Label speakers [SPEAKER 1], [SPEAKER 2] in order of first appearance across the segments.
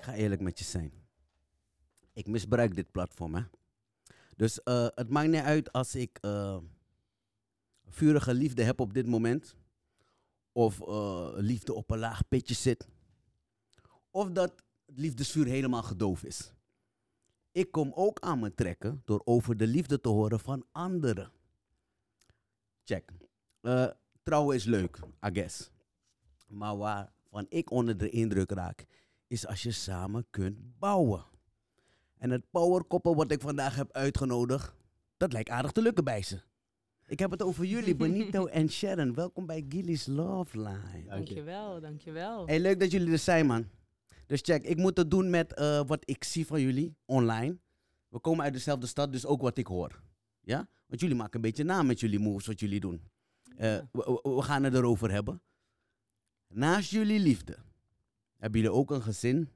[SPEAKER 1] ga eerlijk met je zijn. Ik misbruik dit platform, hè. Dus eh, het maakt niet uit als ik eh, vurige liefde heb op dit moment. Of eh, liefde op een laag pitje zit. Of dat het liefdesvuur helemaal gedoofd is. Ik kom ook aan me trekken door over de liefde te horen van anderen. Check. Eh, trouwen is leuk, I guess. Maar waarvan ik onder de indruk raak, is als je samen kunt bouwen. En het powerkoppel wat ik vandaag heb uitgenodigd, dat lijkt aardig te lukken bij ze. Ik heb het over jullie, Benito en Sharon. Welkom bij Gilly's Love Line.
[SPEAKER 2] Dankjewel, dankjewel.
[SPEAKER 1] Hey, leuk dat jullie er zijn, man. Dus check, ik moet het doen met eh, wat ik zie van jullie online. We komen uit dezelfde stad, dus ook wat ik hoor. Ja? Want jullie maken een beetje naam met jullie moves, wat jullie doen. Eh,
[SPEAKER 2] Ja.
[SPEAKER 1] we, we- we gaan het erover hebben. Naast jullie liefde hebben jullie ook een gezin.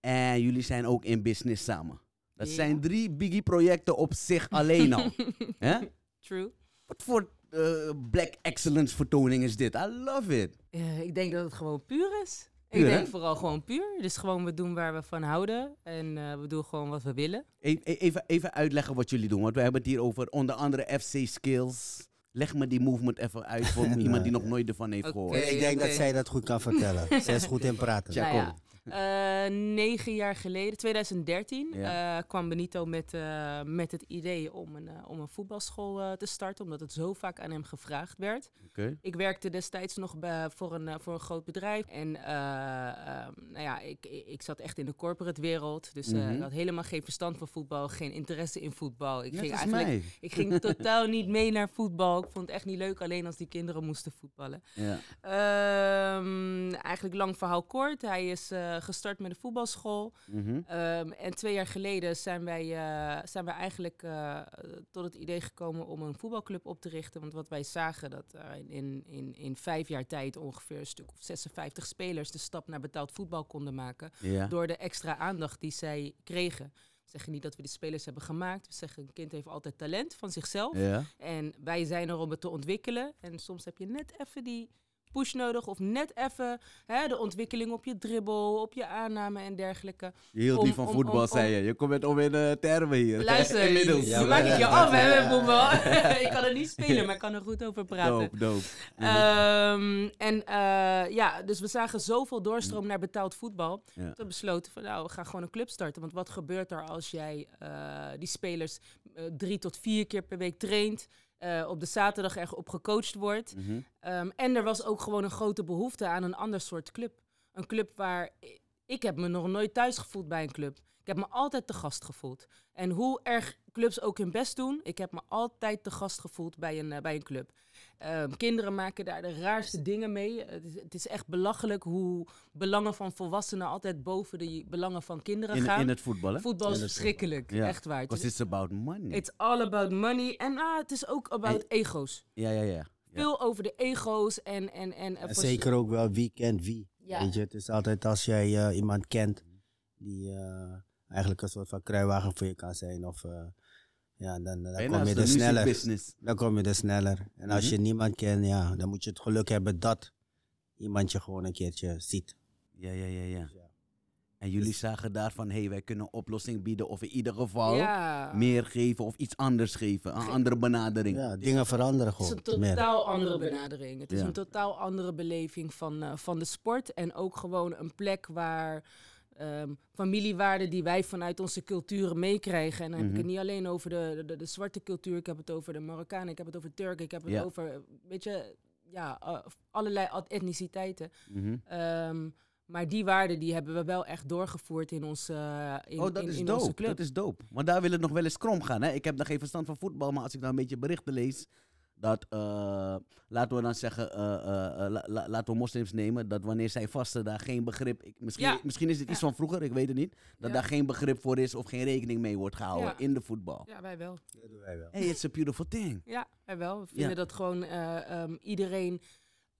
[SPEAKER 1] En jullie zijn ook in business samen. Dat
[SPEAKER 2] Ja.
[SPEAKER 1] zijn drie biggie-projecten op zich alleen al. Hè?
[SPEAKER 2] True.
[SPEAKER 1] Wat voor eh, black excellence vertoning is dit? I love it.
[SPEAKER 2] Eh, ik denk dat het gewoon puur is.
[SPEAKER 1] Puur,
[SPEAKER 2] ik
[SPEAKER 1] hè?
[SPEAKER 2] denk vooral gewoon puur. Dus gewoon we doen waar we van houden. En eh, we doen gewoon wat we willen.
[SPEAKER 1] E- e- Even, even uitleggen wat jullie doen, want we hebben het hier over onder andere FC Skills. Leg me die movement even uit voor
[SPEAKER 3] Nee.
[SPEAKER 1] iemand die nog nooit ervan heeft
[SPEAKER 2] Oké.
[SPEAKER 1] gehoord.
[SPEAKER 3] Ik denk dat
[SPEAKER 2] oké.
[SPEAKER 3] zij dat goed kan vertellen. zij is goed in praten.
[SPEAKER 1] Ja,
[SPEAKER 2] Nou ja, eh, negen jaar geleden, 2013,
[SPEAKER 1] Ja.
[SPEAKER 2] eh, kwam Benito met, eh, met het idee om een, eh, om een voetbalschool eh, te starten. Omdat het zo vaak aan hem gevraagd werd.
[SPEAKER 1] Oké.
[SPEAKER 2] Ik werkte destijds nog bij, voor, een, eh, voor een groot bedrijf. En eh, ehm, nou ja, ik, ik zat echt in de corporate wereld. Dus eh,
[SPEAKER 1] Mhm.
[SPEAKER 2] ik had helemaal geen verstand van voetbal, geen interesse in voetbal. Ik
[SPEAKER 1] Net
[SPEAKER 2] ging
[SPEAKER 1] als
[SPEAKER 2] eigenlijk
[SPEAKER 1] mij.
[SPEAKER 2] ik ging totaal niet mee naar voetbal. Ik vond het echt niet leuk, alleen als die kinderen moesten voetballen.
[SPEAKER 1] Ja.
[SPEAKER 2] Ehm, eigenlijk lang verhaal kort. Hij is eh, gestart met de voetbalschool.
[SPEAKER 1] Mhm.
[SPEAKER 2] Ehm, en twee jaar geleden zijn wij, eh, zijn wij eigenlijk eh, tot het idee gekomen om een voetbalclub op te richten. Want wat wij zagen, dat eh, in, in, in vijf jaar tijd ongeveer een stuk of 56 spelers de stap naar betaald voetbal konden maken
[SPEAKER 1] ja.
[SPEAKER 2] door de extra aandacht die zij kregen. We zeggen niet dat we de spelers hebben gemaakt. We zeggen, een kind heeft altijd talent van zichzelf.
[SPEAKER 1] Ja.
[SPEAKER 2] En wij zijn er om het te ontwikkelen. En soms heb je net even die push nodig. Of net even hè, de ontwikkeling op je dribbel, op je aanname en dergelijke.
[SPEAKER 1] Je hield niet
[SPEAKER 2] Om-
[SPEAKER 1] van
[SPEAKER 2] om-
[SPEAKER 1] voetbal,
[SPEAKER 2] om-
[SPEAKER 1] zei je. Je komt met onwin termen hier.
[SPEAKER 2] Luister,
[SPEAKER 1] Inmiddels.
[SPEAKER 2] je
[SPEAKER 3] Ja,
[SPEAKER 2] maakt het je
[SPEAKER 3] maar-
[SPEAKER 2] af, hè, met voetbal. ik kan het niet spelen, maar ik kan er goed over
[SPEAKER 1] Doop,
[SPEAKER 2] praten.
[SPEAKER 1] doop.
[SPEAKER 3] Mhm.
[SPEAKER 2] Ehm, en eh, ja, dus we zagen zoveel
[SPEAKER 3] Mhm.
[SPEAKER 2] doorstroom naar betaald voetbal.
[SPEAKER 1] Ja.
[SPEAKER 2] Toen besloten van nou, we gaan gewoon een club starten. Want wat gebeurt er als jij eh, die spelers eh, drie tot vier keer per week traint? eh, op de zaterdag erg op gecoacht wordt.
[SPEAKER 1] Mhm.
[SPEAKER 2] Ehm, en er was ook gewoon een grote behoefte aan een ander soort club. Een club waar i- ik heb me nog nooit thuis gevoeld bij een club. Ik heb me altijd te gast gevoeld. En hoe erg clubs ook hun best doen, ik heb me altijd te gast gevoeld bij een, eh, bij een club. Ehm, kinderen maken daar de raarste dingen mee. Het is, het is echt belachelijk hoe belangen van volwassenen altijd boven de belangen van kinderen
[SPEAKER 1] In,
[SPEAKER 2] gaan.
[SPEAKER 1] in het voetbal, hè?
[SPEAKER 2] Voetbal is
[SPEAKER 3] In het
[SPEAKER 2] verschrikkelijk,
[SPEAKER 1] Ja.
[SPEAKER 2] echt waar. Het
[SPEAKER 1] Because
[SPEAKER 2] is,
[SPEAKER 1] it's about money.
[SPEAKER 2] it's all about money en ah, het is ook about ego's.
[SPEAKER 1] Ja, ja, ja. Ja.
[SPEAKER 2] Veel over de ego's en... en, en, eh,
[SPEAKER 3] En
[SPEAKER 2] voor-
[SPEAKER 3] zeker ook wel wie kent wie.
[SPEAKER 2] Ja.
[SPEAKER 3] Weet je, het is altijd als jij eh, iemand kent die eh, eigenlijk een soort van kruiwagen voor je kan zijn. Of, eh, ja, dan, dan
[SPEAKER 1] Bijna
[SPEAKER 3] kom
[SPEAKER 1] als
[SPEAKER 3] je
[SPEAKER 1] de Mhm.
[SPEAKER 3] er
[SPEAKER 1] music
[SPEAKER 3] sneller.
[SPEAKER 1] business.
[SPEAKER 3] Dan kom je er sneller. En als je niemand kent, ja, dan moet je het geluk hebben dat iemand je gewoon een keertje ziet.
[SPEAKER 1] Ja, ja, ja, ja.
[SPEAKER 3] Ja.
[SPEAKER 1] En jullie
[SPEAKER 3] Dus-
[SPEAKER 1] zagen daarvan, hé, hey, wij kunnen een oplossing bieden. Of in ieder geval...
[SPEAKER 2] Ja.
[SPEAKER 1] meer geven of iets anders geven. Een andere benadering.
[SPEAKER 3] Ja, dingen veranderen
[SPEAKER 2] Het is
[SPEAKER 3] gewoon.
[SPEAKER 2] een totaal andere benadering. Het is
[SPEAKER 1] Ja.
[SPEAKER 2] een totaal andere beleving van, eh, van de sport. En ook gewoon een plek waar ehm, familiewaarden die wij vanuit onze culturen meekrijgen. En dan heb
[SPEAKER 1] Mhm.
[SPEAKER 2] ik het niet alleen over de, de, de zwarte cultuur. Ik heb het over de Marokkanen. Ik heb het over Turken. Ik heb het
[SPEAKER 1] Ja.
[SPEAKER 2] over, eh, weet je, ja, eh, allerlei ad- etniciteiten.
[SPEAKER 1] Mhm.
[SPEAKER 2] Ehm, maar die waarden die hebben we wel echt doorgevoerd in onze, eh, in,
[SPEAKER 1] oh, dat
[SPEAKER 2] in,
[SPEAKER 1] is
[SPEAKER 2] in onze
[SPEAKER 1] dope.
[SPEAKER 2] club.
[SPEAKER 1] Dat is dope. Want daar wil het nog wel eens krom gaan. Hè? Ik heb nog geen verstand van voetbal, maar als ik dan een beetje berichten lees. Dat, eh, laten we dan zeggen, eh, eh, eh, la- la- laten we moslims nemen. Dat wanneer zij vasten, daar geen begrip. ik- misschien,
[SPEAKER 2] Ja.
[SPEAKER 1] misschien is dit iets van vroeger, ik weet het niet. Dat
[SPEAKER 2] Ja.
[SPEAKER 1] daar geen begrip voor is of geen rekening mee wordt gehouden
[SPEAKER 2] Ja.
[SPEAKER 1] in de voetbal.
[SPEAKER 2] Ja, wij wel.
[SPEAKER 3] Dat doen wij wel.
[SPEAKER 1] Hey, it's a beautiful thing.
[SPEAKER 2] Ja, wij wel. We vinden
[SPEAKER 1] Ja.
[SPEAKER 2] dat gewoon eh, ehm, iedereen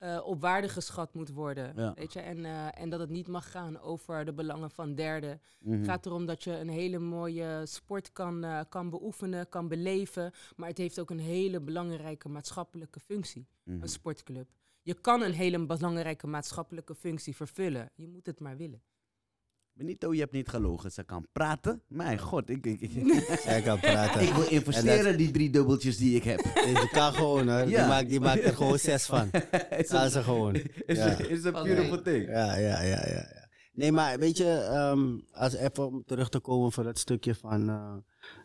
[SPEAKER 2] eh, op waarde geschat moet worden.
[SPEAKER 1] Ja.
[SPEAKER 2] Weet je? En, eh, en dat het niet mag gaan over de belangen van derden.
[SPEAKER 1] Mhm.
[SPEAKER 2] Het gaat erom dat je een hele mooie sport kan, eh, kan beoefenen, kan beleven. Maar het heeft ook een hele belangrijke maatschappelijke functie,
[SPEAKER 1] Mhm.
[SPEAKER 2] een sportclub. Je kan een hele belangrijke maatschappelijke functie vervullen. Je moet het maar willen.
[SPEAKER 1] Benito, je hebt niet gelogen. Ze kan praten. Mijn god, ik, ik, ik,
[SPEAKER 3] Zij kan praten.
[SPEAKER 1] ik wil investeren die drie dubbeltjes die ik heb.
[SPEAKER 3] Die kan gewoon, hè. Die,
[SPEAKER 1] Ja.
[SPEAKER 3] maakt, die maakt er gewoon zes van.
[SPEAKER 1] is
[SPEAKER 3] Gaan ze gewoon.
[SPEAKER 1] is,
[SPEAKER 3] Ja.
[SPEAKER 1] is een
[SPEAKER 4] Oké.
[SPEAKER 1] beautiful thing.
[SPEAKER 3] Ja, ja, ja, ja. ja. Nee, maar weet je, ehm, als even om terug te komen voor dat stukje van eh,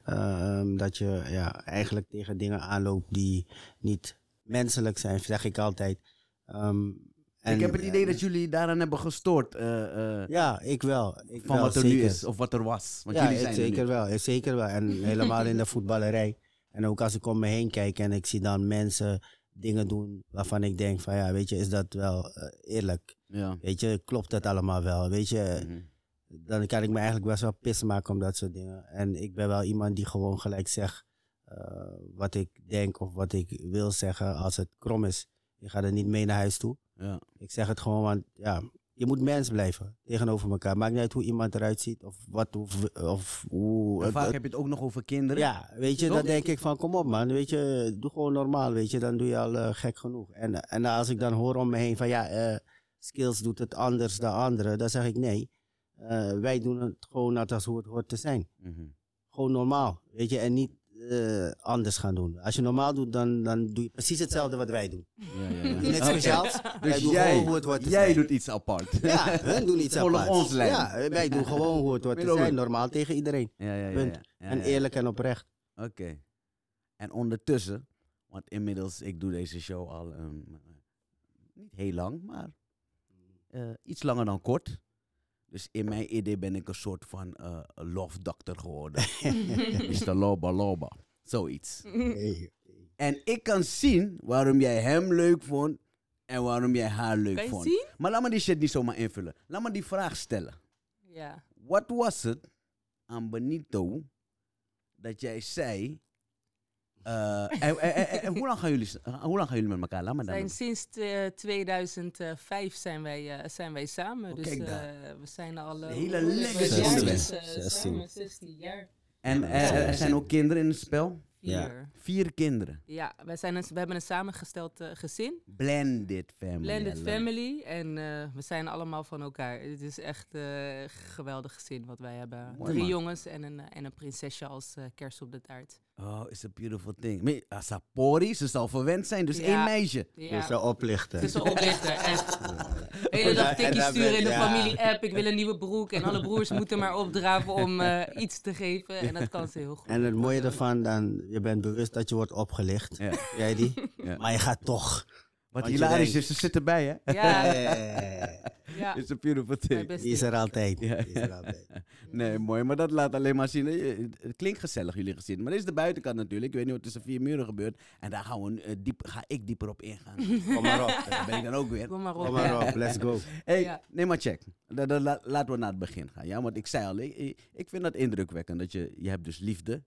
[SPEAKER 3] ehm, dat je ja, eigenlijk tegen dingen aanloopt die niet menselijk zijn, zeg ik altijd. Ehm, en- eh,
[SPEAKER 1] ik heb het idee dat jullie daaraan hebben gestoord. eh, eh,
[SPEAKER 3] Ja, ik wel. Ik
[SPEAKER 1] van
[SPEAKER 3] wel,
[SPEAKER 1] wat er nu
[SPEAKER 3] zeker.
[SPEAKER 1] is of wat er was. Want
[SPEAKER 3] ja,
[SPEAKER 1] jullie
[SPEAKER 3] ik
[SPEAKER 1] zijn
[SPEAKER 3] zeker
[SPEAKER 1] er nu.
[SPEAKER 3] wel. ik Zeker wel. En helemaal in de voetballerij. En ook als ik om me heen kijk en ik zie dan mensen dingen doen waarvan ik denk van ja, weet je, is dat wel eh, eerlijk?
[SPEAKER 1] Ja.
[SPEAKER 3] Weet je, klopt dat allemaal wel? Weet je,
[SPEAKER 1] Mhm.
[SPEAKER 3] dan kan ik me eigenlijk best wel pis maken om dat soort dingen. En ik ben wel iemand die gewoon gelijk zegt eh, wat ik denk of wat ik wil zeggen als het krom is. Ik ga er niet mee naar huis toe.
[SPEAKER 1] Ja.
[SPEAKER 3] Ik zeg het gewoon, want ja, je moet mens blijven tegenover elkaar. Maakt niet uit hoe iemand eruit ziet of wat of, of hoe.
[SPEAKER 1] En
[SPEAKER 3] het-
[SPEAKER 1] vaak
[SPEAKER 3] het-
[SPEAKER 1] heb je het ook nog over kinderen.
[SPEAKER 3] ja, weet je,
[SPEAKER 1] Toch?
[SPEAKER 3] dan denk ik van kom op man, weet je, doe gewoon normaal, weet je, dan doe je al eh, gek genoeg. En, en als ik dan hoor om me heen van ja, eh, skills doet het anders dan anderen, dan zeg ik nee, Eh, wij doen het gewoon net als hoe het hoort te zijn.
[SPEAKER 1] Mhm.
[SPEAKER 3] Gewoon normaal, weet je, en niet eh, anders gaan doen. Als je normaal doet, dan, dan doe je precies hetzelfde wat wij doen.
[SPEAKER 1] Ja, ja, ja.
[SPEAKER 3] Niks speciaals, wij
[SPEAKER 1] Dus
[SPEAKER 3] doen
[SPEAKER 1] jij,
[SPEAKER 3] gewoon hoe het hoort te
[SPEAKER 1] jij
[SPEAKER 3] zijn.
[SPEAKER 1] doet iets apart.
[SPEAKER 3] Ja, hun doen iets
[SPEAKER 1] Volg
[SPEAKER 3] apart.
[SPEAKER 1] ons lijn.
[SPEAKER 3] Ja, wij doen gewoon hoe het hoort te
[SPEAKER 1] Middel-
[SPEAKER 3] zijn, normaal tegen iedereen.
[SPEAKER 1] Ja, ja, ja.
[SPEAKER 3] Punt.
[SPEAKER 1] ja. Ja,
[SPEAKER 3] En
[SPEAKER 1] ja.
[SPEAKER 3] eerlijk en oprecht.
[SPEAKER 1] Oké. En ondertussen, want inmiddels, ik doe deze show al ehm, niet heel lang, maar eh, iets langer dan kort. Dus in mijn idee ben ik een soort van eh love doctor geworden. Mr. Loba Loba. Zoiets.
[SPEAKER 3] Hey.
[SPEAKER 1] En ik kan zien waarom jij hem leuk vond en waarom jij haar leuk
[SPEAKER 2] Kan je
[SPEAKER 1] vond.
[SPEAKER 2] zien?
[SPEAKER 1] Maar laat me die shit niet zomaar invullen. Laat me die vraag stellen.
[SPEAKER 2] Ja.
[SPEAKER 1] Wat was het aan Benito dat jij zei. eh, en, en- en- en- en hoe, lang gaan jullie, s- eh, hoe lang gaan jullie met elkaar? Laat me
[SPEAKER 2] We
[SPEAKER 1] dan.
[SPEAKER 2] Zijn sinds eh, 2005 zijn wij, eh, zijn wij samen.
[SPEAKER 1] Oh,
[SPEAKER 2] dus
[SPEAKER 1] kijk
[SPEAKER 2] eh,
[SPEAKER 1] daar.
[SPEAKER 2] we zijn al... eh,
[SPEAKER 1] Hele
[SPEAKER 2] hoe-
[SPEAKER 1] lekkere
[SPEAKER 2] hoeveel jaar
[SPEAKER 3] zestien.
[SPEAKER 2] is, eh,
[SPEAKER 3] Zestien.
[SPEAKER 2] samen? 16 jaar.
[SPEAKER 1] En eh, er zijn ook kinderen in het spel?
[SPEAKER 3] Ja.
[SPEAKER 2] Vier.
[SPEAKER 1] Vier kinderen.
[SPEAKER 2] Ja, wij zijn een, we hebben een samengesteld eh, gezin.
[SPEAKER 1] Blended family.
[SPEAKER 2] Blended
[SPEAKER 1] I love it.
[SPEAKER 2] family. En eh, we zijn allemaal van elkaar. Het is echt eh, een geweldig gezin wat wij hebben.
[SPEAKER 1] Mooi,
[SPEAKER 2] Drie
[SPEAKER 1] man.
[SPEAKER 2] jongens en een, eh, en een prinsesje als eh, kerst op de taart.
[SPEAKER 1] Oh, it's a beautiful thing. Maar, ah, Sapori, ze zal verwend zijn, dus
[SPEAKER 2] Ja.
[SPEAKER 1] één meisje.
[SPEAKER 2] Ja.
[SPEAKER 3] Dus zo
[SPEAKER 1] eh,
[SPEAKER 3] oplichten.
[SPEAKER 2] Het is een oplichter, echt. De hele dag tikkie sturen in de
[SPEAKER 3] Ja.
[SPEAKER 2] familie-app. Ik wil een nieuwe broek. En alle broers moeten maar opdraven om eh, iets te geven. En dat kan ze heel goed.
[SPEAKER 3] En het mooie ervan, dan, je bent bewust dat je wordt opgelicht.
[SPEAKER 1] Ja.
[SPEAKER 3] Jij die?
[SPEAKER 1] Ja.
[SPEAKER 3] Maar je gaat toch.
[SPEAKER 1] Wat
[SPEAKER 3] je
[SPEAKER 1] hilarisch
[SPEAKER 3] denkt-
[SPEAKER 1] is, ze zitten bij, hè?
[SPEAKER 2] Ja,
[SPEAKER 3] Eh,
[SPEAKER 2] ja.
[SPEAKER 1] It's a beautiful
[SPEAKER 2] Mijn
[SPEAKER 1] thing.
[SPEAKER 3] die is
[SPEAKER 2] beste.
[SPEAKER 3] er altijd.
[SPEAKER 1] Ja.
[SPEAKER 3] Die is er altijd.
[SPEAKER 1] Nee, mooi. Maar dat laat alleen maar zien. eh, eh, Het klinkt gezellig, jullie gezin. Maar dit is de buitenkant natuurlijk. Ik weet niet wat tussen vier muren gebeurt. En daar gaan we, eh, diep, ga ik dieper op ingaan.
[SPEAKER 3] Kom maar op.
[SPEAKER 1] daar ben ik dan ook weer.
[SPEAKER 2] Kom maar op.
[SPEAKER 3] Kom
[SPEAKER 2] ja.
[SPEAKER 3] maar op, let's go.
[SPEAKER 1] Hey,
[SPEAKER 2] Ja.
[SPEAKER 1] Nee, maar check. Da- da- la- laten we naar het begin gaan. Ja, want ik zei al, ik- ik, ik vind dat indrukwekkend. Dat je, je hebt dus liefde.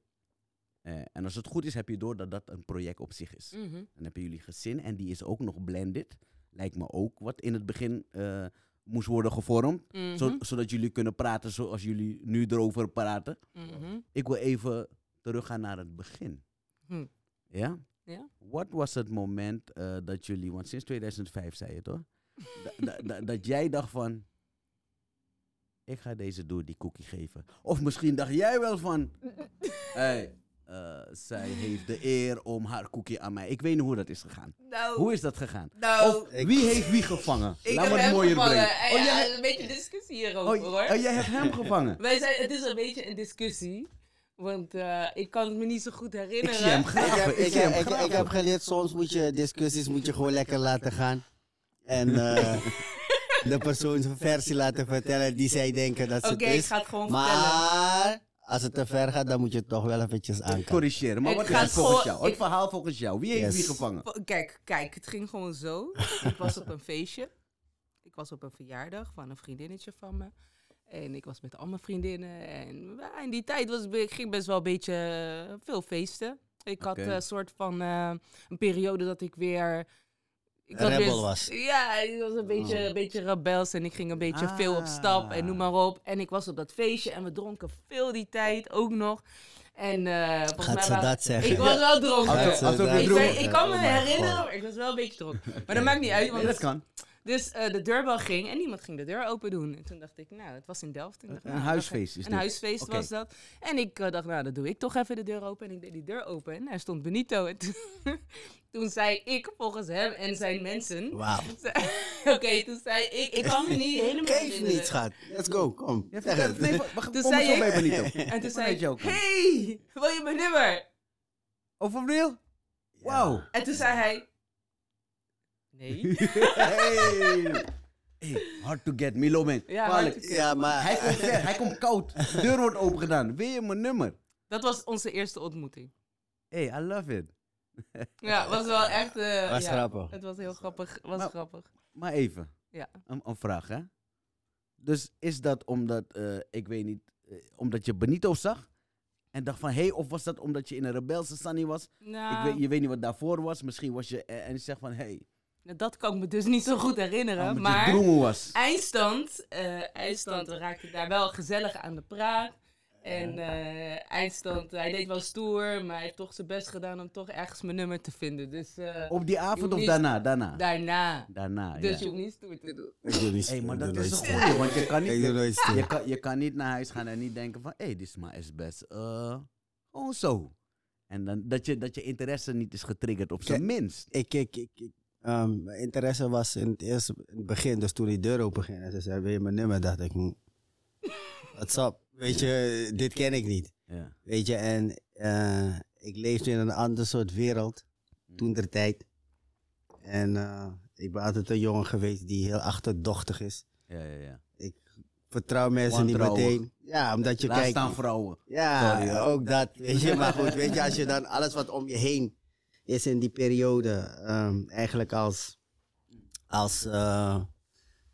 [SPEAKER 1] Eh, en als het goed is, heb je door dat dat een project op zich is.
[SPEAKER 2] Mhm.
[SPEAKER 1] Dan hebben jullie gezin en die is ook nog blended. Lijkt me ook wat in het begin eh, moest worden gevormd.
[SPEAKER 2] Mhm.
[SPEAKER 1] Zo- zodat jullie kunnen praten zoals jullie nu erover praten.
[SPEAKER 2] Mhm.
[SPEAKER 1] Ik wil even teruggaan naar het begin.
[SPEAKER 2] Hm.
[SPEAKER 1] Ja?
[SPEAKER 2] Ja.
[SPEAKER 1] Wat was het moment eh, dat jullie, want sinds 2005 zei je toch? dat jij dacht van, ik ga deze door die cookie geven. Of misschien dacht jij wel van, hey, eh, zij heeft de eer om haar cookie aan mij. Ik weet niet hoe dat is gegaan.
[SPEAKER 2] Nou,
[SPEAKER 1] Hoe is dat gegaan?
[SPEAKER 2] nou,
[SPEAKER 1] Of wie heeft wie gevangen?
[SPEAKER 2] ik
[SPEAKER 1] Laat
[SPEAKER 2] heb
[SPEAKER 1] me het
[SPEAKER 2] hem
[SPEAKER 1] mooier
[SPEAKER 2] gevangen.
[SPEAKER 1] brengen.
[SPEAKER 2] Eh,
[SPEAKER 1] Oh,
[SPEAKER 2] ja,
[SPEAKER 1] jij,
[SPEAKER 2] een beetje discussie hierover,
[SPEAKER 1] oh,
[SPEAKER 2] hoor.
[SPEAKER 1] oh, jij hebt hem gevangen.
[SPEAKER 2] Wij zijn, het is een beetje een discussie. Want eh, ik kan het me niet zo goed
[SPEAKER 1] Ik
[SPEAKER 2] herinneren.
[SPEAKER 1] zie hem graven. Ik,
[SPEAKER 3] Ik,
[SPEAKER 1] zie
[SPEAKER 3] heb-
[SPEAKER 1] hem
[SPEAKER 3] ik, ik heb
[SPEAKER 1] graven.
[SPEAKER 3] geleerd, soms moet je discussies moet je gewoon lekker laten gaan. En eh, de persoon zijn versie laten vertellen die zij denken dat ze
[SPEAKER 2] Oké,
[SPEAKER 3] het
[SPEAKER 2] ik
[SPEAKER 3] is.
[SPEAKER 2] ga het gewoon vertellen.
[SPEAKER 3] Maar als het te ver gaat, dan moet je het toch wel eventjes aankijken.
[SPEAKER 1] corrigeren. Maar
[SPEAKER 2] Het
[SPEAKER 1] wat is
[SPEAKER 2] gaat
[SPEAKER 1] het volgens
[SPEAKER 2] gewoon-
[SPEAKER 1] jou? Het
[SPEAKER 2] ik-
[SPEAKER 1] verhaal volgens jou. Wie heeft
[SPEAKER 3] Yes.
[SPEAKER 1] wie gevangen?
[SPEAKER 2] Wa- Kijk, kijk, het ging gewoon zo. ik was op een feestje. Ik was op een verjaardag van een vriendinnetje van me. En ik was met al mijn vriendinnen. En ja, in die tijd was, ik ging best wel een beetje eh, veel feesten. Ik had
[SPEAKER 1] Oké.
[SPEAKER 2] eh, een soort van eh, een periode dat ik weer... Ik
[SPEAKER 3] Rebel
[SPEAKER 2] weer-
[SPEAKER 3] was. Oh.
[SPEAKER 2] Ja, ik was een beetje, een beetje rebels en ik ging een beetje veel op stap
[SPEAKER 3] Ah.
[SPEAKER 2] en noem maar op. En ik was op dat feestje en we dronken veel die tijd ook nog. En eh volgens
[SPEAKER 3] Gaat
[SPEAKER 2] mij
[SPEAKER 3] ze
[SPEAKER 2] waren-
[SPEAKER 3] dat zeggen?
[SPEAKER 2] Ik was wel dronken.
[SPEAKER 1] Alsof-
[SPEAKER 3] Gaat ze
[SPEAKER 1] alsof je
[SPEAKER 3] dat
[SPEAKER 2] Ik,
[SPEAKER 1] droeg.
[SPEAKER 2] ben- ik kan me
[SPEAKER 3] Oh my God.
[SPEAKER 2] herinneren, maar ik was wel een beetje dronken. Maar dat maakt niet uit,
[SPEAKER 1] Ja, dat
[SPEAKER 2] want
[SPEAKER 1] kan.
[SPEAKER 2] Dus eh, de deurbel ging en niemand ging de deur open doen. En toen dacht ik, nou, het was in Delft. Ik dacht,
[SPEAKER 1] Een
[SPEAKER 2] nou,
[SPEAKER 1] huisfeest is
[SPEAKER 2] Een
[SPEAKER 1] dit.
[SPEAKER 2] huisfeest
[SPEAKER 1] Oké.
[SPEAKER 2] was dat. En ik eh, dacht, nou, dan doe ik toch even de deur open. En ik deed die deur open en daar stond Benito. En toen, toen zei ik volgens hem en zijn mensen...
[SPEAKER 3] Wauw.
[SPEAKER 2] zei- Oké, toen zei ik, ik kan me niet helemaal
[SPEAKER 3] Geef
[SPEAKER 2] herinneren.
[SPEAKER 3] niet, schat. Let's go, kom.
[SPEAKER 1] Ja,
[SPEAKER 3] Zeg
[SPEAKER 1] vertel-
[SPEAKER 3] het.
[SPEAKER 1] nee, wa- wa-
[SPEAKER 2] Toen
[SPEAKER 1] kom
[SPEAKER 2] zei
[SPEAKER 1] er zo bij
[SPEAKER 2] ik-
[SPEAKER 1] Benito.
[SPEAKER 2] En toen
[SPEAKER 1] Vanuit
[SPEAKER 2] zei ik,
[SPEAKER 1] jou kwam.
[SPEAKER 2] hey, wil je mijn nummer?
[SPEAKER 1] Over Oh, real? Wauw.
[SPEAKER 2] En toen zei hij, nee.
[SPEAKER 1] Hey. Hey, hard to get, Milo man.
[SPEAKER 2] Ja,
[SPEAKER 1] Kwalijk.
[SPEAKER 2] hard to
[SPEAKER 3] Ja, maar...
[SPEAKER 1] Hij komt ver, hij komt koud. De deur wordt open gedaan. Wil je mijn nummer?
[SPEAKER 2] Dat was onze eerste ontmoeting.
[SPEAKER 1] Hey, I love it.
[SPEAKER 2] Ja, was wel echt... eh,
[SPEAKER 3] Was
[SPEAKER 2] ja,
[SPEAKER 3] grappig.
[SPEAKER 2] Het was heel grappig. Was
[SPEAKER 1] Nou,
[SPEAKER 2] grappig.
[SPEAKER 1] Maar even,
[SPEAKER 2] Ja.
[SPEAKER 1] een, een vraag hè. Dus is dat omdat, eh, ik weet niet, eh, omdat je Benito zag? En dacht van, hé, hey, of was dat omdat je in een rebelse Sunny was? Ik
[SPEAKER 2] Nou,
[SPEAKER 1] weet, je weet niet wat daarvoor was. Misschien was je, eh, en je zegt van, hé, hey,
[SPEAKER 2] dat kan ik me dus niet zo goed
[SPEAKER 3] Nou,
[SPEAKER 2] herinneren.
[SPEAKER 1] omdat
[SPEAKER 2] maar
[SPEAKER 1] je droemen was.
[SPEAKER 2] eindstand, eh, eindstand, we raakten daar wel gezellig aan de praat. En eh, eindstand, hij deed wel stoer, maar hij heeft toch zijn best gedaan om toch ergens mijn nummer te vinden. Dus
[SPEAKER 3] Oh.
[SPEAKER 2] eh,
[SPEAKER 1] Op die avond of
[SPEAKER 2] niet-
[SPEAKER 1] daarna? Daarna.
[SPEAKER 2] daarna.
[SPEAKER 1] Daarna,
[SPEAKER 2] Dus
[SPEAKER 1] ja.
[SPEAKER 2] je hoeft niet stoer te doen.
[SPEAKER 3] Ik doe niet
[SPEAKER 1] Hé, maar
[SPEAKER 3] ik
[SPEAKER 1] dat
[SPEAKER 3] doe
[SPEAKER 1] is een
[SPEAKER 3] nooit
[SPEAKER 1] goeie, want je kan
[SPEAKER 3] stoer. Ik doe
[SPEAKER 1] niet,
[SPEAKER 3] nooit stoer.
[SPEAKER 1] je kan, je kan niet naar huis gaan en niet denken van, hé, hey, dit is maar is best eh gewoon zo. En dan, dat, je, dat je interesse niet is getriggerd, op zijn minst.
[SPEAKER 3] ik, ik, ik, ik, ehm, mijn interesse was in het eerste in het begin, dus toen die deur open ging en ze zei, wil je mijn nummer? Dacht ik, "Hmm, what's up? Weet je, dit ken ik niet.
[SPEAKER 1] Ja.
[SPEAKER 3] Weet je, en eh, ik leefde in een ander soort wereld, toen der tijd. En eh, ik ben altijd een jongen geweest die heel achterdochtig is.
[SPEAKER 1] Ja, ja, ja.
[SPEAKER 3] Vertrouw mensen niet
[SPEAKER 1] Wantrouwig.
[SPEAKER 3] meteen. Ja, omdat je
[SPEAKER 1] Laat
[SPEAKER 3] kijkt.
[SPEAKER 1] staan vrouwen.
[SPEAKER 3] Ja,
[SPEAKER 1] Sorry,
[SPEAKER 3] ook dat. Weet je, maar goed, weet je, als je dan alles wat om je heen is in die periode, ehm, eigenlijk als, als eh,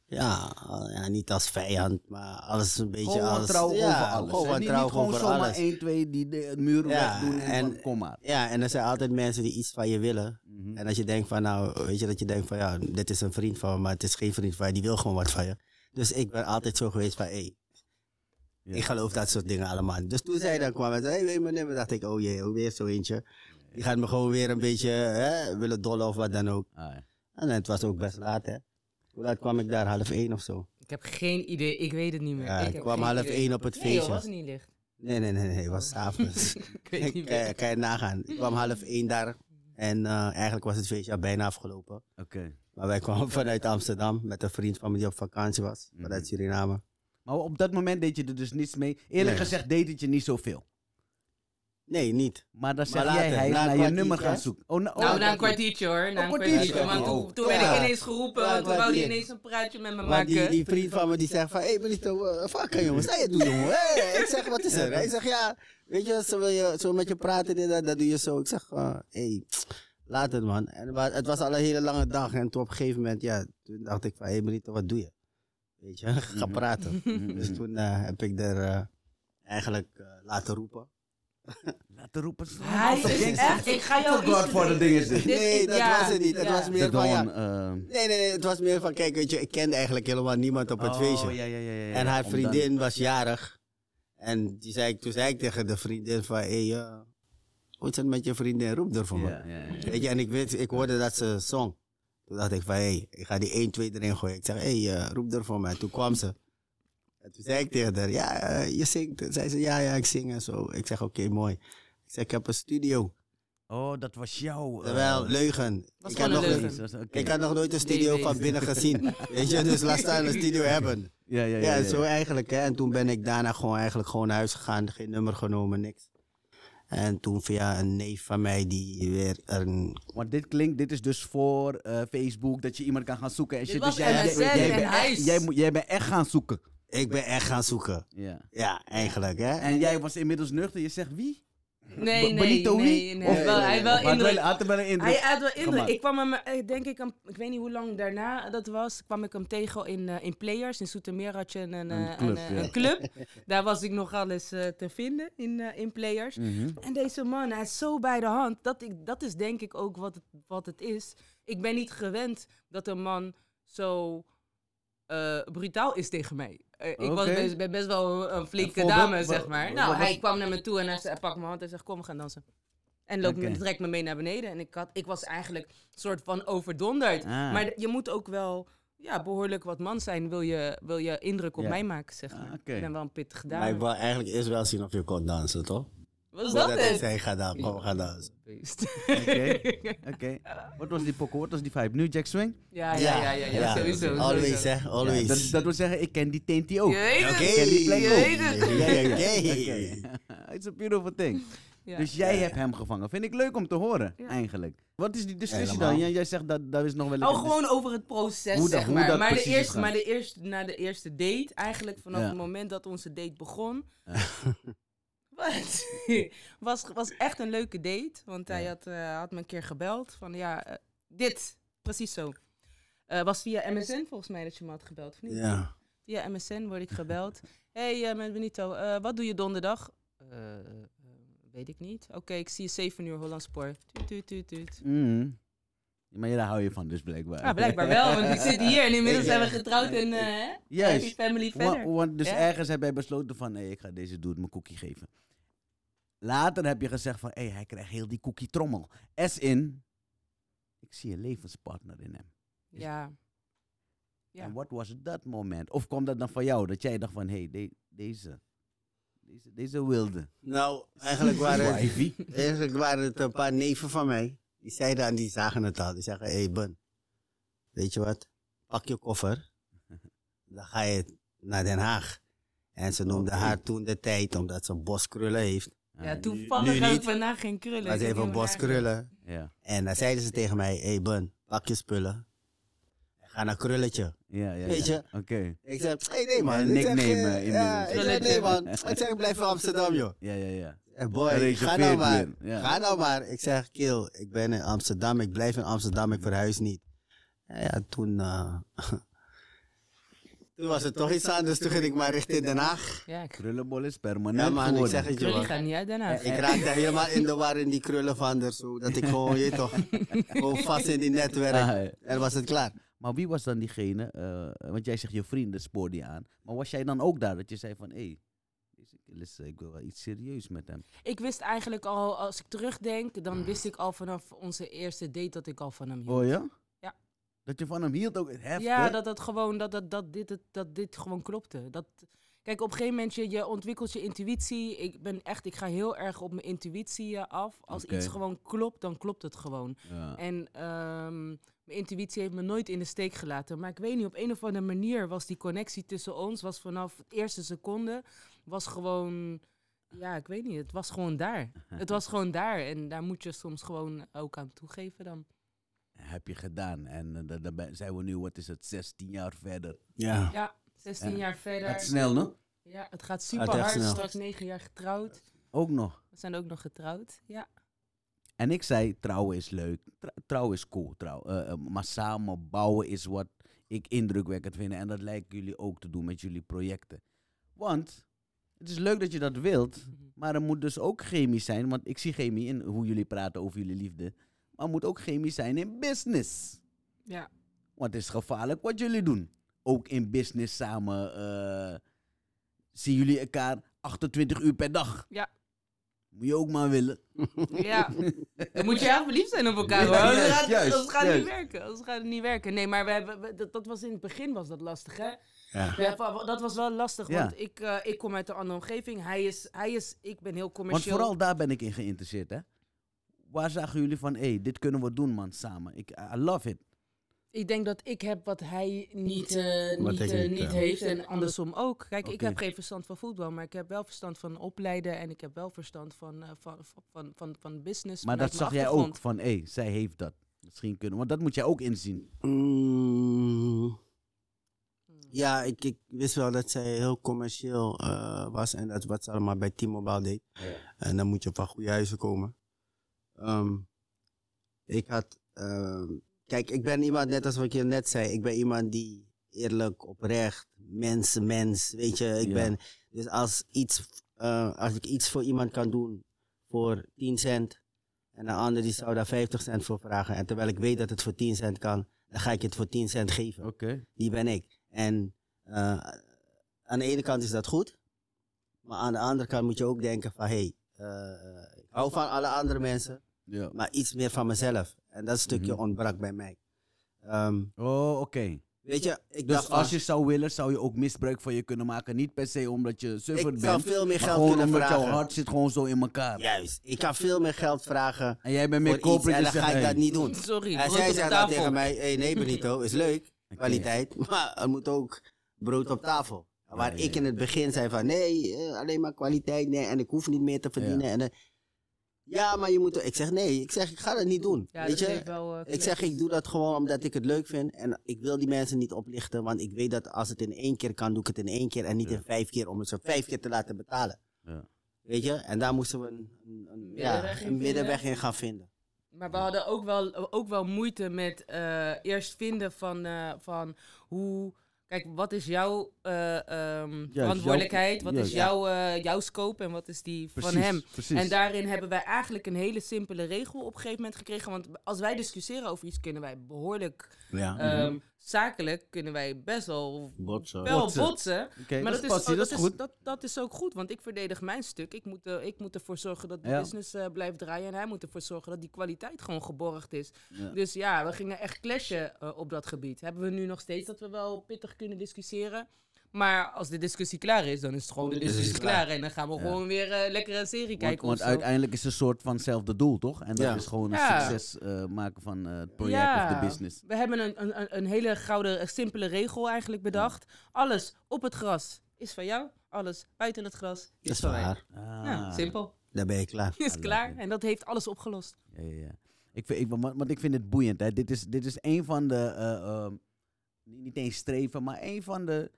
[SPEAKER 3] ja, al- ja, niet als vijand, maar alles een beetje
[SPEAKER 1] Gewoon
[SPEAKER 3] als.
[SPEAKER 1] wantrouwen
[SPEAKER 3] ja,
[SPEAKER 1] over alles.
[SPEAKER 3] Gewoon
[SPEAKER 1] hè. niet,
[SPEAKER 3] wantrouwen
[SPEAKER 1] niet gewoon
[SPEAKER 3] over
[SPEAKER 1] zomaar
[SPEAKER 3] alles.
[SPEAKER 1] 1, 2 die de het muur
[SPEAKER 3] Ja,
[SPEAKER 1] wegdoen en,
[SPEAKER 3] en-
[SPEAKER 1] van, kom maar.
[SPEAKER 3] Ja, en er zijn altijd mensen die iets van je willen.
[SPEAKER 1] Mhm.
[SPEAKER 3] En als je denkt van, nou, weet je, dat je denkt van, ja, dit is een vriend van me, maar het is geen vriend van je, die wil gewoon wat van je. Dus ik ben altijd zo geweest van, hé, hey,
[SPEAKER 1] Ja.
[SPEAKER 3] ik geloof dat soort dingen allemaal. Dus toen zij dan kwam en zei, hé, hey, wil je mijn nummer? dacht ik, oh jee, ook weer zo eentje. Die gaat me gewoon weer een beetje hè, willen dollen of wat dan ook.
[SPEAKER 1] Ah, ja.
[SPEAKER 3] En het was ook best laat, hè. Hoe laat kwam ik daar? Half één of zo?
[SPEAKER 2] Ik heb geen idee, ik weet het niet meer.
[SPEAKER 3] Ja, ik
[SPEAKER 2] heb
[SPEAKER 3] kwam
[SPEAKER 2] geen
[SPEAKER 3] half
[SPEAKER 2] idee.
[SPEAKER 3] één op het
[SPEAKER 2] Nee joh,
[SPEAKER 3] feestje.
[SPEAKER 2] was niet licht.
[SPEAKER 3] Nee, nee, nee, nee, het was s'avonds.
[SPEAKER 2] Ik weet niet
[SPEAKER 3] Ik eh,
[SPEAKER 2] meer.
[SPEAKER 3] kan je nagaan. Ik kwam half één daar en eh, eigenlijk was het feestje al bijna afgelopen.
[SPEAKER 1] Oké.
[SPEAKER 3] Maar wij kwamen vanuit Amsterdam met een vriend van me die op vakantie was,
[SPEAKER 1] Mhm.
[SPEAKER 3] vanuit Suriname.
[SPEAKER 1] Maar op dat moment deed je er dus niets mee. Eerlijk
[SPEAKER 3] Nee.
[SPEAKER 1] gezegd deed het je niet zoveel.
[SPEAKER 3] Nee, niet.
[SPEAKER 1] Maar dan
[SPEAKER 3] Maar
[SPEAKER 1] zeg jij,
[SPEAKER 3] later,
[SPEAKER 1] hij is
[SPEAKER 3] na
[SPEAKER 1] naar
[SPEAKER 3] een
[SPEAKER 1] je
[SPEAKER 3] kwartiertje,
[SPEAKER 1] nummer gaan
[SPEAKER 3] hè?
[SPEAKER 1] zoeken. Oh, nou, oh,
[SPEAKER 2] Nou, na een kwartiertje hoor. Na
[SPEAKER 1] Een
[SPEAKER 2] een
[SPEAKER 1] kwartiertje.
[SPEAKER 2] kwartiertje. Want
[SPEAKER 1] Oh.
[SPEAKER 2] toen, toen
[SPEAKER 3] Ja.
[SPEAKER 2] werd ik ineens geroepen.
[SPEAKER 3] Ja,
[SPEAKER 2] want toen wou hij
[SPEAKER 3] kwartier.
[SPEAKER 2] ineens een praatje met me
[SPEAKER 3] Maar
[SPEAKER 2] maken.
[SPEAKER 3] die, die vriend van me die zegt van, hé hey, Benito, eh, fuck jongen, wat sta je doen jongen? Hey, ik zeg, wat is er? Hij zegt, ja, weet je, zo wil je zo met je praten, dit, dat, dat doe je zo. Ik zeg, eh, hey, laat het man. En, maar het was al een hele lange dag en toen op een gegeven moment, ja, toen dacht ik van, hé hey, Benito, wat doe je? Weet je, ga
[SPEAKER 1] Mhm.
[SPEAKER 3] praten.
[SPEAKER 1] Mhm.
[SPEAKER 3] Dus toen eh, heb ik er eh, eigenlijk eh, laten roepen.
[SPEAKER 1] Laten roepen.
[SPEAKER 2] Hij is echt, ik ga jou iets
[SPEAKER 1] Godfather ding is dit.
[SPEAKER 2] Dit-
[SPEAKER 3] Nee, dat
[SPEAKER 2] ja,
[SPEAKER 3] was het niet. Het
[SPEAKER 2] ja.
[SPEAKER 3] was meer
[SPEAKER 1] Dat
[SPEAKER 3] van, ja,
[SPEAKER 1] gewoon... eh,
[SPEAKER 3] Nee, nee, nee, het was meer van, kijk, weet je, ik kende eigenlijk helemaal niemand op het
[SPEAKER 1] oh,
[SPEAKER 3] feestje.
[SPEAKER 1] ja, ja, ja, ja, ja.
[SPEAKER 3] En haar
[SPEAKER 1] Om
[SPEAKER 3] vriendin was jarig. En die zei, ik- toen zei ik tegen de vriendin van, hé, hey, eh, hoe is het met je vriendin? Roep er voor
[SPEAKER 1] dan-
[SPEAKER 3] me.
[SPEAKER 1] Ja, ja, ja.
[SPEAKER 3] Weet je, en ik, weet, ik hoorde dat ze zong. Toen dacht ik van, hé, hey, ik ga die 1, 2 erin gooien. Ik zeg, hé, hey, eh, roep er voor me. En toen kwam ze. En toen zei ik tegen haar, ja, eh, je zingt. En zei ze, ja, ja, ik zing en zo. Ik zeg, oké, mooi. Ik zeg, ik heb een studio.
[SPEAKER 1] Oh, dat was jouw... eh,
[SPEAKER 3] Terwijl, leugen.
[SPEAKER 2] Was
[SPEAKER 3] ik
[SPEAKER 2] gewoon
[SPEAKER 3] had
[SPEAKER 2] een
[SPEAKER 3] nog
[SPEAKER 2] leugen.
[SPEAKER 1] Dat was- oké.
[SPEAKER 3] ik had nog nooit een studio
[SPEAKER 2] Nee, nee.
[SPEAKER 3] van binnen gezien. Weet je, dus laat staan een studio hebben.
[SPEAKER 1] Ja, ja, ja.
[SPEAKER 3] Ja,
[SPEAKER 1] ja, ja.
[SPEAKER 3] zo eigenlijk. Hè. En toen ben ik daarna gewoon, eigenlijk gewoon naar huis gegaan. Geen nummer genomen, niks. En toen via een neef van mij die weer een...
[SPEAKER 1] Want dit klinkt, dit is dus voor eh, Facebook, dat je iemand kan gaan zoeken en
[SPEAKER 2] Dit
[SPEAKER 1] shit.
[SPEAKER 2] was
[SPEAKER 1] dus jij,
[SPEAKER 2] MSN
[SPEAKER 1] jij, jij
[SPEAKER 2] en
[SPEAKER 1] bent
[SPEAKER 2] huis.
[SPEAKER 1] echt, jij, moet- jij bent echt gaan zoeken.
[SPEAKER 3] Ik ben echt gaan zoeken.
[SPEAKER 1] Ja.
[SPEAKER 3] Ja, eigenlijk hè.
[SPEAKER 1] En jij was inmiddels nuchter, je zegt wie?
[SPEAKER 2] Nee,
[SPEAKER 1] B-
[SPEAKER 2] nee,
[SPEAKER 1] Benito
[SPEAKER 2] nee.
[SPEAKER 1] wie?
[SPEAKER 2] nee. Wel, Hij had wel
[SPEAKER 1] had wel,
[SPEAKER 2] indruk.
[SPEAKER 1] had er wel een indruk.
[SPEAKER 2] Hij had wel indruk.
[SPEAKER 1] gemaakt.
[SPEAKER 2] Ik kwam hem, eh, denk ik, een- ik weet niet hoe lang daarna dat was, kwam ik hem tegen in, eh, in Players. In Soetermeer had je een, een, eh, een,
[SPEAKER 1] club,
[SPEAKER 2] eh,
[SPEAKER 1] ja.
[SPEAKER 2] een club. Daar was ik nogal eens eh, te vinden in, eh, in Players.
[SPEAKER 1] Mhm.
[SPEAKER 2] En deze man, hij is zo bij de hand. Dat, ik, dat is denk ik ook wat het, wat het is. Ik ben niet gewend dat een man zo eh, brutaal is tegen mij. Eh, ik was
[SPEAKER 1] Oké.
[SPEAKER 2] best, ben best wel een, een flinke
[SPEAKER 1] voorbeeld?
[SPEAKER 2] dame,
[SPEAKER 1] Wa-
[SPEAKER 2] zeg maar.
[SPEAKER 1] wa-
[SPEAKER 2] Nou,
[SPEAKER 1] wat was-
[SPEAKER 2] hij kwam naar me toe en hij, zei, hij pakt mijn hand en zegt, kom, we gaan dansen. En loopt
[SPEAKER 1] Oké.
[SPEAKER 2] me, trekt me mee naar beneden. En ik, had, ik was eigenlijk een soort van overdonderd.
[SPEAKER 1] Ah.
[SPEAKER 2] Maar d- je moet ook wel... ja, behoorlijk wat man zijn, wil je, wil je indruk op
[SPEAKER 3] Ja.
[SPEAKER 2] mij maken, zeg maar.
[SPEAKER 1] Ah, oké.
[SPEAKER 2] Ik ben wel een pittig
[SPEAKER 3] Maar
[SPEAKER 2] dame.
[SPEAKER 3] ik wil eigenlijk eerst wel zien of je kon dansen, toch?
[SPEAKER 2] Wat is
[SPEAKER 3] Voordat
[SPEAKER 2] dat
[SPEAKER 3] hij
[SPEAKER 2] het?
[SPEAKER 3] zei, ga dan, kom, we gaan dansen.
[SPEAKER 1] Oké. Oké. Wat was die pokoe? Wat was die vibe? Nu Jack Swing?
[SPEAKER 2] Ja, ja, ja, ja, ja, sowieso.
[SPEAKER 3] Always,
[SPEAKER 2] sowieso.
[SPEAKER 3] hè,
[SPEAKER 1] Ja,
[SPEAKER 3] always.
[SPEAKER 1] dat, dat wil zeggen, ik ken die Tainty ook.
[SPEAKER 2] Je weet het.
[SPEAKER 3] Oké,
[SPEAKER 2] Je weet het.
[SPEAKER 3] oké,
[SPEAKER 1] Oké.
[SPEAKER 3] oké.
[SPEAKER 1] It's a beautiful thing.
[SPEAKER 2] Ja.
[SPEAKER 1] Dus jij
[SPEAKER 3] Ja,
[SPEAKER 1] hebt hem gevangen. Vind ik leuk om te horen,
[SPEAKER 2] Ja.
[SPEAKER 1] eigenlijk. Wat is die discussie dan?
[SPEAKER 3] Helemaal.
[SPEAKER 1] Jij, jij zegt dat daar is nog wel
[SPEAKER 2] Oh,
[SPEAKER 1] een
[SPEAKER 2] gewoon over het proces,
[SPEAKER 1] Hoe dat-
[SPEAKER 2] zeg
[SPEAKER 1] hoe
[SPEAKER 2] maar.
[SPEAKER 1] dat
[SPEAKER 2] maar, de
[SPEAKER 1] precies
[SPEAKER 2] eerste,
[SPEAKER 1] gaat.
[SPEAKER 2] maar de eerste, na de eerste date, eigenlijk vanaf
[SPEAKER 1] Ja.
[SPEAKER 2] het moment dat onze date begon... Wat? was, was echt een leuke date, want hij
[SPEAKER 1] Ja.
[SPEAKER 2] had, eh, had me een keer gebeld van ja, eh, dit, precies zo. Eh, was via MSN volgens mij dat je me had gebeld, of niet?
[SPEAKER 3] Ja.
[SPEAKER 2] Via MSN word ik gebeld. hey, eh, met Benito, eh, wat doe je donderdag? Eh, eh, weet ik niet. Oké, ik zie je 7 uur Hollandspoor. Tuut, tuut, tuut, tuut.
[SPEAKER 1] Mm. Maar ja, daar hou je van dus, blijkbaar.
[SPEAKER 2] Ja, Ah, blijkbaar wel, want ik zit hier en inmiddels
[SPEAKER 1] Ja.
[SPEAKER 2] zijn we getrouwd en eh, hè,
[SPEAKER 1] Juist.
[SPEAKER 2] happy family
[SPEAKER 1] Wa-
[SPEAKER 2] verder.
[SPEAKER 1] want dus
[SPEAKER 2] Ja.
[SPEAKER 1] ergens heb jij besloten van, nee, ik ga deze dude mijn cookie geven. Later heb je gezegd van, hé, hij krijgt heel die cookie trommel. S in, ik zie een levenspartner in hem.
[SPEAKER 2] Ja. Ja.
[SPEAKER 1] En wat was dat moment? Of kwam dat dan van jou, dat jij dacht van, hé, hey, de- deze, deze, deze wilde.
[SPEAKER 3] Nou, eigenlijk waren, het,
[SPEAKER 1] Wifey.
[SPEAKER 3] eigenlijk waren het een paar neven van mij. Die zeiden aan, die zagen het al. Die zeggen, hé hey Ben, weet je wat? Pak je koffer. Dan ga je naar Den Haag. En ze noemde
[SPEAKER 1] Oké.
[SPEAKER 3] haar toen de tijd, omdat ze een boskrullen heeft.
[SPEAKER 1] Ah,
[SPEAKER 2] ja,
[SPEAKER 1] nu-
[SPEAKER 2] toevallig
[SPEAKER 3] nu
[SPEAKER 2] heb ik
[SPEAKER 3] niet.
[SPEAKER 2] vandaag geen krullen.
[SPEAKER 3] Maar
[SPEAKER 2] Ik
[SPEAKER 3] ze heeft
[SPEAKER 2] weet
[SPEAKER 3] een
[SPEAKER 2] niet waar-
[SPEAKER 3] boskrullen.
[SPEAKER 1] Ja,
[SPEAKER 3] En dan zeiden ze tegen mij, hé hey Ben, pak je spullen. En ga naar krulletje.
[SPEAKER 1] ja, ja.
[SPEAKER 3] Weet
[SPEAKER 1] ja.
[SPEAKER 3] je?
[SPEAKER 1] Oké.
[SPEAKER 3] Ik zei, hey, nee man.
[SPEAKER 1] Ja,
[SPEAKER 3] Ik
[SPEAKER 1] nick
[SPEAKER 3] zeg, eh,
[SPEAKER 1] nemen inmiddels.
[SPEAKER 3] Ja, ik zei, nee man. Ik zeg, ik blijf in Amsterdam joh.
[SPEAKER 1] Ja, ja, ja.
[SPEAKER 3] Eh, Boy, ga
[SPEAKER 1] Gereserveerd
[SPEAKER 3] nou maar.
[SPEAKER 1] weer, ja.
[SPEAKER 3] Ga nou maar. Ik zeg, kill, ik ben in Amsterdam, ik blijf in Amsterdam, ik verhuis niet. Ja, ja toen... eh, toen was er toch iets anders, toen ging ik maar richting Den Haag.
[SPEAKER 2] Ja, ik-
[SPEAKER 1] Krullenbol is permanent
[SPEAKER 3] Ja man, ik
[SPEAKER 1] geworden.
[SPEAKER 3] zeg het je
[SPEAKER 2] krullen
[SPEAKER 3] man.
[SPEAKER 2] gaan niet uit daarna. Eh,
[SPEAKER 3] Ik raakte helemaal in de war in die krullen van haar, zodat ik gewoon, je weet toch, gewoon vast in die netwerk.
[SPEAKER 1] Ah, ja.
[SPEAKER 3] En was het klaar.
[SPEAKER 1] Maar wie was dan diegene, eh, want jij zegt je vrienden spoorde je aan. Maar was jij dan ook daar dat je zei van, hé, hey, deze kerel is, eh, ik wil wel iets serieus met hem.
[SPEAKER 2] Ik wist eigenlijk al, als ik terugdenk, dan wist ik al vanaf onze eerste date dat ik al van hem hield.
[SPEAKER 1] Oh ja?
[SPEAKER 2] Ja.
[SPEAKER 1] Dat je van hem hield ook heftig.
[SPEAKER 2] Ja, dat dat gewoon, dat, dat, dat, dit, het- dat dit gewoon klopte. Dat, kijk, op een gegeven moment, je, je ontwikkelt je intuïtie. Ik ben echt, ik ga heel erg op mijn intuïtie eh, af. Als
[SPEAKER 1] Oké.
[SPEAKER 2] iets gewoon klopt, dan klopt het gewoon. En ehm, mijn intuïtie heeft me nooit in de steek gelaten. Maar ik weet niet, op een of andere manier was die connectie tussen ons, was vanaf de eerste seconde, was gewoon, ja, ik weet niet, het was gewoon daar. Het was gewoon daar en daar moet je soms gewoon ook aan toegeven dan.
[SPEAKER 1] Heb je gedaan. En eh, da- daarbij zijn we nu, wat is het, 16 jaar verder.
[SPEAKER 3] Ja.
[SPEAKER 2] Ja, 16
[SPEAKER 1] Ja.
[SPEAKER 2] jaar
[SPEAKER 1] Gaat
[SPEAKER 2] verder.
[SPEAKER 1] snel, no?
[SPEAKER 2] Ja, het gaat
[SPEAKER 1] Ah,
[SPEAKER 3] Gaat
[SPEAKER 2] super
[SPEAKER 3] echt
[SPEAKER 2] hard.
[SPEAKER 3] snel.
[SPEAKER 2] Straks 9 jaar getrouwd.
[SPEAKER 1] Ook nog.
[SPEAKER 2] We zijn ook nog getrouwd. Ja.
[SPEAKER 1] En ik zei, trouwen is leuk. Tr- trouwen is cool. Trouw, eh, eh, maar samen bouwen is wat ik indrukwekkend vind. En dat lijken jullie ook te doen met jullie projecten. Want het is leuk dat je dat wilt.
[SPEAKER 2] Mhm.
[SPEAKER 1] Maar er moet dus ook chemie zijn. Want ik zie chemie in hoe jullie praten over jullie liefde. Maar er moet ook chemie zijn in business.
[SPEAKER 2] Ja.
[SPEAKER 1] Want het is gevaarlijk wat jullie doen. Ook in business samen eh, zien jullie elkaar 28 uur per dag.
[SPEAKER 2] Ja.
[SPEAKER 1] Moet je ook maar willen.
[SPEAKER 2] ja. Dan moet je heel verliefd zijn op elkaar. hoor.
[SPEAKER 1] Ja,
[SPEAKER 2] Anders
[SPEAKER 1] juist,
[SPEAKER 2] gaat,
[SPEAKER 1] juist,
[SPEAKER 2] anders gaat het niet
[SPEAKER 1] juist.
[SPEAKER 2] werken. Anders gaat het niet werken. Nee, maar we hebben, we- dat, dat was in het begin was dat lastig, hè?
[SPEAKER 3] Ja.
[SPEAKER 2] We hebben- dat was wel lastig,
[SPEAKER 1] Ja.
[SPEAKER 2] want ik, eh, ik kom uit een andere omgeving. Hij is, hij is, ik ben heel
[SPEAKER 1] Want
[SPEAKER 2] commercieel.
[SPEAKER 1] vooral daar ben ik in geïnteresseerd, hè? Waar zagen jullie van, hé, hey, dit kunnen we doen, man, samen. Ik, I love it.
[SPEAKER 2] Ik denk dat ik heb wat hij niet, eh,
[SPEAKER 3] Wat
[SPEAKER 2] niet,
[SPEAKER 3] ik
[SPEAKER 2] eh,
[SPEAKER 3] niet,
[SPEAKER 2] niet
[SPEAKER 3] ja.
[SPEAKER 2] heeft en andersom ook. Kijk, ik
[SPEAKER 1] Oké.
[SPEAKER 2] heb geen verstand van voetbal, maar ik heb wel verstand van opleiden en ik heb wel verstand van, eh, van, van, van, van business.
[SPEAKER 1] Maar
[SPEAKER 2] vanuit
[SPEAKER 1] dat
[SPEAKER 2] mijn
[SPEAKER 1] zag jij
[SPEAKER 2] achtergrond.
[SPEAKER 1] ook, van, hé, hey, zij heeft dat. Misschien kunnen want dat moet jij ook inzien.
[SPEAKER 3] Mm. Ja, ik, ik wist wel dat zij heel commercieel eh, was en dat wat ze allemaal bij T-Mobile deed. En dan moet je van goede huizen komen. Ehm, ik had, ehm, kijk, ik ben iemand, net als wat je net zei, ik ben iemand die eerlijk, oprecht, mens, mens, weet je, ik
[SPEAKER 1] Ja.
[SPEAKER 3] ben, dus als, iets, eh, als ik iets voor iemand kan doen voor 10 cent en een ander die zou daar 50 cent voor vragen, en terwijl ik weet dat het voor 10 cent kan, dan ga ik het voor 10 cent geven
[SPEAKER 1] Oké.
[SPEAKER 3] die ben ik. En eh, aan de ene kant is dat goed, maar aan de andere kant moet je ook denken van, hé, hey, eh, ik hou van alle andere mensen,
[SPEAKER 1] Ja.
[SPEAKER 3] maar iets meer van mezelf. En dat stukje
[SPEAKER 1] Mhm.
[SPEAKER 3] ontbrak bij mij. Ehm,
[SPEAKER 1] Oh, oké.
[SPEAKER 3] Weet je, ik
[SPEAKER 1] Dus
[SPEAKER 3] dacht
[SPEAKER 1] als
[SPEAKER 3] van,
[SPEAKER 1] je zou willen, zou je ook misbruik van je kunnen maken. Niet per se omdat je surfer
[SPEAKER 3] ik zou
[SPEAKER 1] bent.
[SPEAKER 3] veel meer
[SPEAKER 1] maar
[SPEAKER 3] geld
[SPEAKER 1] gewoon
[SPEAKER 3] kunnen
[SPEAKER 1] omdat
[SPEAKER 3] vragen.
[SPEAKER 1] jouw hart zit gewoon zo in elkaar.
[SPEAKER 3] Juist, ik kan veel meer geld vragen
[SPEAKER 1] En jij bent
[SPEAKER 3] voor
[SPEAKER 1] meer
[SPEAKER 3] iets en
[SPEAKER 1] corporate.
[SPEAKER 3] dan
[SPEAKER 1] je
[SPEAKER 3] ga
[SPEAKER 1] zegt,
[SPEAKER 3] ik dat
[SPEAKER 1] hey,
[SPEAKER 3] niet doen.
[SPEAKER 2] Sorry,
[SPEAKER 3] En
[SPEAKER 2] brood
[SPEAKER 3] zij
[SPEAKER 2] op
[SPEAKER 3] zei dat
[SPEAKER 2] tafel.
[SPEAKER 3] tegen mij, hey, nee Benito, is leuk,
[SPEAKER 1] oké.
[SPEAKER 3] kwaliteit, maar er moet ook brood op tafel. Waar
[SPEAKER 1] Ja, ja,
[SPEAKER 3] ik in het begin zei van, nee, eh, alleen maar kwaliteit, nee, en ik hoef niet meer te verdienen. En, eh, ja, maar je moet, ik zeg nee, ik zeg ik ga dat niet doen.
[SPEAKER 2] Ja,
[SPEAKER 3] Weet
[SPEAKER 2] dat
[SPEAKER 3] je,
[SPEAKER 2] geeft wel, eh,
[SPEAKER 3] ik
[SPEAKER 2] kleur.
[SPEAKER 3] zeg ik doe dat gewoon omdat ik het leuk vind en ik wil die mensen niet oplichten, want ik weet dat als het in één keer kan, doe ik het in één keer en niet
[SPEAKER 1] Ja.
[SPEAKER 3] in vijf keer om het zo vijf keer te laten betalen.
[SPEAKER 1] Ja.
[SPEAKER 3] Weet je, en daar moesten we een, een, een-
[SPEAKER 2] Middenweg in
[SPEAKER 3] ja, een middenweg
[SPEAKER 2] vinden.
[SPEAKER 3] in gaan vinden.
[SPEAKER 2] Maar we hadden ook wel, ook wel moeite met eh, eerst vinden van, eh, van hoe. Kijk, wat is jouw eh, ehm, verantwoordelijkheid? wat
[SPEAKER 1] juist,
[SPEAKER 2] is
[SPEAKER 1] ja.
[SPEAKER 2] jouw, eh, jouw scope en wat is die
[SPEAKER 1] Precies,
[SPEAKER 2] van hem?
[SPEAKER 1] Precies.
[SPEAKER 2] En daarin hebben wij eigenlijk een hele simpele regel op een gegeven moment gekregen. Want als wij discussiëren over iets, kunnen wij behoorlijk
[SPEAKER 3] Ja.
[SPEAKER 1] Mhm.
[SPEAKER 2] ehm, zakelijk kunnen wij best wel wel
[SPEAKER 1] Botsen.
[SPEAKER 2] botsen.
[SPEAKER 1] Oké,
[SPEAKER 2] Maar
[SPEAKER 1] dat, is
[SPEAKER 2] dat, is,
[SPEAKER 1] passie,
[SPEAKER 2] oh,
[SPEAKER 1] dat is goed.
[SPEAKER 2] Dat, dat is ook goed, want ik verdedig mijn stuk. Ik moet, eh, ik moet ervoor zorgen dat de
[SPEAKER 1] Ja.
[SPEAKER 2] business eh, blijft draaien. En hij moet ervoor zorgen dat die kwaliteit gewoon geborgd is.
[SPEAKER 1] Ja.
[SPEAKER 2] Dus ja, we gingen echt clashen eh, op dat gebied. Hebben we nu nog steeds dat we wel pittig kunnen discussiëren. Maar als de discussie klaar is, dan is het gewoon
[SPEAKER 1] Oh,
[SPEAKER 2] de
[SPEAKER 3] is het
[SPEAKER 2] discussie klaar.
[SPEAKER 3] klaar.
[SPEAKER 2] En dan gaan we
[SPEAKER 1] Ja.
[SPEAKER 2] gewoon weer eh, lekker een serie
[SPEAKER 1] Want,
[SPEAKER 2] kijken
[SPEAKER 1] want
[SPEAKER 2] of zo.
[SPEAKER 1] uiteindelijk is het een soort van hetzelfde doel, toch? En dat
[SPEAKER 3] Ja.
[SPEAKER 1] is gewoon een
[SPEAKER 2] Ja.
[SPEAKER 1] succes eh, maken van eh, het project
[SPEAKER 2] Ja.
[SPEAKER 1] of de business.
[SPEAKER 2] We hebben een, een, een- een hele gouden, eh, simpele regel eigenlijk bedacht. Alles op het gras is van jou. Alles buiten het gras is,
[SPEAKER 3] Dat is
[SPEAKER 2] van mij.
[SPEAKER 3] waar,
[SPEAKER 2] Ja,
[SPEAKER 1] Ah.
[SPEAKER 2] simpel.
[SPEAKER 3] daar ben je klaar.
[SPEAKER 2] is
[SPEAKER 1] I love
[SPEAKER 2] klaar.
[SPEAKER 1] it.
[SPEAKER 2] En dat heeft alles opgelost.
[SPEAKER 1] Ja, ja, ja. Ik vind, ik, want, want ik vind het boeiend. Hè. Dit, is, dit is een van de, eh, ehm, niet niet eens streven, maar een van de,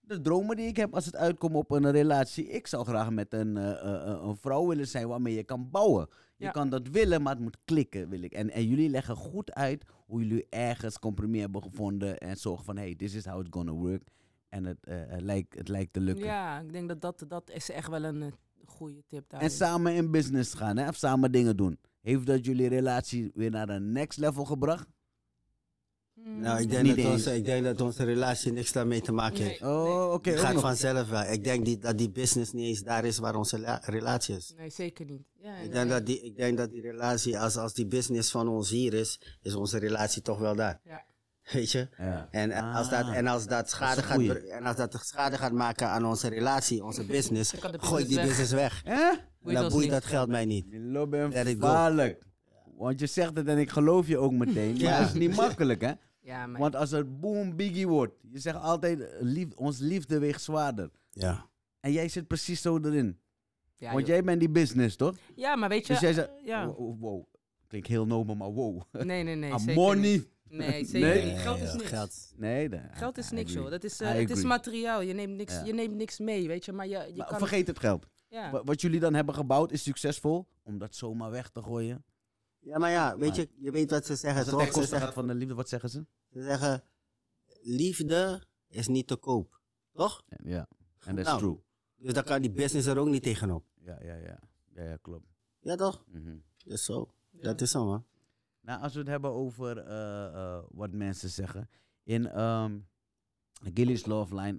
[SPEAKER 1] de dromen die ik heb als het uitkomt op een relatie. Ik zou graag met een, eh, eh, eh, een vrouw willen zijn waarmee je kan bouwen. Je
[SPEAKER 2] Ja.
[SPEAKER 1] kan dat willen, maar het moet klikken, wil ik. En, en jullie leggen goed uit hoe jullie ergens compromis hebben gevonden en zorgen van, hey, this is how it's gonna work. En het, eh, eh, lijkt, het lijkt te lukken.
[SPEAKER 2] Ja, ik denk dat dat, dat is echt wel een eh, goede tip daar.
[SPEAKER 1] En samen in business gaan, hè? of samen dingen doen. Heeft dat jullie relatie weer naar een next level gebracht?
[SPEAKER 2] Mm.
[SPEAKER 3] Nou, ik denk,
[SPEAKER 1] Niet
[SPEAKER 3] dat
[SPEAKER 1] eens.
[SPEAKER 3] onze, ik denk dat onze relatie niks daarmee te maken heeft.
[SPEAKER 1] Oh, oké.
[SPEAKER 3] Het
[SPEAKER 1] ook
[SPEAKER 3] gaat
[SPEAKER 1] nog.
[SPEAKER 3] vanzelf wel. Ik denk die, dat die business niet eens daar is waar onze la- relatie is.
[SPEAKER 2] Nee, zeker niet. Ja,
[SPEAKER 3] Ik denk dat die, ik denk dat die relatie, als, als die business van ons hier is, is onze relatie toch wel daar.
[SPEAKER 2] Ja.
[SPEAKER 3] Weet je?
[SPEAKER 1] Ja.
[SPEAKER 3] En, en als dat, en als dat, schade
[SPEAKER 1] Ah. een
[SPEAKER 3] gaat,
[SPEAKER 1] goeie.
[SPEAKER 3] ber- en als dat schade gaat maken aan onze relatie, onze business,
[SPEAKER 2] kan de
[SPEAKER 3] gooi ik
[SPEAKER 2] business
[SPEAKER 3] die
[SPEAKER 2] weg.
[SPEAKER 3] business weg.
[SPEAKER 1] Hè?
[SPEAKER 2] Boeit
[SPEAKER 3] dan
[SPEAKER 2] ons
[SPEAKER 3] boeit
[SPEAKER 2] niet.
[SPEAKER 3] dat geld mij niet.
[SPEAKER 1] Milo ben
[SPEAKER 3] Let it go.
[SPEAKER 1] gevaarlijk. Want je zegt het en ik geloof je ook meteen. Maar
[SPEAKER 3] Ja.
[SPEAKER 1] dat is niet makkelijk, hè?
[SPEAKER 2] Ja, maar
[SPEAKER 1] dus- Want als het boom biggie wordt, je zegt altijd, eh, lief, ons liefde weegt zwaarder.
[SPEAKER 3] Ja.
[SPEAKER 1] En jij zit precies zo erin.
[SPEAKER 2] ja,
[SPEAKER 1] Want
[SPEAKER 2] joh.
[SPEAKER 1] jij bent die business, toch?
[SPEAKER 2] ja, maar weet je...
[SPEAKER 1] Dus jij zegt,
[SPEAKER 2] ja.
[SPEAKER 1] wow, wow, wow. klinkt heel nobel, maar wow.
[SPEAKER 2] Nee, nee, nee.
[SPEAKER 1] Ah,
[SPEAKER 2] zeker niet.
[SPEAKER 1] money.
[SPEAKER 2] Nee, zeker
[SPEAKER 1] Nee.
[SPEAKER 2] niet. Geld is niks. Geld.
[SPEAKER 3] Geld.
[SPEAKER 1] Nee, da-
[SPEAKER 2] is
[SPEAKER 1] I
[SPEAKER 2] niks,
[SPEAKER 1] agree.
[SPEAKER 2] joh. Dat is,
[SPEAKER 1] I
[SPEAKER 2] eh, het is
[SPEAKER 1] agree.
[SPEAKER 2] materiaal. Je neemt, niks,
[SPEAKER 1] Ja.
[SPEAKER 2] je neemt niks mee, weet je. Maar je, je
[SPEAKER 1] Maar
[SPEAKER 2] kan...
[SPEAKER 1] vergeet het geld.
[SPEAKER 2] ja.
[SPEAKER 1] Wa- Wat jullie dan hebben gebouwd is succesvol. Om dat zomaar weg te gooien.
[SPEAKER 3] Ja, maar ja, weet je, je weet wat ze zeggen.
[SPEAKER 1] Als het
[SPEAKER 3] Toch?
[SPEAKER 1] ten
[SPEAKER 3] Ze,
[SPEAKER 1] koste gaat
[SPEAKER 3] zeggen,
[SPEAKER 1] van de liefde, wat zeggen ze?
[SPEAKER 3] ze zeggen, liefde is niet te koop. Toch?
[SPEAKER 1] Ja, en dat is
[SPEAKER 3] Nou.
[SPEAKER 1] true.
[SPEAKER 3] Dus dan kan die business er ook niet tegenop.
[SPEAKER 1] Ja, ja, ja. Ja, ja klopt.
[SPEAKER 3] Ja, toch?
[SPEAKER 1] Mhm.
[SPEAKER 3] Dus zo.
[SPEAKER 2] Ja.
[SPEAKER 3] Dat is zo, man.
[SPEAKER 1] Nou, als we het hebben over eh, eh, wat mensen zeggen. In ehm Gilly's Love Line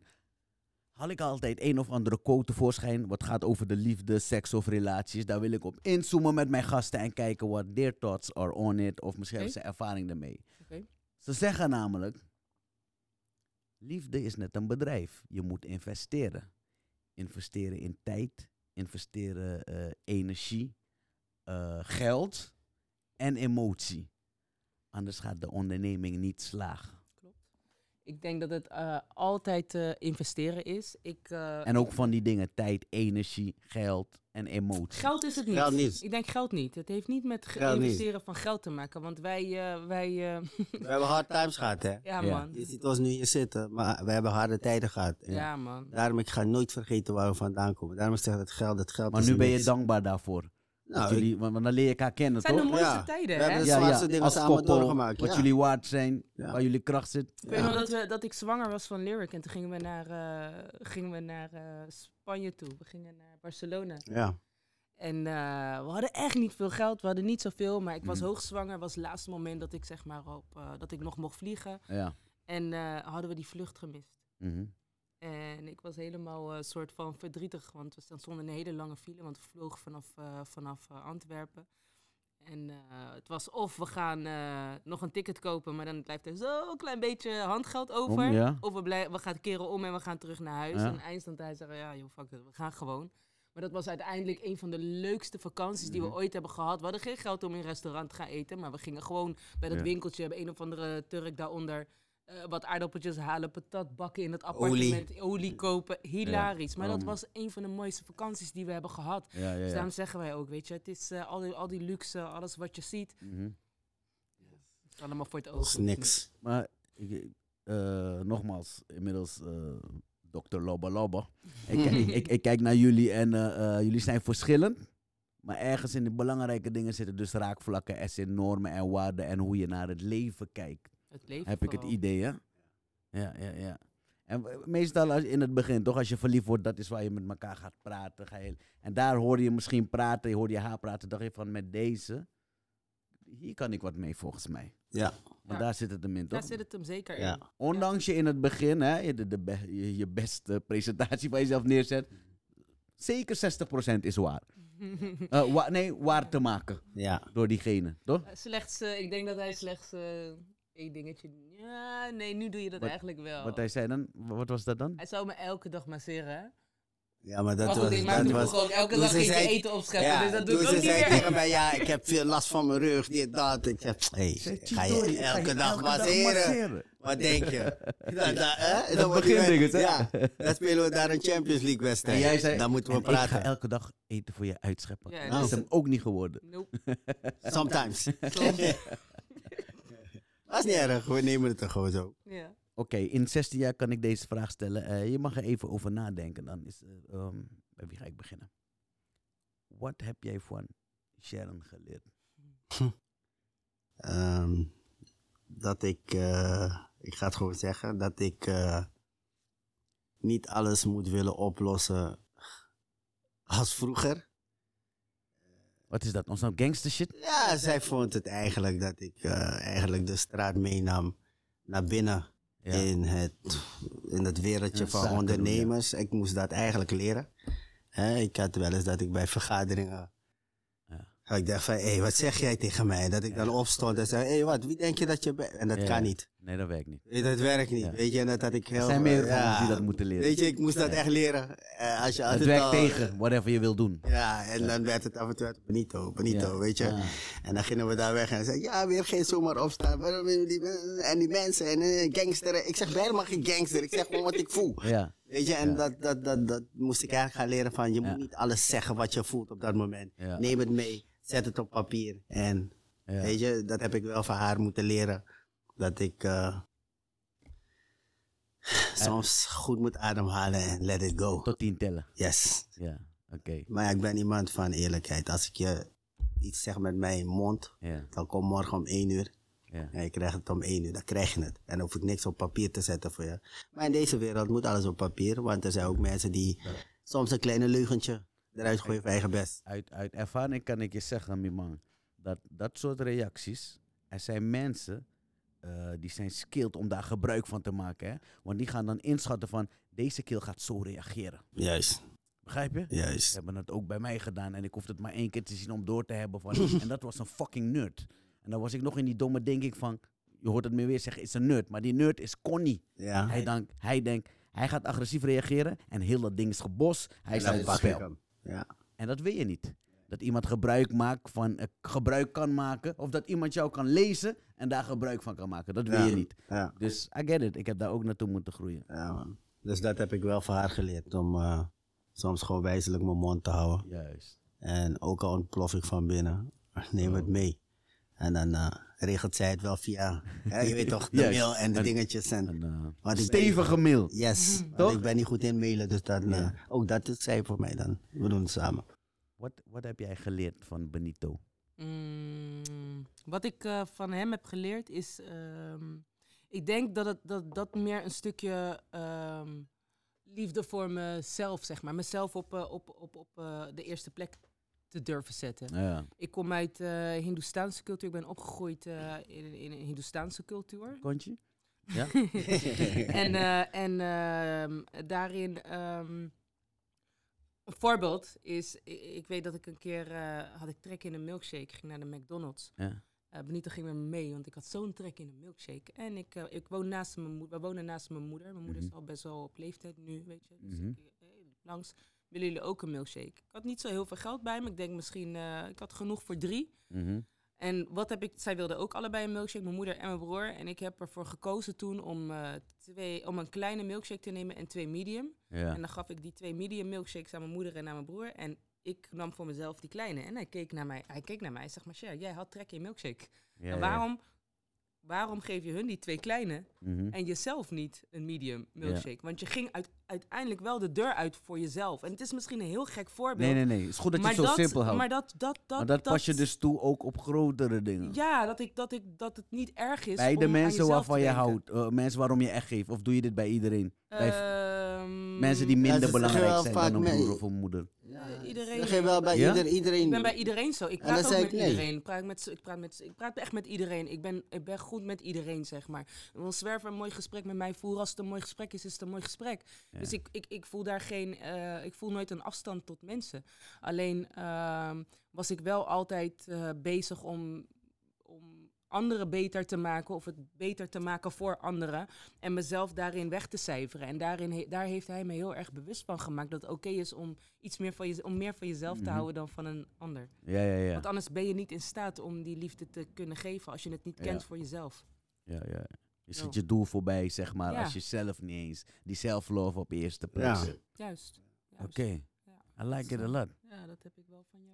[SPEAKER 1] haal ik altijd een of andere quote tevoorschijn. Wat gaat over de liefde, seks of relaties. Daar wil ik op inzoomen met mijn gasten en kijken wat their thoughts are on it. Of misschien
[SPEAKER 2] Oké.
[SPEAKER 1] hebben ze ervaring daarmee.
[SPEAKER 2] Oké.
[SPEAKER 1] Ze zeggen namelijk, liefde is net een bedrijf. Je moet investeren. Investeren in tijd, investeren eh, energie, eh, geld en emotie. Anders gaat de onderneming niet slagen.
[SPEAKER 2] Ik denk dat het eh, altijd eh, investeren is. Ik, eh,
[SPEAKER 1] En ook van die dingen, tijd, energie, geld en emotie.
[SPEAKER 2] Geld is het niet.
[SPEAKER 3] Geld niet.
[SPEAKER 2] Ik denk geld niet. Het heeft niet met ge-
[SPEAKER 3] Geld niet.
[SPEAKER 2] investeren van geld te maken. Want wij... eh, wij eh,
[SPEAKER 3] We hebben hard times gehad, hè?
[SPEAKER 2] ja,
[SPEAKER 1] Ja.
[SPEAKER 2] man.
[SPEAKER 3] Je ziet ons nu hier zitten, maar we hebben harde tijden gehad. En
[SPEAKER 2] Ja, man.
[SPEAKER 3] Daarom, ik ga nooit vergeten waar we vandaan komen. Daarom zeg ik dat geld, dat geld
[SPEAKER 1] Maar
[SPEAKER 3] is
[SPEAKER 1] nu ben je
[SPEAKER 3] niks.
[SPEAKER 1] dankbaar daarvoor.
[SPEAKER 3] Nou,
[SPEAKER 1] Dat
[SPEAKER 3] ik-
[SPEAKER 1] jullie, want, want dan leer je elkaar kennen,
[SPEAKER 2] Het zijn de
[SPEAKER 1] toch?
[SPEAKER 2] mooiste
[SPEAKER 3] Ja. dus-
[SPEAKER 2] tijden,
[SPEAKER 3] We
[SPEAKER 2] hè?
[SPEAKER 3] hebben de zwaarste dingen
[SPEAKER 1] als
[SPEAKER 3] samen
[SPEAKER 1] koppel,
[SPEAKER 3] doorgemaakt.
[SPEAKER 1] Wat
[SPEAKER 3] ja.
[SPEAKER 1] jullie waard zijn,
[SPEAKER 3] Ja.
[SPEAKER 1] waar jullie kracht zit.
[SPEAKER 2] Ik weet nog
[SPEAKER 3] Ja.
[SPEAKER 2] dat, we, dat ik zwanger was van Lyric en toen gingen we naar, eh, gingen we naar eh, Spanje toe. We gingen naar Barcelona.
[SPEAKER 3] Ja.
[SPEAKER 2] En eh, we hadden echt niet veel geld, we hadden niet zoveel, maar ik was
[SPEAKER 1] Mhm.
[SPEAKER 3] Mm.
[SPEAKER 2] hoogzwanger. was het laatste moment dat ik zeg maar op, eh, dat ik nog mocht vliegen.
[SPEAKER 1] Ja.
[SPEAKER 2] En eh, hadden we die vlucht gemist.
[SPEAKER 1] Mhm.
[SPEAKER 2] En ik was helemaal een soort van verdrietig, want we stonden in een hele lange file, want we vlogen vanaf, eh, vanaf eh, Antwerpen. En eh, het was of we gaan eh, nog een ticket kopen, maar dan blijft er zo'n klein beetje handgeld over.
[SPEAKER 1] Om, ja.
[SPEAKER 2] Of we, blij- we gaan keren om en we gaan terug naar huis.
[SPEAKER 1] Ja.
[SPEAKER 2] En eindstand hij zeggen, ja joh, fuck it, we gaan gewoon. Maar dat was uiteindelijk een van de leukste vakanties die we
[SPEAKER 1] Mhm.
[SPEAKER 2] ooit hebben gehad. We hadden geen geld om in een restaurant te gaan eten, maar we gingen gewoon bij dat
[SPEAKER 1] Ja.
[SPEAKER 2] winkeltje. Hebben een of andere Turk daaronder eh, wat aardappeltjes halen, patat bakken in het appartement, olie, kopen. Hilarisch. Maar dat
[SPEAKER 1] Mm.
[SPEAKER 2] was een van de mooiste vakanties die we hebben gehad.
[SPEAKER 1] Ja, ja,
[SPEAKER 2] Dus
[SPEAKER 1] ja.
[SPEAKER 2] daarom zeggen wij ook, weet je, het is eh, al, die, al die luxe, alles wat je ziet,
[SPEAKER 1] Mhm.
[SPEAKER 2] het is allemaal voor het oog.
[SPEAKER 3] Dat is niks.
[SPEAKER 1] Maar ik, eh, nogmaals, inmiddels eh dokter Lobba Lobba. Ik, kijk- ik, ik kijk naar jullie en eh, eh, jullie zijn verschillend. Maar ergens in de belangrijke dingen zitten dus raakvlakken, as in normen en waarden en hoe je naar het leven kijkt.
[SPEAKER 2] Het leven
[SPEAKER 1] Heb ik het
[SPEAKER 2] vooral.
[SPEAKER 1] idee, hè? Ja, ja, ja. En w- meestal als, in het begin, toch? Als je verliefd wordt, dat is waar je met elkaar gaat praten. Ga je, en daar hoor je misschien praten, je hoorde je haar praten. dacht je van, met deze, hier kan ik wat mee volgens mij.
[SPEAKER 3] Ja,
[SPEAKER 1] Want
[SPEAKER 2] Ja.
[SPEAKER 1] daar zit het hem in, toch?
[SPEAKER 2] Daar zit het hem zeker
[SPEAKER 3] ja.
[SPEAKER 2] in.
[SPEAKER 1] Ondanks je in het begin hè, je, de, de be- je, je beste presentatie van jezelf neerzet, zeker 60% is waar. Eh, wa- nee, waar te maken
[SPEAKER 3] ja.
[SPEAKER 1] door diegene, toch?
[SPEAKER 2] Eh, Slechts, eh, ik denk dat hij slechts eh, één dingetje... Ja, nee, nu doe je dat
[SPEAKER 1] Wat-
[SPEAKER 2] eigenlijk wel.
[SPEAKER 1] Wat hij zei dan, wa- wat was dat dan?
[SPEAKER 2] Hij zou me elke dag masseren. hè?
[SPEAKER 3] Ja, maar dat
[SPEAKER 2] maar goed,
[SPEAKER 3] was...
[SPEAKER 2] ik maakte
[SPEAKER 3] dat was
[SPEAKER 2] vroeger ook elke
[SPEAKER 3] toen
[SPEAKER 2] dag
[SPEAKER 3] ze
[SPEAKER 2] ging
[SPEAKER 3] zei-
[SPEAKER 2] eten opscheppen, dus dat doe ik
[SPEAKER 3] toen
[SPEAKER 2] ook
[SPEAKER 3] ze
[SPEAKER 2] niet
[SPEAKER 3] zei
[SPEAKER 2] meer.
[SPEAKER 3] tegen mij, ja, ik heb veel last van mijn rug, dit, dat. Ik heb, hey, ga je elke dag masseren? Wat denk je? Dat, dat, hè? Dan wordt die
[SPEAKER 1] begindingen, hè?
[SPEAKER 3] wed- Ja, dan spelen we daar een Champions League
[SPEAKER 1] En
[SPEAKER 3] wedstrijd.
[SPEAKER 1] jij zei,
[SPEAKER 3] dan moeten we
[SPEAKER 1] en ik ga
[SPEAKER 3] praten.
[SPEAKER 1] elke dag eten voor je uitscheppen.
[SPEAKER 2] Ja,
[SPEAKER 1] Dat
[SPEAKER 3] dat
[SPEAKER 1] is
[SPEAKER 3] is-
[SPEAKER 1] hem ook niet geworden.
[SPEAKER 2] Nope.
[SPEAKER 3] Sometimes.
[SPEAKER 2] Klopt.
[SPEAKER 3] Dat is niet erg, we nemen het er gewoon zo.
[SPEAKER 2] ja.
[SPEAKER 1] Oké, in 16 jaar kan ik deze vraag stellen. Eh, je mag er even over nadenken. Dan is, eh, ehm, bij wie ga ik beginnen? Wat heb jij van Sharon geleerd?
[SPEAKER 3] Ehm, dat ik, eh, ik ga het gewoon zeggen, dat ik eh, niet alles moet willen oplossen als vroeger.
[SPEAKER 1] Wat is dat? Ons nou gangster shit?
[SPEAKER 3] Ja, zij vond het eigenlijk dat ik eh, eigenlijk de straat meenam naar binnen in, het, in het wereldje
[SPEAKER 1] Ja,
[SPEAKER 3] van
[SPEAKER 1] zaken doen, ja.
[SPEAKER 3] ondernemers. Ik moest dat eigenlijk leren. Hè, ik had wel eens dat ik bij vergaderingen.
[SPEAKER 1] Ja.
[SPEAKER 3] dat Ik dacht van, hé, wat zeg jij tegen mij? Dat ik
[SPEAKER 1] Ja.
[SPEAKER 3] dan opstond en zei, hé, wat, wie denk je dat je bent? En dat
[SPEAKER 1] Ja.
[SPEAKER 3] kan niet.
[SPEAKER 1] Nee, dat werkt niet.
[SPEAKER 3] Weet, dat werkt niet,
[SPEAKER 1] Ja.
[SPEAKER 3] weet je. En dat had ik heel...
[SPEAKER 1] Er zijn meer van
[SPEAKER 3] ja,
[SPEAKER 1] ons die dat moeten leren.
[SPEAKER 3] Weet je, ik moest dat
[SPEAKER 1] Ja.
[SPEAKER 3] echt leren. Eh, als je
[SPEAKER 1] het
[SPEAKER 3] altijd
[SPEAKER 1] werkt
[SPEAKER 3] al-
[SPEAKER 1] tegen, whatever je wil doen.
[SPEAKER 3] Ja, en dan werd het af en toe uit Benito, Benito,
[SPEAKER 1] Ja.
[SPEAKER 3] weet je.
[SPEAKER 1] Ah.
[SPEAKER 3] En dan gingen we daar weg en dan zei ik, ja, weer geen zomaar opstaan. Waarom willen die- En die mensen en eh, gangsteren. Ik zeg bij helemaal geen gangster, ik zeg gewoon wat ik voel.
[SPEAKER 1] Ja,
[SPEAKER 3] Weet je, en
[SPEAKER 1] Ja.
[SPEAKER 3] dat, dat, dat, dat moest ik eigenlijk gaan leren van, je
[SPEAKER 1] Ja.
[SPEAKER 3] moet niet alles zeggen wat je voelt op dat moment.
[SPEAKER 1] Ja.
[SPEAKER 3] Neem het mee, zet het op papier en
[SPEAKER 1] ja.
[SPEAKER 3] Weet je, dat heb ik wel van haar moeten leren. Dat ik eh, soms goed moet ademhalen en let it go.
[SPEAKER 1] Tot tien tellen.
[SPEAKER 3] Yes.
[SPEAKER 1] Ja, oké.
[SPEAKER 3] Maar ja, ik ben iemand van eerlijkheid. Als ik je iets zeg met mijn mond,
[SPEAKER 1] Ja,
[SPEAKER 3] dan kom morgen om één uur.
[SPEAKER 1] ja.
[SPEAKER 3] En je krijgt het om één uur, dan krijg je het. En dan hoef ik niks op papier te zetten voor je. Maar in deze wereld moet alles op papier. Want er zijn ook mensen die soms een kleine leugentje eruit gooien voor eigen best.
[SPEAKER 1] Uit, uit ervaring kan ik je zeggen, mijn man, dat dat soort reacties, er zijn mensen eh, die zijn skilled om daar gebruik van te maken. Hè? Want die gaan dan inschatten van, deze keel gaat zo reageren.
[SPEAKER 3] Juist,
[SPEAKER 1] Begrijp je? Ze
[SPEAKER 3] juist.
[SPEAKER 1] hebben het ook bij mij gedaan en ik hoefde het maar één keer te zien om door te hebben van... en dat was een fucking nerd. En dan was ik nog in die domme denk ik van... Je hoort het me weer zeggen, is een nerd. Maar die nerd is Connie.
[SPEAKER 3] Ja.
[SPEAKER 1] Hij, dank, hij denkt, hij gaat agressief reageren en heel dat ding is gebos. Hij is
[SPEAKER 3] Dan
[SPEAKER 1] uit het
[SPEAKER 3] pak ik
[SPEAKER 1] spel.
[SPEAKER 3] hem. Ja.
[SPEAKER 1] En dat wil je niet. Dat iemand gebruik maakt van eh, gebruik kan maken. Of dat iemand jou kan lezen en daar gebruik van kan maken. Dat wil
[SPEAKER 3] Ja.
[SPEAKER 1] je niet.
[SPEAKER 3] ja.
[SPEAKER 1] Dus I get it. Ik heb daar ook naartoe moeten groeien.
[SPEAKER 3] Ja, man. Dus dat heb ik wel van haar geleerd. Om eh, soms gewoon wijzelijk mijn mond te houden.
[SPEAKER 1] Juist.
[SPEAKER 3] En ook al ontplof ik van binnen, neem
[SPEAKER 1] Oh.
[SPEAKER 3] het mee. En dan eh, regelt zij het wel via, hè, je weet toch, de
[SPEAKER 1] Juist.
[SPEAKER 3] mail en de
[SPEAKER 1] En-
[SPEAKER 3] dingetjes. En,
[SPEAKER 1] Een eh,
[SPEAKER 3] Want ik ben-
[SPEAKER 1] stevige mail.
[SPEAKER 3] yes, want
[SPEAKER 1] Mhm. Toch?
[SPEAKER 3] ik ben niet goed in mailen, dus dan, eh,
[SPEAKER 1] Ja.
[SPEAKER 3] ook dat is zij voor mij dan. We doen het samen.
[SPEAKER 1] Wat, wat heb jij geleerd van Benito?
[SPEAKER 2] Mm, wat ik eh, van hem heb geleerd is. ehm, ik denk dat, het, dat dat meer een stukje ehm, liefde voor mezelf, zeg maar. Mezelf op, eh, op, op, op eh, de eerste plek te durven zetten.
[SPEAKER 1] Ja.
[SPEAKER 2] Ik kom uit eh Hindoestaanse cultuur. Ik ben opgegroeid eh, in, in een Hindoestaanse cultuur.
[SPEAKER 1] Kontje? Ja?
[SPEAKER 2] en eh, en ehm, daarin ehm, Een voorbeeld is, i- ik weet dat ik een keer eh, had ik trek in een milkshake, Ik ging naar de McDonald's.
[SPEAKER 1] Ja.
[SPEAKER 2] Eh Benita ging met me mee, want ik had zo'n trek in een milkshake. En ik, eh, ik woon naast mijn moeder. We wonen naast mijn moeder. Mijn moeder
[SPEAKER 1] Mhm.
[SPEAKER 2] is al best wel op leeftijd nu, weet je. Dus
[SPEAKER 1] Mhm.
[SPEAKER 2] ik, eh, langs willen jullie ook een milkshake. Ik had niet zo heel veel geld bij me. Ik denk misschien, eh, ik had genoeg voor drie.
[SPEAKER 1] Mhm.
[SPEAKER 2] En wat heb ik, zij wilden ook allebei een milkshake, mijn moeder en mijn broer. En ik heb ervoor gekozen toen om, eh, twee, om een kleine milkshake te nemen en twee medium.
[SPEAKER 1] ja.
[SPEAKER 2] En dan gaf ik die twee medium milkshakes aan mijn moeder en aan mijn broer. En ik nam voor mezelf die kleine. En hij keek naar mij. Hij keek naar mij en zegt, maar Cher, jij had trek in milkshake.
[SPEAKER 1] Ja, ja.
[SPEAKER 2] en waarom, waarom geef je hun die twee kleine
[SPEAKER 1] Mhm.
[SPEAKER 2] en jezelf niet een medium milkshake? Want je ging uit, uiteindelijk wel de deur uit voor jezelf. En het is misschien een heel gek voorbeeld.
[SPEAKER 1] Nee, nee, nee. Het is goed dat je
[SPEAKER 2] maar
[SPEAKER 1] het zo
[SPEAKER 2] dat,
[SPEAKER 1] simpel houdt.
[SPEAKER 2] Maar
[SPEAKER 1] Maar,
[SPEAKER 2] dat, dat, dat,
[SPEAKER 1] dat,
[SPEAKER 2] dat-
[SPEAKER 1] pas je dus toe ook op grotere dingen.
[SPEAKER 2] Ja, dat, ik, dat, ik, dat het niet erg is
[SPEAKER 1] bij
[SPEAKER 2] om
[SPEAKER 1] de
[SPEAKER 2] aan
[SPEAKER 1] mensen
[SPEAKER 2] jezelf
[SPEAKER 1] waarvan
[SPEAKER 2] te
[SPEAKER 1] je
[SPEAKER 2] denken.
[SPEAKER 1] houdt. eh, mensen waarom je echt geeft. Of doe je dit bij iedereen? Bij v-
[SPEAKER 2] Ehm,
[SPEAKER 1] mensen die
[SPEAKER 3] ze
[SPEAKER 1] minder
[SPEAKER 3] zeggen
[SPEAKER 1] belangrijk
[SPEAKER 3] wel
[SPEAKER 1] zijn
[SPEAKER 3] vaak
[SPEAKER 1] dan een
[SPEAKER 3] me-
[SPEAKER 1] broer of een moeder.
[SPEAKER 2] eh,
[SPEAKER 3] Dat
[SPEAKER 2] iedereen.
[SPEAKER 3] geeft wel bij
[SPEAKER 1] Ja?
[SPEAKER 3] ieder- iedereen.
[SPEAKER 2] Ik ben bij iedereen zo. Ik
[SPEAKER 3] En dan
[SPEAKER 2] praat ook
[SPEAKER 3] zei
[SPEAKER 2] met
[SPEAKER 3] ik nee.
[SPEAKER 2] iedereen. Ik praat, met, z'n- ik, praat met, z'n- ik praat echt met iedereen. Ik ben, ik ben goed met iedereen, zeg maar. Wil zwerven een mooi gesprek met mij voeren. Als het een mooi gesprek is, is het een mooi gesprek.
[SPEAKER 1] Ja.
[SPEAKER 2] Dus ik, ik, ik voel daar geen... eh, ik voel nooit een afstand tot mensen. Alleen ehm, was ik wel altijd eh, bezig om, om anderen beter te maken... of het beter te maken voor anderen... en mezelf daarin weg te cijferen. En daarin he- daar heeft hij me heel erg bewust van gemaakt... dat het oké is om, iets meer van, je, om meer van jezelf
[SPEAKER 1] Mhm.
[SPEAKER 2] te houden dan van een ander.
[SPEAKER 1] Ja, ja, ja.
[SPEAKER 2] Want anders ben je niet in staat om die liefde te kunnen geven als je het niet
[SPEAKER 1] Ja.
[SPEAKER 2] kent voor jezelf.
[SPEAKER 1] ja, ja. Je
[SPEAKER 2] Zo.
[SPEAKER 1] schiet je doel voorbij, zeg maar,
[SPEAKER 2] Ja.
[SPEAKER 1] als je zelf niet eens die self-love op eerste plaats
[SPEAKER 3] Ja.
[SPEAKER 1] zet.
[SPEAKER 2] Juist. Juist.
[SPEAKER 1] Oké. I like it a lot.
[SPEAKER 2] Ja, dat heb ik wel van jou.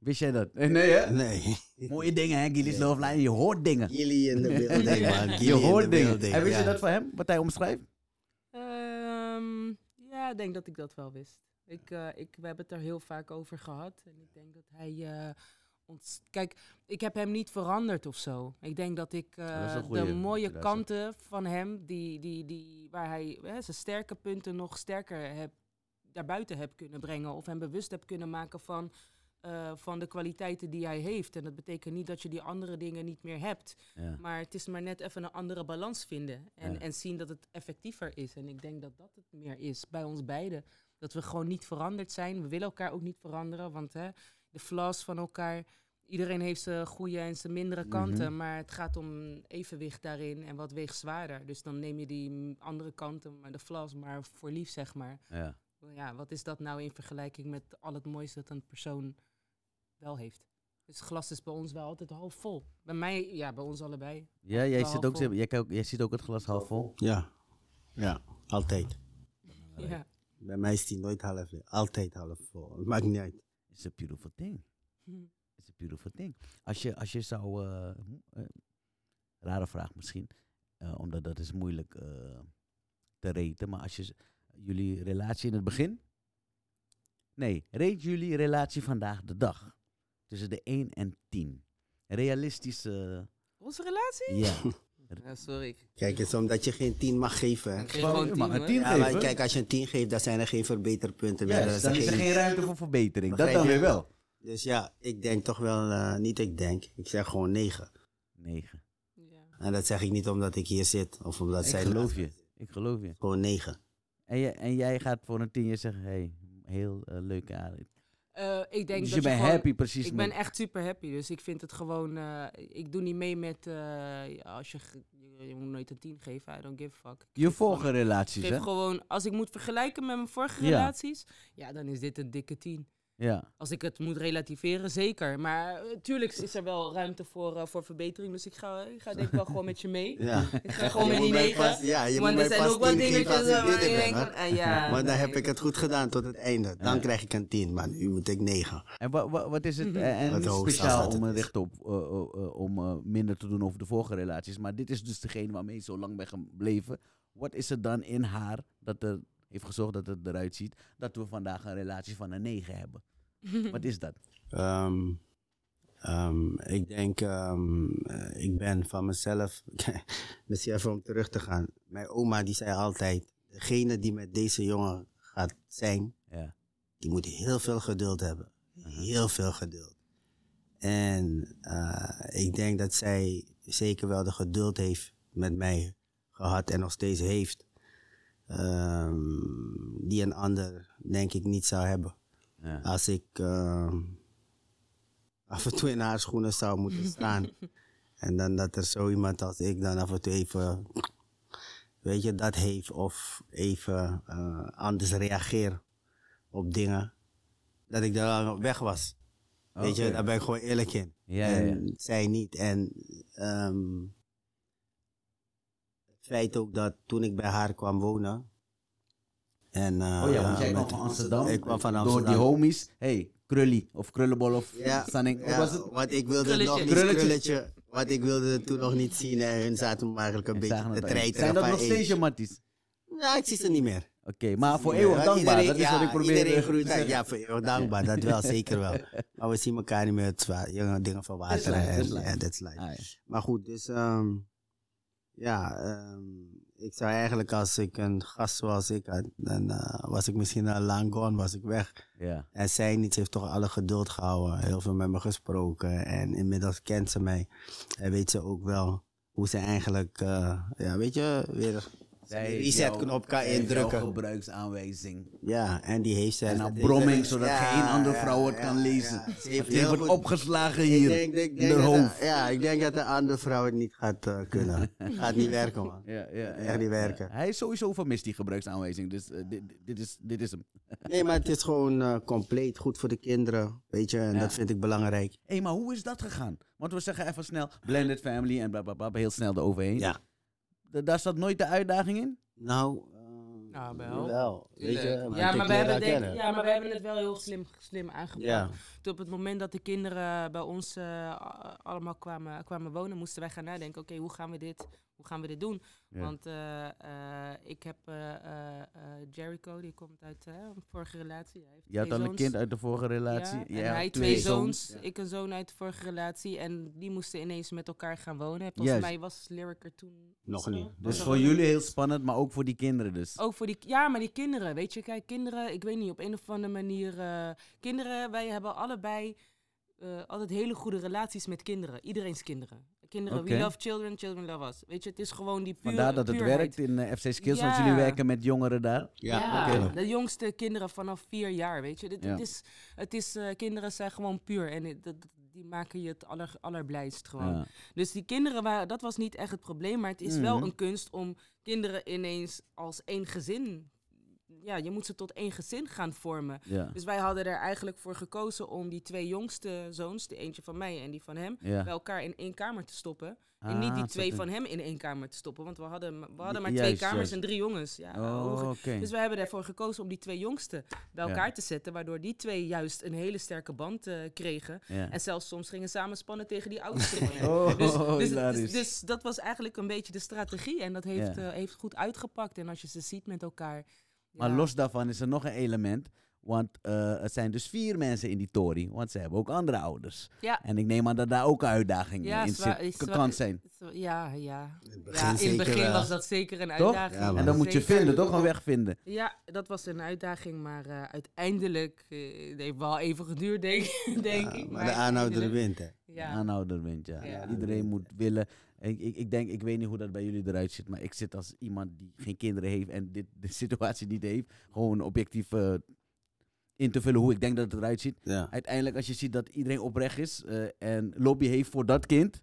[SPEAKER 1] Wist jij dat? Eh, Nee, hè?
[SPEAKER 3] Nee.
[SPEAKER 1] Mooie dingen, hè? Gilly's Love Line. Je hoort dingen.
[SPEAKER 3] Jullie in de building, man. Gilly
[SPEAKER 1] Je
[SPEAKER 3] in the
[SPEAKER 1] hoort dingen.
[SPEAKER 3] building,
[SPEAKER 1] En wist je
[SPEAKER 3] ja.
[SPEAKER 1] dat van hem? Wat hij omschrijft?
[SPEAKER 2] Ehm, ja, ik denk dat ik dat wel wist. Ik, eh, ik, we hebben het er heel vaak over gehad. En ik denk dat hij. eh, ons, kijk, ik heb hem niet veranderd of zo. Ik denk dat ik
[SPEAKER 1] dat is
[SPEAKER 2] eh,
[SPEAKER 1] een goeie,
[SPEAKER 2] de mooie
[SPEAKER 1] dat is een-
[SPEAKER 2] kanten van hem, die, die, die, waar hij hè, zijn sterke punten nog sterker heb, daarbuiten heb kunnen brengen. Of hem bewust heb kunnen maken van, eh, van de kwaliteiten die hij heeft. En dat betekent niet dat je die andere dingen niet meer hebt.
[SPEAKER 1] Ja.
[SPEAKER 2] Maar het is maar net even een andere balans vinden. En,
[SPEAKER 1] Ja.
[SPEAKER 2] en zien dat het effectiever is. En ik denk dat dat het meer is bij ons beiden. Dat we gewoon niet veranderd zijn. We willen elkaar ook niet veranderen. Want hè, de flaws van elkaar. Iedereen heeft zijn goede en zijn mindere kanten.
[SPEAKER 1] Mhm.
[SPEAKER 2] Maar het gaat om evenwicht daarin. En wat weegt zwaarder. Dus dan neem je die mm, andere kanten, maar de flaws, maar voor lief, zeg maar.
[SPEAKER 1] ja.
[SPEAKER 2] Ja, wat is dat nou in vergelijking met al het moois dat een persoon wel heeft? Dus het glas is bij ons wel altijd half vol. Bij mij, ja, bij ons allebei.
[SPEAKER 1] Ja, jij,
[SPEAKER 2] Half
[SPEAKER 1] zit ook,
[SPEAKER 2] vol.
[SPEAKER 1] jij, kijkt ook- jij ziet ook het glas half vol.
[SPEAKER 3] Ja. Ja, altijd.
[SPEAKER 2] Ja.
[SPEAKER 3] Bij mij is die nooit half vol. Altijd half vol. Het maakt niet uit.
[SPEAKER 1] It's a beautiful thing.
[SPEAKER 2] Hm.
[SPEAKER 1] It's a beautiful thing. Als je, als je zou... eh, m- eh, rare vraag misschien. eh, omdat dat is moeilijk eh, te reten. Maar als je... z- Jullie relatie in het begin? Nee, reed jullie relatie vandaag de dag. Tussen de 1 en 10. Realistische...
[SPEAKER 2] Onze relatie?
[SPEAKER 1] Ja.
[SPEAKER 2] sorry.
[SPEAKER 3] Kijk, het is omdat je geen 10 mag geven. hè.
[SPEAKER 2] Ik geef gewoon
[SPEAKER 1] Je
[SPEAKER 2] tien,
[SPEAKER 1] mag een
[SPEAKER 2] hoor.
[SPEAKER 1] 10
[SPEAKER 3] Ja, maar
[SPEAKER 1] geven.
[SPEAKER 3] kijk, als je een 10 geeft, dan zijn er geen verbeterpunten meer.
[SPEAKER 1] Juist,
[SPEAKER 3] Dan is er
[SPEAKER 1] dan is er
[SPEAKER 3] geen-
[SPEAKER 1] geen ruimte voor verbetering. Dat
[SPEAKER 3] Begrijp
[SPEAKER 1] dan
[SPEAKER 3] je?
[SPEAKER 1] weer wel.
[SPEAKER 3] Dus ja, ik denk toch wel, eh, niet ik denk, ik zeg gewoon 9.
[SPEAKER 1] 9.
[SPEAKER 2] Ja.
[SPEAKER 3] En dat zeg ik niet omdat ik hier zit of omdat
[SPEAKER 1] Ik
[SPEAKER 3] zij.
[SPEAKER 1] geloof je. Ik geloof je.
[SPEAKER 3] Gewoon 9.
[SPEAKER 1] En, jij- en jij gaat voor een tien jaar zeggen, hey, heel eh, leuke aardig.
[SPEAKER 2] Eh, ik denk
[SPEAKER 1] Dus je
[SPEAKER 2] dat
[SPEAKER 1] bent
[SPEAKER 2] gewoon-
[SPEAKER 1] happy precies
[SPEAKER 2] Ik
[SPEAKER 1] met...
[SPEAKER 2] ben echt super happy, dus ik vind het gewoon... eh, ik doe niet mee met... eh, ja, als je, ge- je, je moet nooit een 10 geven, I don't give a fuck.
[SPEAKER 1] je vorige relaties,
[SPEAKER 2] Ik
[SPEAKER 1] hè?
[SPEAKER 2] geef gewoon... Als ik moet vergelijken met mijn vorige
[SPEAKER 1] Ja.
[SPEAKER 2] relaties... Ja, dan is dit een dikke 10.
[SPEAKER 1] Ja.
[SPEAKER 2] Als ik het moet relativeren, zeker. Maar natuurlijk is er wel ruimte voor, eh, voor verbetering. Dus ik ga, ik ga denk ik wel gewoon met je mee.
[SPEAKER 3] Ja.
[SPEAKER 2] Ik ga gewoon
[SPEAKER 3] Je
[SPEAKER 2] met
[SPEAKER 3] moet
[SPEAKER 2] die
[SPEAKER 3] mij
[SPEAKER 2] negen.
[SPEAKER 3] vast- ja, je
[SPEAKER 2] Want
[SPEAKER 3] moet
[SPEAKER 2] er
[SPEAKER 3] mij
[SPEAKER 2] zijn
[SPEAKER 3] vast
[SPEAKER 2] ook wel
[SPEAKER 3] 10 geven
[SPEAKER 2] dingetjes eh,
[SPEAKER 3] als ik
[SPEAKER 2] waar
[SPEAKER 3] dit
[SPEAKER 2] je
[SPEAKER 3] ben,
[SPEAKER 2] denkt
[SPEAKER 3] hoor.
[SPEAKER 2] van... ah, ja,
[SPEAKER 3] Maar dan
[SPEAKER 2] nee.
[SPEAKER 3] heb ik het goed gedaan tot het einde. Dan
[SPEAKER 1] Ja.
[SPEAKER 3] krijg ik een 10, maar nu moet ik 9.
[SPEAKER 1] En wa- wa- wat is
[SPEAKER 2] Mhm.
[SPEAKER 1] het eh, en
[SPEAKER 3] Wat
[SPEAKER 1] niet
[SPEAKER 3] de hoogste
[SPEAKER 1] speciaal
[SPEAKER 3] staat het
[SPEAKER 1] om eh,
[SPEAKER 3] is.
[SPEAKER 1] recht op eh, eh, eh, om eh, minder te doen over de vorige relaties? Maar dit is dus degene waarmee je zo lang bent gebleven. Wat is er dan in haar dat er heeft gezorgd dat het eruit ziet dat we vandaag een relatie van een 9 hebben? Wat is dat?
[SPEAKER 3] Ehm, ehm, ik denk, ehm, eh, ik ben van mezelf, misschien even om terug te gaan. Mijn oma die zei altijd, degene die met deze jongen gaat zijn,
[SPEAKER 1] Ja.
[SPEAKER 3] die moet heel veel geduld hebben. Heel veel geduld. En eh, ik denk dat zij zeker wel de geduld heeft met mij gehad en nog steeds heeft. ehm, die een ander denk ik niet zou hebben.
[SPEAKER 1] Ja.
[SPEAKER 3] Als ik eh, af en toe in haar schoenen zou moeten staan. en dan dat er zo iemand als ik dan af en toe even, weet je, dat heeft of even eh, anders reageer op dingen. Dat ik daar al weg was. Ah, Weet je, eh,
[SPEAKER 1] Oké.
[SPEAKER 3] daar ben ik gewoon eerlijk in.
[SPEAKER 1] Ja, ja,
[SPEAKER 3] en
[SPEAKER 1] ja.
[SPEAKER 3] zij niet. En ehm, het feit ook dat toen ik bij haar kwam wonen. En, eh,
[SPEAKER 1] Oh ja, want jij
[SPEAKER 3] met-
[SPEAKER 1] kwam van Amsterdam.
[SPEAKER 3] Ik kwam van
[SPEAKER 1] Door
[SPEAKER 3] Amsterdam.
[SPEAKER 1] die homies. hey, Krully of Krullenbol of Sanning. Wat
[SPEAKER 3] ja,
[SPEAKER 1] was het?
[SPEAKER 3] Want ik wilde
[SPEAKER 2] Krulletje.
[SPEAKER 3] nog niet
[SPEAKER 1] Krulletje.
[SPEAKER 3] krulletje. Want ik wilde toen nog niet zien. En hun zaten me eigenlijk een
[SPEAKER 1] Ik zag
[SPEAKER 3] beetje
[SPEAKER 1] het al.
[SPEAKER 3] te treiteren.
[SPEAKER 1] Zijn dat
[SPEAKER 3] van,
[SPEAKER 1] nog
[SPEAKER 3] hey,
[SPEAKER 1] steeds je matties?
[SPEAKER 3] Ja, ik zie ze niet meer.
[SPEAKER 1] Oké, maar voor
[SPEAKER 3] Ja,
[SPEAKER 1] eeuwig
[SPEAKER 3] want
[SPEAKER 1] dankbaar.
[SPEAKER 3] iedereen-
[SPEAKER 1] dat is
[SPEAKER 3] ja,
[SPEAKER 1] wat ik probeer Ah,
[SPEAKER 3] Iedereen
[SPEAKER 1] eh,
[SPEAKER 3] groeit
[SPEAKER 1] te
[SPEAKER 3] uit.
[SPEAKER 1] zeggen.
[SPEAKER 3] Ja, voor eeuwig dankbaar. Dat wel, zeker wel. Maar we zien elkaar niet meer. Het is waar, jonge dingen
[SPEAKER 1] Dat
[SPEAKER 3] verwateren.
[SPEAKER 1] is life, dat is
[SPEAKER 3] en-
[SPEAKER 1] life.
[SPEAKER 3] Ja, dat is life.
[SPEAKER 1] Ah, ja.
[SPEAKER 3] Maar goed, dus ehm, ja, ehm, ik zou eigenlijk als ik een gast zoals ik had, dan eh, was ik misschien al lang gone, was ik weg.
[SPEAKER 1] Ja.
[SPEAKER 3] En zij niet, ze heeft toch alle geduld gehouden, heel veel met me gesproken en inmiddels kent ze mij en weet ze ook wel hoe ze eigenlijk, eh, ja, weet je, weer
[SPEAKER 1] Zij
[SPEAKER 3] een
[SPEAKER 1] heeft
[SPEAKER 3] resetknop kan
[SPEAKER 1] jou- zij heeft jou
[SPEAKER 3] indrukken.
[SPEAKER 1] gebruiksaanwijzing.
[SPEAKER 3] Ja, en die heeft ze.
[SPEAKER 1] En
[SPEAKER 3] dat
[SPEAKER 1] een
[SPEAKER 3] heeft
[SPEAKER 1] bromming,
[SPEAKER 3] ze-
[SPEAKER 1] zodat
[SPEAKER 3] ja,
[SPEAKER 1] geen andere
[SPEAKER 3] ja,
[SPEAKER 1] vrouw het
[SPEAKER 3] ja,
[SPEAKER 1] kan lezen.
[SPEAKER 3] ja. Ze heeft
[SPEAKER 1] Het
[SPEAKER 3] heel
[SPEAKER 1] wordt
[SPEAKER 3] goed-
[SPEAKER 1] opgeslagen
[SPEAKER 3] Ik
[SPEAKER 1] hier.
[SPEAKER 3] denk- denk-
[SPEAKER 1] in
[SPEAKER 3] denk
[SPEAKER 1] haar
[SPEAKER 3] dat-
[SPEAKER 1] hoofd.
[SPEAKER 3] Ja, ik denk dat de andere vrouw het niet gaat eh, kunnen. gaat niet werken, man.
[SPEAKER 1] Ja, ja, ja,
[SPEAKER 3] Echt niet werken.
[SPEAKER 1] Hij is sowieso vermist, die gebruiksaanwijzing. Dus eh, dit, dit, is, dit is hem.
[SPEAKER 3] Nee, maar het is gewoon eh, compleet, goed voor de kinderen, weet je, en dat vind ik belangrijk.
[SPEAKER 1] Hé, maar hoe is dat gegaan? Want we zeggen even snel, blended family en blablabla, heel snel eroverheen.
[SPEAKER 3] Ja.
[SPEAKER 1] Da- Daar zat nooit de uitdaging in?
[SPEAKER 3] Nou, eh,
[SPEAKER 2] Nou, wel.
[SPEAKER 3] wel, weet je.
[SPEAKER 2] Tuurlijk.
[SPEAKER 3] want
[SPEAKER 2] Ja
[SPEAKER 3] ik
[SPEAKER 2] maar, we
[SPEAKER 3] leer haar
[SPEAKER 2] hebben denk-
[SPEAKER 3] kennen.
[SPEAKER 2] ja, maar we hebben het wel heel slim, slim aangepakt.
[SPEAKER 3] Ja.
[SPEAKER 2] Toen op het moment dat de kinderen bij ons eh, a- allemaal kwamen, kwamen wonen, moesten wij gaan nadenken: oké, hoe gaan we dit? Hoe gaan we dit doen?
[SPEAKER 1] Ja.
[SPEAKER 2] Want eh, eh, ik heb eh, eh, eh, Jericho, die komt uit eh, een vorige relatie. Hij heeft
[SPEAKER 1] Je had
[SPEAKER 2] twee
[SPEAKER 1] al een
[SPEAKER 2] zoons.
[SPEAKER 1] kind uit de vorige relatie.
[SPEAKER 2] Ja,
[SPEAKER 1] Jij
[SPEAKER 2] en
[SPEAKER 1] had
[SPEAKER 2] hij twee zoons,
[SPEAKER 1] Ja.
[SPEAKER 2] ik een zoon uit de vorige relatie. En die moesten ineens met elkaar gaan wonen. Volgens
[SPEAKER 1] Juist.
[SPEAKER 2] mij was Lyric er toen...
[SPEAKER 3] Nog niet.
[SPEAKER 2] Was
[SPEAKER 1] Dus
[SPEAKER 2] er
[SPEAKER 1] voor
[SPEAKER 2] nog
[SPEAKER 1] jullie
[SPEAKER 2] niet?
[SPEAKER 1] heel spannend, maar ook voor die kinderen dus.
[SPEAKER 2] Ook voor die, ja, maar die kinderen, weet je, kijk, kinderen, ik weet niet, op een of andere manier, eh, kinderen, wij hebben allebei eh, altijd hele goede relaties met kinderen, iedereens kinderen. Kinderen,
[SPEAKER 1] Oké.
[SPEAKER 2] we love children, children love us. Weet je, het is gewoon die pure
[SPEAKER 1] Vandaar dat het
[SPEAKER 2] puurheid.
[SPEAKER 1] werkt in eh, FC Skills, want
[SPEAKER 2] Ja.
[SPEAKER 1] jullie werken met jongeren daar.
[SPEAKER 3] Ja,
[SPEAKER 2] Ja,
[SPEAKER 3] oké.
[SPEAKER 2] de jongste kinderen vanaf vier jaar, weet je. Dit,
[SPEAKER 1] Ja.
[SPEAKER 2] het is, het is, eh, kinderen zijn gewoon puur en het- dat, die maken je het aller, allerblijst gewoon.
[SPEAKER 1] Ja.
[SPEAKER 2] Dus die kinderen, waren, dat was niet echt het probleem. Maar het is wel
[SPEAKER 1] Mhm.
[SPEAKER 2] een kunst om kinderen ineens als één gezin... Ja, je moet ze tot één gezin gaan vormen.
[SPEAKER 1] Ja.
[SPEAKER 2] Dus wij hadden er eigenlijk voor gekozen om die twee jongste zoons... de eentje van mij en die van hem...
[SPEAKER 1] Ja.
[SPEAKER 2] bij elkaar in één kamer te stoppen. en niet
[SPEAKER 1] Ah,
[SPEAKER 2] die
[SPEAKER 1] zo
[SPEAKER 2] twee
[SPEAKER 1] te-
[SPEAKER 2] van hem in één kamer te stoppen. Want we hadden, ma- we hadden maar
[SPEAKER 1] Juist,
[SPEAKER 2] twee kamers
[SPEAKER 1] juist.
[SPEAKER 2] en drie jongens. Ja, hoe
[SPEAKER 1] Oh,
[SPEAKER 2] ge-
[SPEAKER 1] oké.
[SPEAKER 2] dus wij hebben ervoor gekozen om die twee jongsten bij
[SPEAKER 1] Ja.
[SPEAKER 2] elkaar te zetten. Waardoor die twee juist een hele sterke band eh, kregen.
[SPEAKER 1] Ja.
[SPEAKER 2] En zelfs soms gingen samenspannen tegen die oudste. van hen.
[SPEAKER 1] Oh,
[SPEAKER 2] dus, dus,
[SPEAKER 1] hilarisch.
[SPEAKER 2] dus, dus dat was eigenlijk een beetje de strategie. En dat heeft,
[SPEAKER 1] Ja.
[SPEAKER 2] eh, heeft goed uitgepakt. En als je ze ziet met elkaar.
[SPEAKER 1] Maar
[SPEAKER 2] ja.
[SPEAKER 1] los daarvan is er nog een element. Want eh er zijn dus vier mensen in die tory. Want ze hebben ook andere ouders.
[SPEAKER 2] Ja.
[SPEAKER 1] En ik neem aan dat daar ook uitdagingen
[SPEAKER 2] Ja,
[SPEAKER 1] in
[SPEAKER 2] zwaar-
[SPEAKER 1] zit,
[SPEAKER 2] is zwaar-
[SPEAKER 1] kan zijn.
[SPEAKER 2] Ja, ja.
[SPEAKER 3] begin
[SPEAKER 2] ja in het
[SPEAKER 3] zeker
[SPEAKER 2] begin
[SPEAKER 3] wel.
[SPEAKER 2] was dat zeker een
[SPEAKER 1] Toch?
[SPEAKER 2] uitdaging.
[SPEAKER 3] Ja, man.
[SPEAKER 1] En dan moet je
[SPEAKER 2] Zeker.
[SPEAKER 1] vinden, toch? Een weg vinden.
[SPEAKER 2] Ja, dat was een uitdaging, maar eh, uiteindelijk, eh, het heeft wel even geduurd, denk, denk ik.
[SPEAKER 3] Ah, Maar de aanhouder
[SPEAKER 2] uiteindelijk-
[SPEAKER 3] wint, hè.
[SPEAKER 2] Ja.
[SPEAKER 1] Aanhouder bent, ja.
[SPEAKER 2] Ja.
[SPEAKER 1] Iedereen moet willen. Ik, ik, ik denk, ik weet niet hoe dat bij jullie eruit zit, maar ik zit als iemand die geen kinderen heeft en dit, de situatie niet heeft, gewoon objectief eh, in te vullen hoe ik denk dat het eruit ziet.
[SPEAKER 3] Ja.
[SPEAKER 1] Uiteindelijk, als je ziet dat iedereen oprecht is eh, en lobby heeft voor dat kind,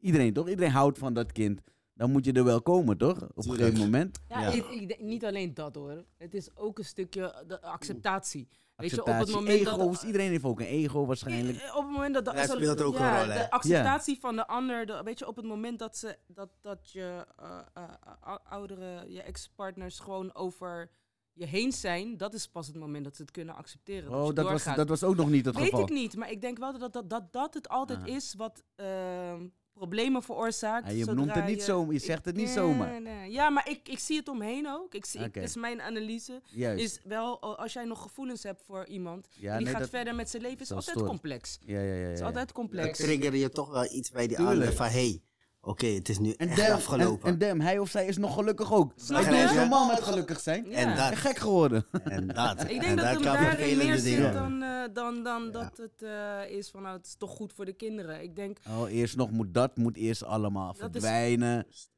[SPEAKER 1] iedereen toch? Iedereen houdt van dat kind. Dan moet je er wel komen, toch? Op een
[SPEAKER 3] Tuurlijk.
[SPEAKER 1] gegeven moment.
[SPEAKER 2] Ja,
[SPEAKER 3] Ja.
[SPEAKER 2] Ik, ik denk niet alleen dat hoor. Het is ook een stukje de acceptatie. Weet je, op het
[SPEAKER 1] Acceptatie,
[SPEAKER 2] moment dat-
[SPEAKER 1] ego's. Iedereen heeft ook een ego waarschijnlijk.
[SPEAKER 2] Eh, Op het moment dat de,
[SPEAKER 3] Dat
[SPEAKER 2] zo-
[SPEAKER 3] speelt ook
[SPEAKER 2] ja,
[SPEAKER 3] een rol, hè?
[SPEAKER 2] de acceptatie van de ander. de- weet je, op het moment dat, ze, dat, dat je eh, eh, eh, oudere, je ex-partners gewoon over je heen zijn, dat is pas het moment dat ze het kunnen accepteren.
[SPEAKER 1] Oh,
[SPEAKER 2] je
[SPEAKER 1] dat was,
[SPEAKER 2] doorgaat.
[SPEAKER 1] dat was ook nog niet het
[SPEAKER 2] Weet
[SPEAKER 1] geval.
[SPEAKER 2] ik niet, maar ik denk wel dat dat, dat, dat het altijd
[SPEAKER 1] Ah.
[SPEAKER 2] is wat ehm, problemen veroorzaakt.
[SPEAKER 1] Ah, je
[SPEAKER 2] zodra
[SPEAKER 1] noemt het niet zomaar, je
[SPEAKER 2] ik-
[SPEAKER 1] zegt het niet
[SPEAKER 2] nee,
[SPEAKER 1] zomaar.
[SPEAKER 2] nee. Ja, maar ik, ik zie het omheen ook. Ik zie, ik-
[SPEAKER 1] Oké.
[SPEAKER 2] dus mijn analyse
[SPEAKER 1] Juist.
[SPEAKER 2] is wel, eh, als jij nog gevoelens hebt voor iemand,
[SPEAKER 1] Ja,
[SPEAKER 2] en die
[SPEAKER 1] nee,
[SPEAKER 2] gaat
[SPEAKER 1] dat-
[SPEAKER 2] verder met zijn leven, is
[SPEAKER 1] dat is
[SPEAKER 2] altijd
[SPEAKER 1] story.
[SPEAKER 2] complex.
[SPEAKER 1] ja, ja, ja, ja,
[SPEAKER 2] Het is
[SPEAKER 1] ja.
[SPEAKER 2] altijd
[SPEAKER 3] Dan
[SPEAKER 2] complex.
[SPEAKER 3] trigger je toch wel iets bij die
[SPEAKER 1] Tuurlijk.
[SPEAKER 3] ander van, hé, oké, het is nu
[SPEAKER 1] En
[SPEAKER 3] echt
[SPEAKER 1] damn,
[SPEAKER 3] afgelopen.
[SPEAKER 1] En, en damn, hij of zij is nog gelukkig ook.
[SPEAKER 2] Snap
[SPEAKER 1] ik ben
[SPEAKER 2] je?
[SPEAKER 1] zo normaal met gelukkig zijn.
[SPEAKER 2] Ja.
[SPEAKER 3] En
[SPEAKER 1] En
[SPEAKER 3] dat,
[SPEAKER 1] gek geworden.
[SPEAKER 3] en dat.
[SPEAKER 2] Ik
[SPEAKER 3] en
[SPEAKER 2] denk dat
[SPEAKER 3] dat
[SPEAKER 2] hem
[SPEAKER 3] kan
[SPEAKER 2] daarin
[SPEAKER 3] vervelende
[SPEAKER 2] meer
[SPEAKER 3] dingen
[SPEAKER 2] zit
[SPEAKER 3] worden.
[SPEAKER 2] dan, eh, dan, dan dat het eh, is van nou, het is toch goed voor de kinderen. Ik denk,
[SPEAKER 1] Oh, eerst nog moet dat, moet eerst allemaal
[SPEAKER 2] is-
[SPEAKER 1] verdwijnen.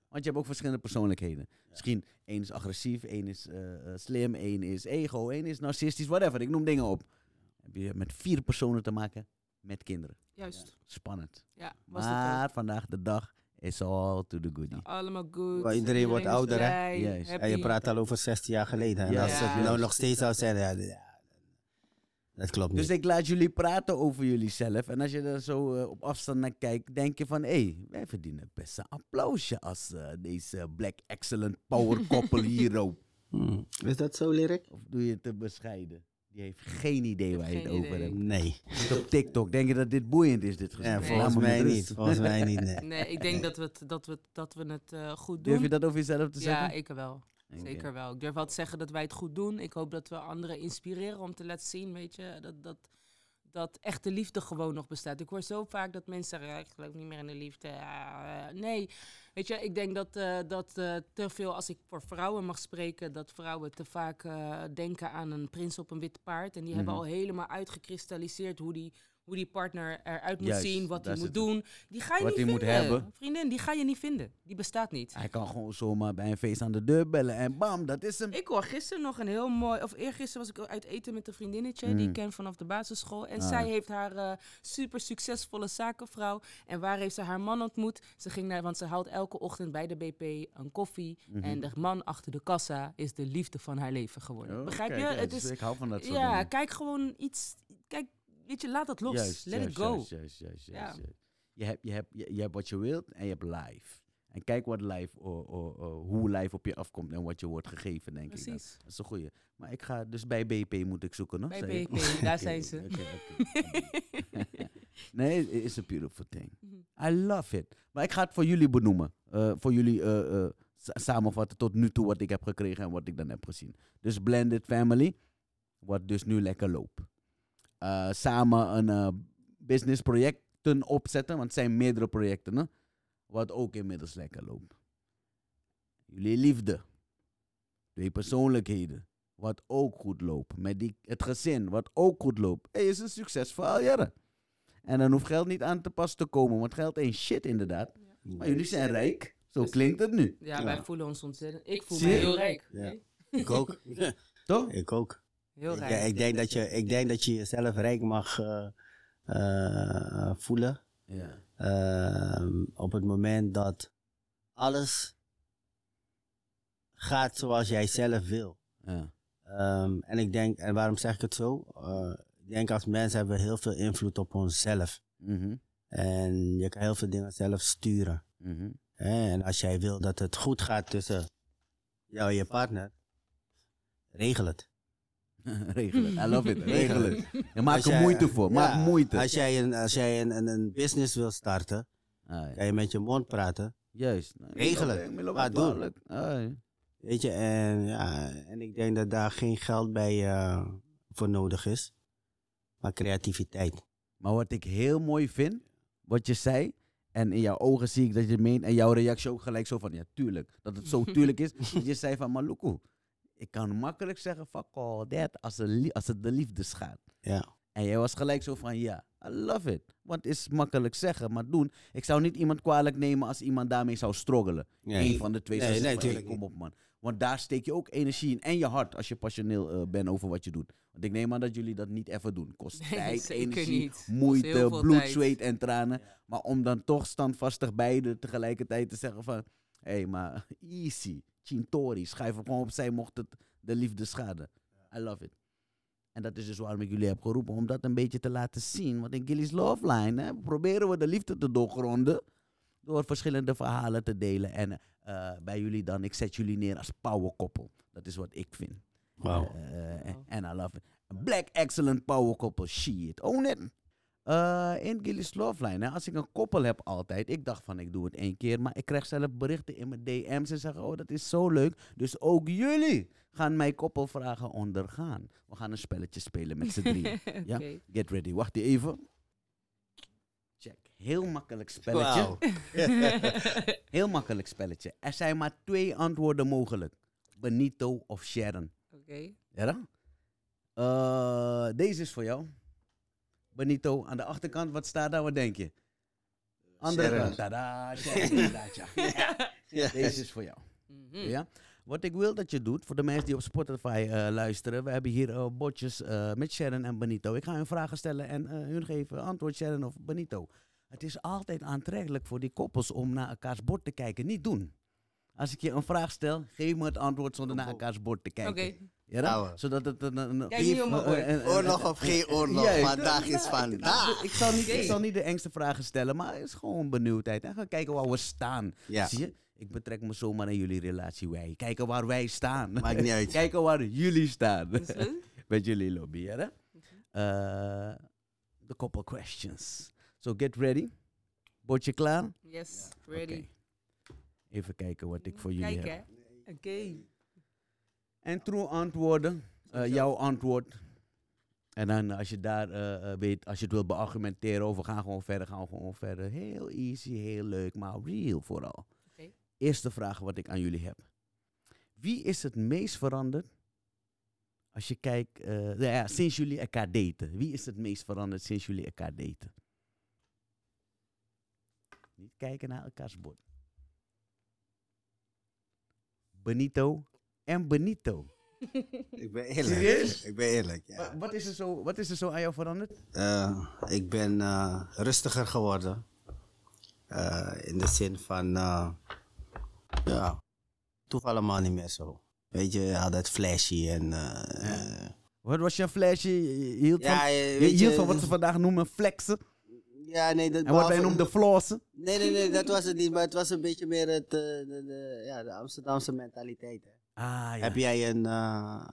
[SPEAKER 1] Want je hebt ook verschillende persoonlijkheden. Misschien één is agressief, één is eh, eh, slim, één is ego, één is narcistisch, whatever. Ik noem dingen op. Heb je met vier personen te maken met kinderen.
[SPEAKER 2] Juist.
[SPEAKER 1] Spannend.
[SPEAKER 2] Ja, was het
[SPEAKER 1] Maar vandaag de dag is all to the goodie.
[SPEAKER 2] Allemaal goed.
[SPEAKER 3] Maar iedereen wordt
[SPEAKER 2] is
[SPEAKER 3] ouder, hè?
[SPEAKER 2] blij,
[SPEAKER 1] Juist.
[SPEAKER 2] happy.
[SPEAKER 3] Ja, je praat al over 16 jaar geleden. En
[SPEAKER 1] Ja.
[SPEAKER 3] als het
[SPEAKER 2] Ja.
[SPEAKER 3] nou nog steeds zou zijn, ja, ja, dat klopt niet.
[SPEAKER 1] Dus ik laat jullie praten over jullie zelf. En als je er zo eh, op afstand naar kijkt, denk je van... hé, wij verdienen best een applausje als eh, deze Black Excellent Power Couple hier ook.
[SPEAKER 3] Hmm. Is dat zo, Lyric?
[SPEAKER 1] Of doe je het te bescheiden? Die heeft geen idee
[SPEAKER 2] heb
[SPEAKER 1] waar je het
[SPEAKER 2] geen
[SPEAKER 1] over
[SPEAKER 2] idee.
[SPEAKER 1] hebt.
[SPEAKER 3] Nee.
[SPEAKER 1] Zit op TikTok. Denk je dat dit boeiend is, dit gesprek?
[SPEAKER 3] Ja,
[SPEAKER 2] Nee.
[SPEAKER 1] Laat
[SPEAKER 3] volgens
[SPEAKER 1] me met
[SPEAKER 3] mij
[SPEAKER 1] rust.
[SPEAKER 3] niet. Volgens mij niet, nee.
[SPEAKER 2] Nee, ik denk dat we het, dat we, dat we het eh, goed doen.
[SPEAKER 1] Durf je dat over jezelf te
[SPEAKER 2] ja,
[SPEAKER 1] zeggen?
[SPEAKER 2] ik wel.
[SPEAKER 1] Oké.
[SPEAKER 2] Zeker wel. Ik durf wel te zeggen dat wij het goed doen. Ik hoop dat we anderen inspireren om te laten zien, weet je, dat, dat, dat echte liefde gewoon nog bestaat. Ik hoor zo vaak dat mensen zeggen, "Ja, ik geloof niet meer in de liefde. Ja, eh, nee, weet je, ik denk dat, eh, dat eh, te veel, als ik voor vrouwen mag spreken, dat vrouwen te vaak eh, denken aan een prins op een wit paard. En die hebben
[SPEAKER 1] Mhm.
[SPEAKER 2] al helemaal uitgekristalliseerd hoe die, hoe die partner eruit moet
[SPEAKER 1] Juist,
[SPEAKER 2] zien, wat hij
[SPEAKER 1] daar
[SPEAKER 2] moet
[SPEAKER 1] zit het.
[SPEAKER 2] doen. Die ga je
[SPEAKER 1] Wat
[SPEAKER 2] niet
[SPEAKER 1] hij moet
[SPEAKER 2] vinden.
[SPEAKER 1] hebben.
[SPEAKER 2] Vriendin, die ga je niet vinden. Die bestaat niet.
[SPEAKER 1] Hij kan gewoon zomaar bij een feest aan de deur bellen en bam, dat is hem.
[SPEAKER 2] Ik hoor gisteren nog een heel mooi, of eergisteren was ik uit eten met een vriendinnetje die ik ken vanaf de basisschool. En
[SPEAKER 1] Hmm. Ah.
[SPEAKER 2] zij heeft haar eh, super succesvolle zakenvrouw. En waar heeft ze haar man ontmoet? Ze ging naar, want ze haalt elke ochtend bij de BP een koffie.
[SPEAKER 1] Mhm.
[SPEAKER 2] En de man achter de kassa is de liefde van haar leven geworden.
[SPEAKER 1] Oh,
[SPEAKER 2] Begrijp
[SPEAKER 1] kijk,
[SPEAKER 2] je?
[SPEAKER 1] ja,
[SPEAKER 2] Het
[SPEAKER 1] dus
[SPEAKER 2] is,
[SPEAKER 1] ik hou van dat soort
[SPEAKER 2] ja,
[SPEAKER 1] dingen.
[SPEAKER 2] kijk gewoon iets. Kijk, weet je, laat dat los.
[SPEAKER 1] Juist,
[SPEAKER 2] Let
[SPEAKER 1] juist,
[SPEAKER 2] it go.
[SPEAKER 1] Juist, juist, juist,
[SPEAKER 2] Ja.
[SPEAKER 1] juist, juist. Je, hebt, je, hebt, je, je hebt wat je wilt en je hebt live. En kijk wat live, o- o- o- hoe live op je afkomt en wat je wordt gegeven, denk ik. dan.
[SPEAKER 2] Precies.
[SPEAKER 1] Dat is een goeie. Maar ik ga, dus bij BP moet ik zoeken, nog?
[SPEAKER 2] Bij
[SPEAKER 1] zei je?
[SPEAKER 2] BP, daar
[SPEAKER 1] Oké,
[SPEAKER 2] zijn ze.
[SPEAKER 1] oké, oké. nee, it is a beautiful thing. I love it. Maar ik ga het voor jullie benoemen. eh, voor jullie eh, eh, sa- samenvatten tot nu toe wat ik heb gekregen en wat ik dan heb gezien. Dus Blended Family, wat dus nu lekker loopt. Eh, samen een eh, businessprojecten opzetten, want het zijn meerdere projecten, hè, wat ook inmiddels lekker loopt. Jullie liefde, twee persoonlijkheden, wat ook goed loopt. Met die, het gezin, wat ook goed loopt. Het is een succes voor al jaren. En dan hoeft geld niet aan te pas te komen, want geld ain't shit inderdaad. Maar jullie zijn rijk, zo
[SPEAKER 2] Dus-
[SPEAKER 1] klinkt het nu.
[SPEAKER 2] Ja,
[SPEAKER 3] Ja.
[SPEAKER 2] wij voelen ons ontzettend. Ik voel
[SPEAKER 1] Zie
[SPEAKER 2] me
[SPEAKER 1] je?
[SPEAKER 2] heel rijk.
[SPEAKER 3] Ja.
[SPEAKER 2] Nee?
[SPEAKER 3] Ik ook.
[SPEAKER 1] Toch?
[SPEAKER 3] Ik ook.
[SPEAKER 2] Heel
[SPEAKER 3] Ik-
[SPEAKER 2] rijk.
[SPEAKER 3] Ja, ik, denk dat je, ik denk dat je jezelf rijk mag eh, eh, voelen.
[SPEAKER 1] Ja.
[SPEAKER 3] Ehm, op het moment dat alles gaat zoals jij zelf wil.
[SPEAKER 1] ja.
[SPEAKER 3] Ehm, en ik denk, en waarom zeg ik het zo? Eh, ik denk als mensen hebben we heel veel invloed op onszelf.
[SPEAKER 1] Mhm.
[SPEAKER 3] En je kan heel veel dingen zelf sturen.
[SPEAKER 1] Mhm.
[SPEAKER 3] Hè? En als jij wil dat het goed gaat tussen jou en je partner, regel het.
[SPEAKER 1] Regelen. I love it. Regelen. Je maakt
[SPEAKER 3] Als
[SPEAKER 1] er
[SPEAKER 3] jij-
[SPEAKER 1] moeite voor.
[SPEAKER 3] Ja,
[SPEAKER 1] Maak moeite.
[SPEAKER 3] Als jij, een, als jij een, een, een business wil starten,
[SPEAKER 1] Ah, ja.
[SPEAKER 3] kan je met je mond praten.
[SPEAKER 1] Juist. Nou,
[SPEAKER 3] Regelen.
[SPEAKER 1] ik wil ook
[SPEAKER 3] Maar doen.
[SPEAKER 1] duidelijk. Ah, ja.
[SPEAKER 3] Weet je, en, ja, en ik denk dat daar geen geld bij eh, voor nodig is. Maar creativiteit.
[SPEAKER 1] Maar wat ik heel mooi vind, wat je zei, en in jouw ogen zie ik dat je het meent, en jouw reactie ook gelijk zo van, ja tuurlijk, dat het zo tuurlijk is. Dat je zei van, Maluku, ik kan makkelijk zeggen, fuck all that, als het, lie- als het de liefdes gaat.
[SPEAKER 3] Ja.
[SPEAKER 1] En jij was gelijk zo van, ja, I love it. Want het is makkelijk zeggen, maar doen. Ik zou niet iemand kwalijk nemen als iemand daarmee zou struggelen.
[SPEAKER 3] Nee.
[SPEAKER 1] Eén van de twee
[SPEAKER 3] Nee,
[SPEAKER 1] zou
[SPEAKER 3] nee,
[SPEAKER 1] zeggen, van, hey,
[SPEAKER 3] tuurlijk
[SPEAKER 1] kom op man. Want daar steek je ook energie in en je hart als je passioneel eh, bent over wat je doet. Want ik neem aan dat jullie dat niet even doen. Kost
[SPEAKER 2] Nee,
[SPEAKER 1] tijd,
[SPEAKER 2] zeker
[SPEAKER 1] energie,
[SPEAKER 2] niet. Kost
[SPEAKER 1] moeite,
[SPEAKER 2] heel veel
[SPEAKER 1] bloed,
[SPEAKER 2] tijd.
[SPEAKER 1] zweet en tranen. Maar om dan toch standvastig beide tegelijkertijd te zeggen van... Hé, hey, maar easy, chintori, schuif hem gewoon opzij mocht het de liefde schaden. I love it. En dat is dus waarom ik jullie heb geroepen, om dat een beetje te laten zien. Want in Gilly's Love Line hè, proberen we de liefde te doorgronden... door verschillende verhalen te delen. En eh, bij jullie dan, ik zet jullie neer als powerkoppel. Dat is wat ik vind.
[SPEAKER 3] Wauw.
[SPEAKER 1] Eh, En I love it. Black excellent power couple. Shit. Own it. Eh, in Gilly's Love Line, hè, als ik een koppel heb altijd, ik dacht van ik doe het één keer, maar ik krijg zelf berichten in mijn DM's en zeggen, oh dat is zo leuk. Dus ook jullie gaan mijn koppelvragen ondergaan. We gaan een spelletje spelen met z'n drieën. ja?
[SPEAKER 2] Oké.
[SPEAKER 1] Get ready, wacht even. Check, heel makkelijk spelletje.
[SPEAKER 3] Wauw.
[SPEAKER 1] Heel makkelijk spelletje. Er zijn maar twee antwoorden mogelijk. Benito of Sharon.
[SPEAKER 2] Oké.
[SPEAKER 1] Ja dan? Eh, deze is voor jou. Benito, aan de achterkant, wat staat daar? Wat denk je? Andere
[SPEAKER 3] Sharon.
[SPEAKER 1] kant. Tada, Sharon, inderdaad, ja.
[SPEAKER 3] Ja.
[SPEAKER 1] Deze is voor jou.
[SPEAKER 2] Mhm.
[SPEAKER 1] Ja? Wat ik wil dat je doet, voor de mensen die op Spotify eh, luisteren, we hebben hier eh, botjes eh, met Sharon en Benito. Ik ga hun vragen stellen en eh, hun geven antwoord, Sharon of Benito. Het is altijd aantrekkelijk voor die koppels om naar elkaars bord te kijken. Niet doen. Als ik je een vraag stel, geef me het antwoord zonder naar elkaars bord te kijken.
[SPEAKER 2] Oké.
[SPEAKER 1] Ja, dan?
[SPEAKER 3] Ouwe.
[SPEAKER 1] Zodat het een, een, een-
[SPEAKER 2] Kijk niet om mijn
[SPEAKER 1] een-
[SPEAKER 2] oor.
[SPEAKER 1] een- een-
[SPEAKER 3] Oorlog of geen oorlog,
[SPEAKER 1] Juist.
[SPEAKER 3] vandaag is
[SPEAKER 1] Nou, ik-
[SPEAKER 3] vandaag.
[SPEAKER 1] Ik, ik, zal niet, ik
[SPEAKER 2] Oké.
[SPEAKER 1] zal niet de engste vragen stellen, maar het is gewoon benieuwdheid. En gaan kijken waar we staan.
[SPEAKER 3] Ja.
[SPEAKER 1] Zie je? Ik betrek me zomaar aan jullie relatie, wij. Kijken waar wij staan.
[SPEAKER 3] Maakt niet uit.
[SPEAKER 1] Kijken waar jullie staan.
[SPEAKER 2] Dus, eh,
[SPEAKER 1] Met jullie lobby, hè? Eh, De couple questions. So get ready. Bordje klaar?
[SPEAKER 2] yes, ready.
[SPEAKER 1] Oké. Even kijken wat ik voor jullie
[SPEAKER 2] Kijk,
[SPEAKER 1] heb.
[SPEAKER 2] hè. Oké.
[SPEAKER 1] En true antwoorden, eh, jouw antwoord. En dan als je daar eh, eh, weet, als je het wil beargumenteren of we gaan gewoon verder, gaan we gewoon verder. Heel easy, heel leuk, maar real vooral.
[SPEAKER 2] Oké.
[SPEAKER 1] Eerste vraag wat ik aan jullie heb. Wie is het meest veranderd als je kijkt, eh, nou ja, sinds jullie elkaar daten? Wie is het meest veranderd sinds jullie elkaar daten? Niet kijken naar elkaars bord. Benito en Benito.
[SPEAKER 3] Ik ben eerlijk.
[SPEAKER 1] Serieus?
[SPEAKER 3] Ik ben eerlijk, ja.
[SPEAKER 1] Wa- Wat is, er zo, wat is er zo aan jou veranderd?
[SPEAKER 3] Eh, ik ben eh, rustiger geworden. Eh, in de zin van, eh, ja, toevallig maar niet meer zo. Weet je, je had het flashy en... eh, eh,
[SPEAKER 1] Wat was je flesje? Je hield van,
[SPEAKER 3] ja, eh,
[SPEAKER 1] je
[SPEAKER 3] weet
[SPEAKER 1] hield
[SPEAKER 3] je,
[SPEAKER 1] van wat ze vandaag noemen flexen.
[SPEAKER 3] Ja, nee, dat
[SPEAKER 1] En wat wij
[SPEAKER 3] behalve-
[SPEAKER 1] noemden flossen.
[SPEAKER 3] Nee, nee, nee, dat was het niet. Maar het was een beetje meer het, eh, de, de- ja, de Amsterdamse mentaliteit. Hè.
[SPEAKER 1] Ah, ja.
[SPEAKER 3] Heb jij een, eh,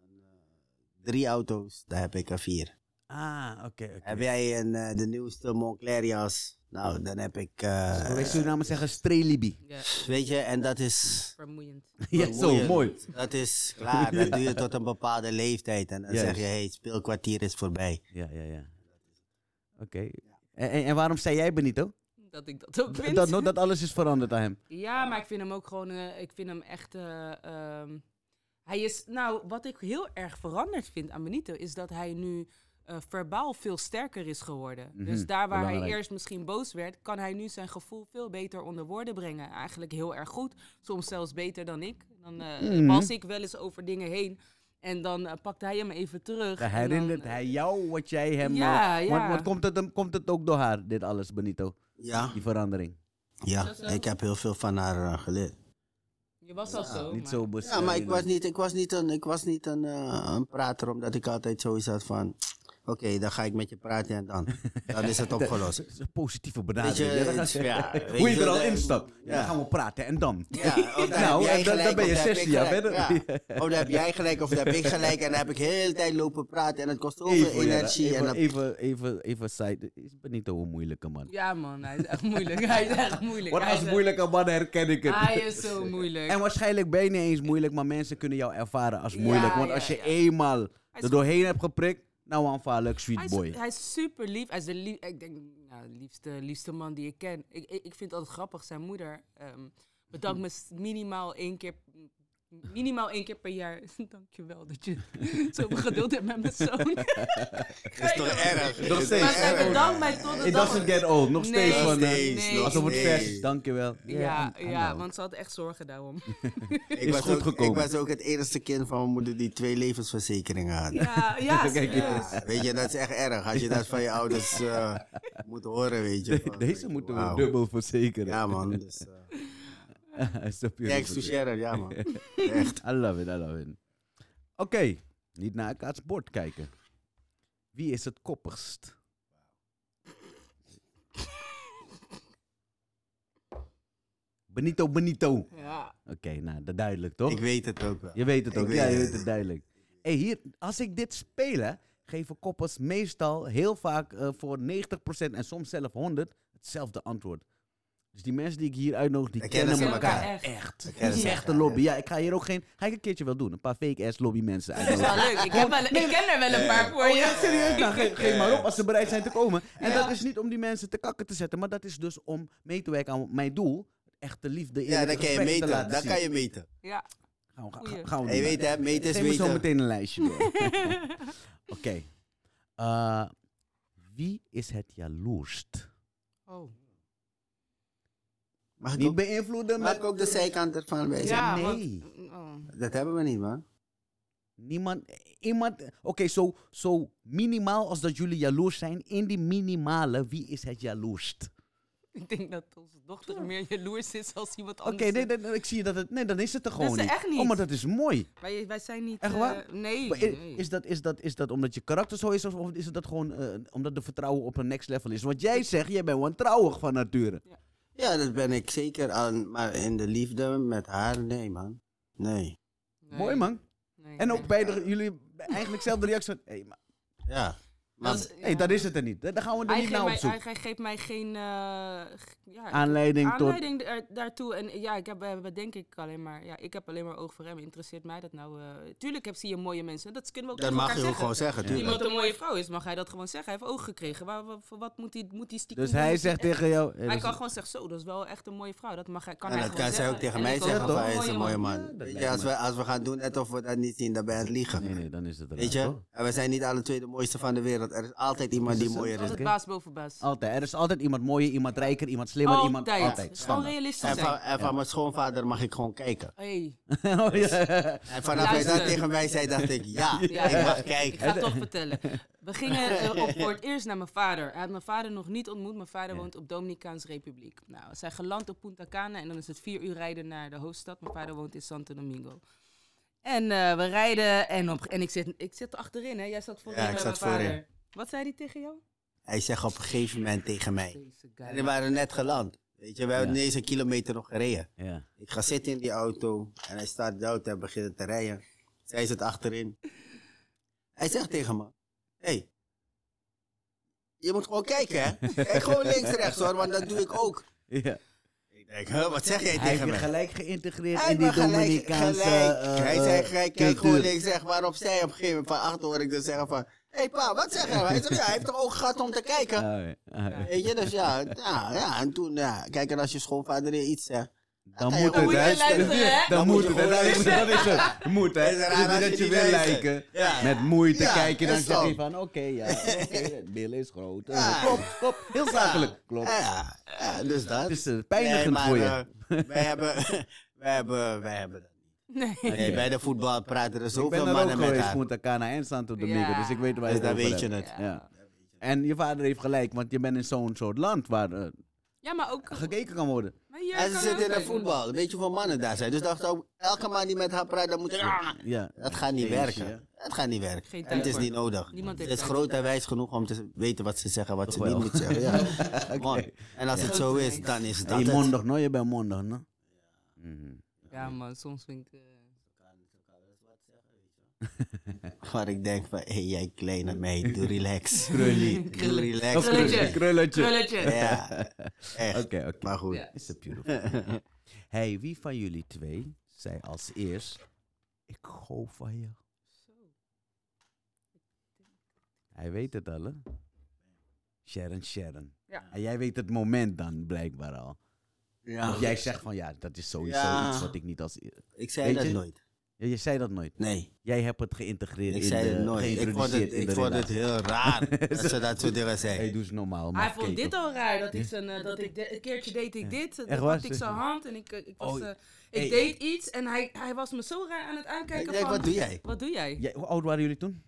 [SPEAKER 3] een, eh, drie auto's, dan heb ik er vier.
[SPEAKER 1] Ah, oké. oké.
[SPEAKER 3] Heb jij een, eh, de nieuwste Moncler jas? Nou, dan heb ik... eh,
[SPEAKER 1] Wij Surinamers zeggen strelibi.
[SPEAKER 2] Ja,
[SPEAKER 3] weet je, en dat is...
[SPEAKER 2] vermoeiend.
[SPEAKER 1] ja, zo,
[SPEAKER 3] Vermoeiend.
[SPEAKER 1] mooi.
[SPEAKER 3] Dat is klaar. Dat doe je tot een bepaalde leeftijd. En dan
[SPEAKER 1] Juist.
[SPEAKER 3] zeg je, hey, het speelkwartier is voorbij.
[SPEAKER 1] Ja, ja, ja. Oké. En, en, en waarom zei jij Benito?
[SPEAKER 2] Dat ik dat ook vind.
[SPEAKER 1] Dat, dat, dat alles is veranderd aan hem.
[SPEAKER 2] Ja, maar ik vind hem ook gewoon, eh, ik vind hem echt, eh, ehm, hij is, nou, wat ik heel erg veranderd vind aan Benito, is dat hij nu eh, verbaal veel sterker is geworden.
[SPEAKER 1] Mhm,
[SPEAKER 2] Dus daar waar hij
[SPEAKER 1] belangrijk.
[SPEAKER 2] eerst misschien boos werd, kan hij nu zijn gevoel veel beter onder woorden brengen. Eigenlijk heel erg goed, soms zelfs beter dan ik. Dan eh
[SPEAKER 1] Mhm.
[SPEAKER 2] was ik wel eens over dingen heen en dan eh, pakte hij hem even terug.
[SPEAKER 1] Dan
[SPEAKER 2] en dan,
[SPEAKER 1] herinnert
[SPEAKER 2] eh,
[SPEAKER 1] hij jou wat jij hem...
[SPEAKER 2] Ja,
[SPEAKER 1] eh, want-
[SPEAKER 2] ja.
[SPEAKER 1] want komt, het, hem- komt het ook door haar, dit alles, Benito?
[SPEAKER 3] Ja,
[SPEAKER 1] Die verandering?
[SPEAKER 3] ja. ik heb heel veel van haar eh, geleerd.
[SPEAKER 2] Je was al zo.
[SPEAKER 1] Niet
[SPEAKER 2] maar-
[SPEAKER 1] zo
[SPEAKER 3] Ja, maar ik was niet, ik was niet, een, ik was niet een, eh, een prater, omdat ik altijd zoiets had van... Oké, dan ga ik met je praten en dan. Dan is het opgelost.
[SPEAKER 1] Dat is een positieve
[SPEAKER 3] Weet je,
[SPEAKER 1] benadering. Ja, dan
[SPEAKER 3] het-
[SPEAKER 1] gaan ze-
[SPEAKER 3] ja, weet
[SPEAKER 1] Hoe je er al
[SPEAKER 3] dat-
[SPEAKER 1] instapt. Ja,
[SPEAKER 3] ja.
[SPEAKER 1] dan gaan we praten en dan.
[SPEAKER 3] Ja, of dan
[SPEAKER 1] Nou,
[SPEAKER 3] heb jij
[SPEAKER 1] en dan- dan
[SPEAKER 3] gelijk,
[SPEAKER 1] ben
[SPEAKER 3] of
[SPEAKER 1] je
[SPEAKER 3] heb ik
[SPEAKER 1] 16 jaar
[SPEAKER 3] gelijk.
[SPEAKER 1] verder.
[SPEAKER 3] Ja. Of dan heb jij gelijk, of dan heb ik gelijk. En dan heb ik heel de tijd lopen praten. En het kost zoveel
[SPEAKER 1] Even, ja,
[SPEAKER 3] energie. en
[SPEAKER 1] even,
[SPEAKER 3] dan-
[SPEAKER 1] even, even, even side. Is Benito een moeilijke man?
[SPEAKER 2] Ja man, hij is echt moeilijk. hij is echt moeilijk.
[SPEAKER 1] Wat
[SPEAKER 2] Hij
[SPEAKER 1] als
[SPEAKER 2] is echt-
[SPEAKER 1] moeilijke man herken ik het.
[SPEAKER 2] Hij Ah, is zo moeilijk.
[SPEAKER 1] En waarschijnlijk ben je niet eens moeilijk, maar mensen kunnen jou ervaren als moeilijk.
[SPEAKER 2] Ja,
[SPEAKER 1] want
[SPEAKER 2] ja,
[SPEAKER 1] als je
[SPEAKER 2] ja.
[SPEAKER 1] eenmaal
[SPEAKER 2] is
[SPEAKER 1] er doorheen hebt geprikt, nou aanvaardelijk
[SPEAKER 2] Hij
[SPEAKER 1] sweet
[SPEAKER 2] is,
[SPEAKER 1] boy.
[SPEAKER 2] hij is super lief. Hij is de lief, ik denk, nou, liefste, liefste man die ik ken. Ik, ik, ik vind het altijd grappig. Zijn moeder ehm, bedankt me s- minimaal één keer. Minimaal één keer per jaar. Dankjewel dat je zoveel geduld hebt met mijn zoon.
[SPEAKER 3] Dat is toch erg?
[SPEAKER 1] Nog steeds.
[SPEAKER 2] maar zij bedankt mij tot de
[SPEAKER 1] It doesn't
[SPEAKER 2] dag.
[SPEAKER 1] get old. Nog
[SPEAKER 2] Nee,
[SPEAKER 1] steeds van... eh,
[SPEAKER 2] nee, nee,
[SPEAKER 1] alsof het
[SPEAKER 2] nee.
[SPEAKER 1] vers is. Dankjewel.
[SPEAKER 2] Ja,
[SPEAKER 1] I- I
[SPEAKER 2] ja,
[SPEAKER 1] know.
[SPEAKER 2] want ze had echt zorgen daarom.
[SPEAKER 3] Ik
[SPEAKER 1] Is
[SPEAKER 3] was,
[SPEAKER 1] goed
[SPEAKER 3] ook,
[SPEAKER 1] gekomen.
[SPEAKER 3] ik was ook het enige kind van mijn moeder die twee levensverzekeringen had.
[SPEAKER 2] Ja, ja, serieus.
[SPEAKER 3] Ja, weet je, dat is echt erg. Als je dat van je ouders eh, moet horen, weet je. van, weet
[SPEAKER 1] Deze
[SPEAKER 3] je,
[SPEAKER 1] moeten we
[SPEAKER 3] wauw.
[SPEAKER 1] dubbel verzekeren.
[SPEAKER 3] Ja, man. Dus, eh,
[SPEAKER 1] It's a beautiful
[SPEAKER 3] thanks to
[SPEAKER 1] thing.
[SPEAKER 3] Sharon, ja, man.
[SPEAKER 1] I love it, I love it. Oké, niet naar elkaars bord kijken. Wie is het koppigst? Benito, Benito. Oké,
[SPEAKER 2] Ja.
[SPEAKER 1] nou, dat duidelijk toch?
[SPEAKER 3] Ik weet het ook wel.
[SPEAKER 1] Je weet het
[SPEAKER 3] Ik
[SPEAKER 1] ook,
[SPEAKER 3] weet
[SPEAKER 1] ja, je
[SPEAKER 3] het.
[SPEAKER 1] weet het duidelijk. Hey, hier, als ik dit speel, hè, geven koppels meestal heel vaak eh, voor 90% en soms zelf 100 hetzelfde antwoord. Dus die mensen die ik hier uitnodig, die
[SPEAKER 3] Dan
[SPEAKER 1] kennen,
[SPEAKER 3] kennen ze
[SPEAKER 1] elkaar,
[SPEAKER 2] elkaar
[SPEAKER 1] echt.
[SPEAKER 3] Dan
[SPEAKER 1] Het
[SPEAKER 3] kennen
[SPEAKER 1] is
[SPEAKER 3] ze
[SPEAKER 1] echt een
[SPEAKER 3] elkaar,
[SPEAKER 1] lobby. Ja, ik ga hier ook geen... Ga ik een keertje wel doen. Een paar fake-ass lobby mensen
[SPEAKER 2] Dat is
[SPEAKER 1] uitnodigen.
[SPEAKER 2] wel leuk. Ik, heb wel, ik ken er wel een paar voor
[SPEAKER 1] Oh ja,
[SPEAKER 2] je.
[SPEAKER 1] serieus? Nou, ge- geef maar op als ze bereid zijn te komen. En dat is niet om die mensen te kakken te zetten, maar dat is dus om mee te werken aan mijn doel. Echte liefde,
[SPEAKER 3] Ja, dan
[SPEAKER 1] eerlijke
[SPEAKER 3] kan je
[SPEAKER 1] respect te
[SPEAKER 3] meten.
[SPEAKER 1] laten
[SPEAKER 3] Dan
[SPEAKER 1] zien.
[SPEAKER 3] kan je meten.
[SPEAKER 2] Ja,
[SPEAKER 1] Gaan we, ga,
[SPEAKER 2] Goeie.
[SPEAKER 1] gaan we
[SPEAKER 3] En je
[SPEAKER 1] doen.
[SPEAKER 3] weet, hè, meten is
[SPEAKER 1] Geef me zo
[SPEAKER 3] weten.
[SPEAKER 1] meteen een lijstje door. Oké. Eh, Oh. wie is het jaloerst?
[SPEAKER 2] oh.
[SPEAKER 3] Mag ik,
[SPEAKER 1] Niet
[SPEAKER 3] ook,
[SPEAKER 1] beïnvloeden
[SPEAKER 3] mag
[SPEAKER 1] met...
[SPEAKER 3] ik ook de zijkant ervan wijzen?
[SPEAKER 1] Ja,
[SPEAKER 2] want-
[SPEAKER 1] nee.
[SPEAKER 2] oh.
[SPEAKER 3] Dat hebben we niet, man.
[SPEAKER 1] Niemand, iemand... Oké, zo, zo minimaal als dat jullie jaloers zijn. In die minimale, wie is het jaloerst?
[SPEAKER 2] Ik denk dat onze dochter meer jaloers is als iemand
[SPEAKER 1] Oké,
[SPEAKER 2] anders.
[SPEAKER 1] nee, dan- dan- ik zie dat het... Nee, dan is het er gewoon
[SPEAKER 2] is er
[SPEAKER 1] niet.
[SPEAKER 2] echt niet.
[SPEAKER 1] Oh, maar dat is mooi.
[SPEAKER 2] Wij, wij zijn niet...
[SPEAKER 1] Echt
[SPEAKER 2] eh,
[SPEAKER 1] waar?
[SPEAKER 2] nee.
[SPEAKER 1] Maar i-
[SPEAKER 2] nee.
[SPEAKER 1] is, dat, is, dat, is dat omdat je karakter zo is? Of- Of is dat gewoon eh, omdat de vertrouwen op een next level is? Want jij zegt, jij bent wantrouwig van nature.
[SPEAKER 3] Ja, dat ben ik zeker aan. Maar in de liefde met haar, nee, man. Nee.
[SPEAKER 2] Nee.
[SPEAKER 1] Mooi, man.
[SPEAKER 2] Nee.
[SPEAKER 1] En ook bij de, jullie eigenlijk zelfde reactie. Hé, maar-
[SPEAKER 3] Ja. Maar,
[SPEAKER 2] Dat is-
[SPEAKER 1] hé,
[SPEAKER 2] ja.
[SPEAKER 1] dat is het er niet. Daar gaan we er
[SPEAKER 2] Hij
[SPEAKER 1] niet
[SPEAKER 2] geeft
[SPEAKER 1] naar op
[SPEAKER 2] mij-
[SPEAKER 1] zoek.
[SPEAKER 2] hij- Hij geeft mij geen... eh, g- ja,
[SPEAKER 1] Aanleiding, tot...
[SPEAKER 2] aanleiding daar- daartoe. En ja, ik heb, we hebben denk ik alleen maar... Ja, ik heb alleen maar oog voor hem. Interesseert mij dat nou... eh, tuurlijk heb, zie je mooie mensen. Dat kunnen we ook
[SPEAKER 3] dat
[SPEAKER 2] tegen
[SPEAKER 3] mag
[SPEAKER 2] elkaar
[SPEAKER 3] je ook
[SPEAKER 2] zeggen.
[SPEAKER 3] gewoon zeggen,
[SPEAKER 2] Als
[SPEAKER 3] tuurlijk.
[SPEAKER 2] iemand een mooie vrouw is, mag hij dat gewoon zeggen. Hij heeft oog gekregen. Waar, waar- voor wat moet hij, moet hij stiekem
[SPEAKER 1] Dus
[SPEAKER 2] doen?
[SPEAKER 1] hij
[SPEAKER 2] Moet
[SPEAKER 1] zegt tegen jou... eh,
[SPEAKER 2] Hij
[SPEAKER 1] dat
[SPEAKER 2] kan
[SPEAKER 1] is-
[SPEAKER 2] gewoon zeggen, zo, dat is wel echt een mooie vrouw. Dat mag hij, kan
[SPEAKER 3] En
[SPEAKER 2] hij
[SPEAKER 3] dat
[SPEAKER 2] gewoon
[SPEAKER 3] kan zij ook tegen
[SPEAKER 2] En
[SPEAKER 3] mij
[SPEAKER 2] ik ook
[SPEAKER 3] zeggen,
[SPEAKER 2] wel
[SPEAKER 1] toch?
[SPEAKER 3] van
[SPEAKER 1] "Hij
[SPEAKER 3] hij is een mooie
[SPEAKER 1] man." Ja,
[SPEAKER 3] man.
[SPEAKER 1] dat
[SPEAKER 3] Weet
[SPEAKER 1] lijkt
[SPEAKER 3] je, als,
[SPEAKER 1] me.
[SPEAKER 3] we, als we gaan doen net of we dat niet zien, dan ben je aan het liegen.
[SPEAKER 1] Nee, nee, dan is het er
[SPEAKER 3] Weet je? En we zijn niet alle twee de mooiste van de wereld. Er is altijd iemand
[SPEAKER 1] Is
[SPEAKER 3] die
[SPEAKER 1] het zo?
[SPEAKER 3] mooier
[SPEAKER 2] Dat
[SPEAKER 3] is.
[SPEAKER 2] is
[SPEAKER 1] Oké.
[SPEAKER 2] het baas boven baas.
[SPEAKER 1] Altijd. Er is altijd iemand mooier, iemand rijker, iemand slimmer, iemand...
[SPEAKER 2] Altijd.
[SPEAKER 1] Altijd.
[SPEAKER 2] Gewoon
[SPEAKER 1] Standaard.
[SPEAKER 2] realistisch
[SPEAKER 3] En van,
[SPEAKER 2] zijn.
[SPEAKER 3] en van mijn schoonvader mag ik gewoon kijken.
[SPEAKER 2] Hey,
[SPEAKER 1] Oh, ja.
[SPEAKER 3] En vanaf hij dat
[SPEAKER 2] Luister.
[SPEAKER 3] tegen mij zei, dacht ik, ja,
[SPEAKER 2] Ja.
[SPEAKER 3] ik mag
[SPEAKER 2] ik
[SPEAKER 3] kijken.
[SPEAKER 2] ga het toch vertellen. We gingen eh, op voor het eerst naar mijn vader. Hij had mijn vader nog niet ontmoet. Mijn vader woont op Dominicaans Republiek. Nou, we zijn geland op Punta Cana en dan is het vier uur rijden naar de hoofdstad. Mijn vader woont in Santo Domingo. En eh, we rijden en, op, en ik, zit, ik zit achterin, hè? Jij zat voorin
[SPEAKER 3] Ja, ik
[SPEAKER 2] bij
[SPEAKER 3] zat
[SPEAKER 2] mijn vader.
[SPEAKER 3] voorin.
[SPEAKER 2] Wat zei hij tegen jou?
[SPEAKER 3] Hij zegt op een gegeven moment tegen mij.
[SPEAKER 2] Deze
[SPEAKER 3] En
[SPEAKER 2] guy.
[SPEAKER 3] we waren net geland. Weet je, we hebben
[SPEAKER 1] Ja.
[SPEAKER 3] ineens een kilometer nog gereden.
[SPEAKER 1] ja.
[SPEAKER 3] Ik ga zitten in die auto en hij staat dood en begint te rijden. Zij zit achterin. Hij zegt tegen me: Hé, hey, je moet gewoon kijken, hè? Kijk gewoon links, rechts hoor, want dat doe ik ook.
[SPEAKER 1] ja.
[SPEAKER 3] Ik denk: huh, wat zeg jij
[SPEAKER 1] Hij heeft
[SPEAKER 3] tegen
[SPEAKER 1] je
[SPEAKER 3] me?
[SPEAKER 1] gelijk geïntegreerd
[SPEAKER 3] Hij
[SPEAKER 1] in die
[SPEAKER 3] heeft me gelijk-
[SPEAKER 1] Dominicaanse...
[SPEAKER 3] gelijk.
[SPEAKER 1] eh,
[SPEAKER 3] hij zei gelijk, kijk
[SPEAKER 1] cultuur.
[SPEAKER 3] gewoon links, rechts. Waarop zij op een gegeven moment van achter hoor ik dan zeggen: van... Hé hey, pa, wat zeg jij? Hij zegt: Ja, hij heeft toch ook gehad om te kijken?
[SPEAKER 1] Ah, ja. Ah, ja.
[SPEAKER 3] Weet je, dus ja, ja, ja. En toen, ja, kijk, en als je schoonvader iets zegt.
[SPEAKER 1] Dan
[SPEAKER 3] Ja,
[SPEAKER 1] moet het,
[SPEAKER 3] dan moet je
[SPEAKER 1] hè?
[SPEAKER 2] luisteren, hè?
[SPEAKER 1] Dan
[SPEAKER 3] Dan
[SPEAKER 1] moet
[SPEAKER 3] moet je
[SPEAKER 1] het, hè?
[SPEAKER 3] gewoon
[SPEAKER 1] luisteren. Dat is het. Moet, hè?
[SPEAKER 3] Het is
[SPEAKER 1] Dus
[SPEAKER 3] raar als je
[SPEAKER 1] dat je
[SPEAKER 3] niet
[SPEAKER 1] wil
[SPEAKER 3] luistert.
[SPEAKER 1] lijken.
[SPEAKER 3] Ja.
[SPEAKER 1] Met moeite
[SPEAKER 3] Ja,
[SPEAKER 1] kijk je, dan
[SPEAKER 3] is
[SPEAKER 1] zeg
[SPEAKER 3] zo.
[SPEAKER 1] je van, oké, ja, oké, het bil is groot.
[SPEAKER 3] Ja.
[SPEAKER 1] Klopt, klopt. Heel zakelijk. Klopt.
[SPEAKER 3] Ja, ja, dus dat.
[SPEAKER 1] Het is eh, pijnigend voor je.
[SPEAKER 3] eh, wij hebben, wij hebben, wij hebben dat.
[SPEAKER 2] Nee.
[SPEAKER 3] niet. Nee, bij de voetbal praten er
[SPEAKER 1] Ik ben
[SPEAKER 3] zoveel
[SPEAKER 1] er ook
[SPEAKER 3] mannen met
[SPEAKER 1] geweest,
[SPEAKER 3] haar.
[SPEAKER 1] Punta Cana en Santo Domingo,
[SPEAKER 2] Ja.
[SPEAKER 1] dus ik weet waar je
[SPEAKER 3] Dus
[SPEAKER 1] het
[SPEAKER 3] dan
[SPEAKER 1] over
[SPEAKER 3] weet je
[SPEAKER 1] hebt.
[SPEAKER 3] het.
[SPEAKER 1] Ja. En je vader heeft gelijk, want je bent in zo'n soort land waar eh,
[SPEAKER 2] Ja, maar ook...
[SPEAKER 1] gekeken kan worden.
[SPEAKER 2] Maar hier
[SPEAKER 3] En ze
[SPEAKER 2] kan
[SPEAKER 3] zitten in
[SPEAKER 2] ook-
[SPEAKER 3] de voetbal. Weet je hoeveel mannen daar zijn? Dus dacht ook, elke man die met haar praat, dan moet je... Ah,
[SPEAKER 1] Ja.
[SPEAKER 3] Dat gaat niet
[SPEAKER 1] Jeetje,
[SPEAKER 3] werken. Dat gaat niet
[SPEAKER 2] Geen
[SPEAKER 3] werken. En
[SPEAKER 2] tijd
[SPEAKER 3] het is
[SPEAKER 2] voor.
[SPEAKER 3] niet nodig.
[SPEAKER 2] Niemand
[SPEAKER 3] Het
[SPEAKER 2] heeft
[SPEAKER 3] is
[SPEAKER 2] tijd.
[SPEAKER 3] groot en wijs genoeg om te weten wat ze zeggen, wat ze
[SPEAKER 1] Toch
[SPEAKER 3] niet
[SPEAKER 1] wel.
[SPEAKER 3] moeten zeggen. Ja. Man. En als het zo is,
[SPEAKER 2] Ja.
[SPEAKER 3] dan is dat
[SPEAKER 1] Hey,
[SPEAKER 3] het.
[SPEAKER 1] mondig, no, je bent mondig, no? Mhm.
[SPEAKER 2] Ja, man, soms vind ik... eh,
[SPEAKER 3] Waar ik denk van, hé hey, jij kleine meid, doe relax.
[SPEAKER 1] Krullie.
[SPEAKER 3] Doe
[SPEAKER 1] Of
[SPEAKER 3] relax.
[SPEAKER 1] krulletje. Krulletje.
[SPEAKER 2] Krulletje. Krulletje.
[SPEAKER 3] Ja, echt.
[SPEAKER 1] Oké, oké.
[SPEAKER 3] Maar goed.
[SPEAKER 2] Ja.
[SPEAKER 1] Is het beautiful. hey, wie van jullie twee zei als eerst: Ik hou van je? Hij weet het al, hè? Sharon, Sharon.
[SPEAKER 2] Ja.
[SPEAKER 1] En jij weet het moment dan blijkbaar al.
[SPEAKER 3] Oh, Ja.
[SPEAKER 1] Of jij zegt van ja, dat is sowieso
[SPEAKER 3] Ja.
[SPEAKER 1] iets wat ik niet als. eer-
[SPEAKER 3] Ik zei
[SPEAKER 1] Weet
[SPEAKER 3] dat
[SPEAKER 1] je?
[SPEAKER 3] nooit.
[SPEAKER 1] Ja, je zei dat nooit.
[SPEAKER 3] Nee,
[SPEAKER 1] Jij hebt het geïntegreerd.
[SPEAKER 3] ik
[SPEAKER 1] in
[SPEAKER 3] zei
[SPEAKER 1] de,
[SPEAKER 3] het nooit. Ik vond
[SPEAKER 1] geïntroduceerd
[SPEAKER 3] het,
[SPEAKER 1] in
[SPEAKER 3] ik
[SPEAKER 1] de
[SPEAKER 3] vond het
[SPEAKER 1] relatie.
[SPEAKER 3] heel raar dat ze dat soort dingen
[SPEAKER 1] Hey,
[SPEAKER 3] zei.
[SPEAKER 1] doe eens normaal.
[SPEAKER 2] Hij
[SPEAKER 1] maar
[SPEAKER 2] vond
[SPEAKER 1] keek
[SPEAKER 2] dit
[SPEAKER 1] op.
[SPEAKER 2] al raar, dat ik zijn, eh, dat ik de- een keertje deed ik dit, dan
[SPEAKER 1] Echt waar?
[SPEAKER 2] pakte ik zijn hand en ik, eh, ik, was,
[SPEAKER 1] Oh,
[SPEAKER 2] eh, ik
[SPEAKER 1] hey.
[SPEAKER 2] deed iets en hij, hij was me zo raar aan het aankijken
[SPEAKER 3] Ik denk,
[SPEAKER 2] van,
[SPEAKER 3] wat doe jij?
[SPEAKER 2] wat doe jij?
[SPEAKER 1] Jij- hoe oud waren jullie toen?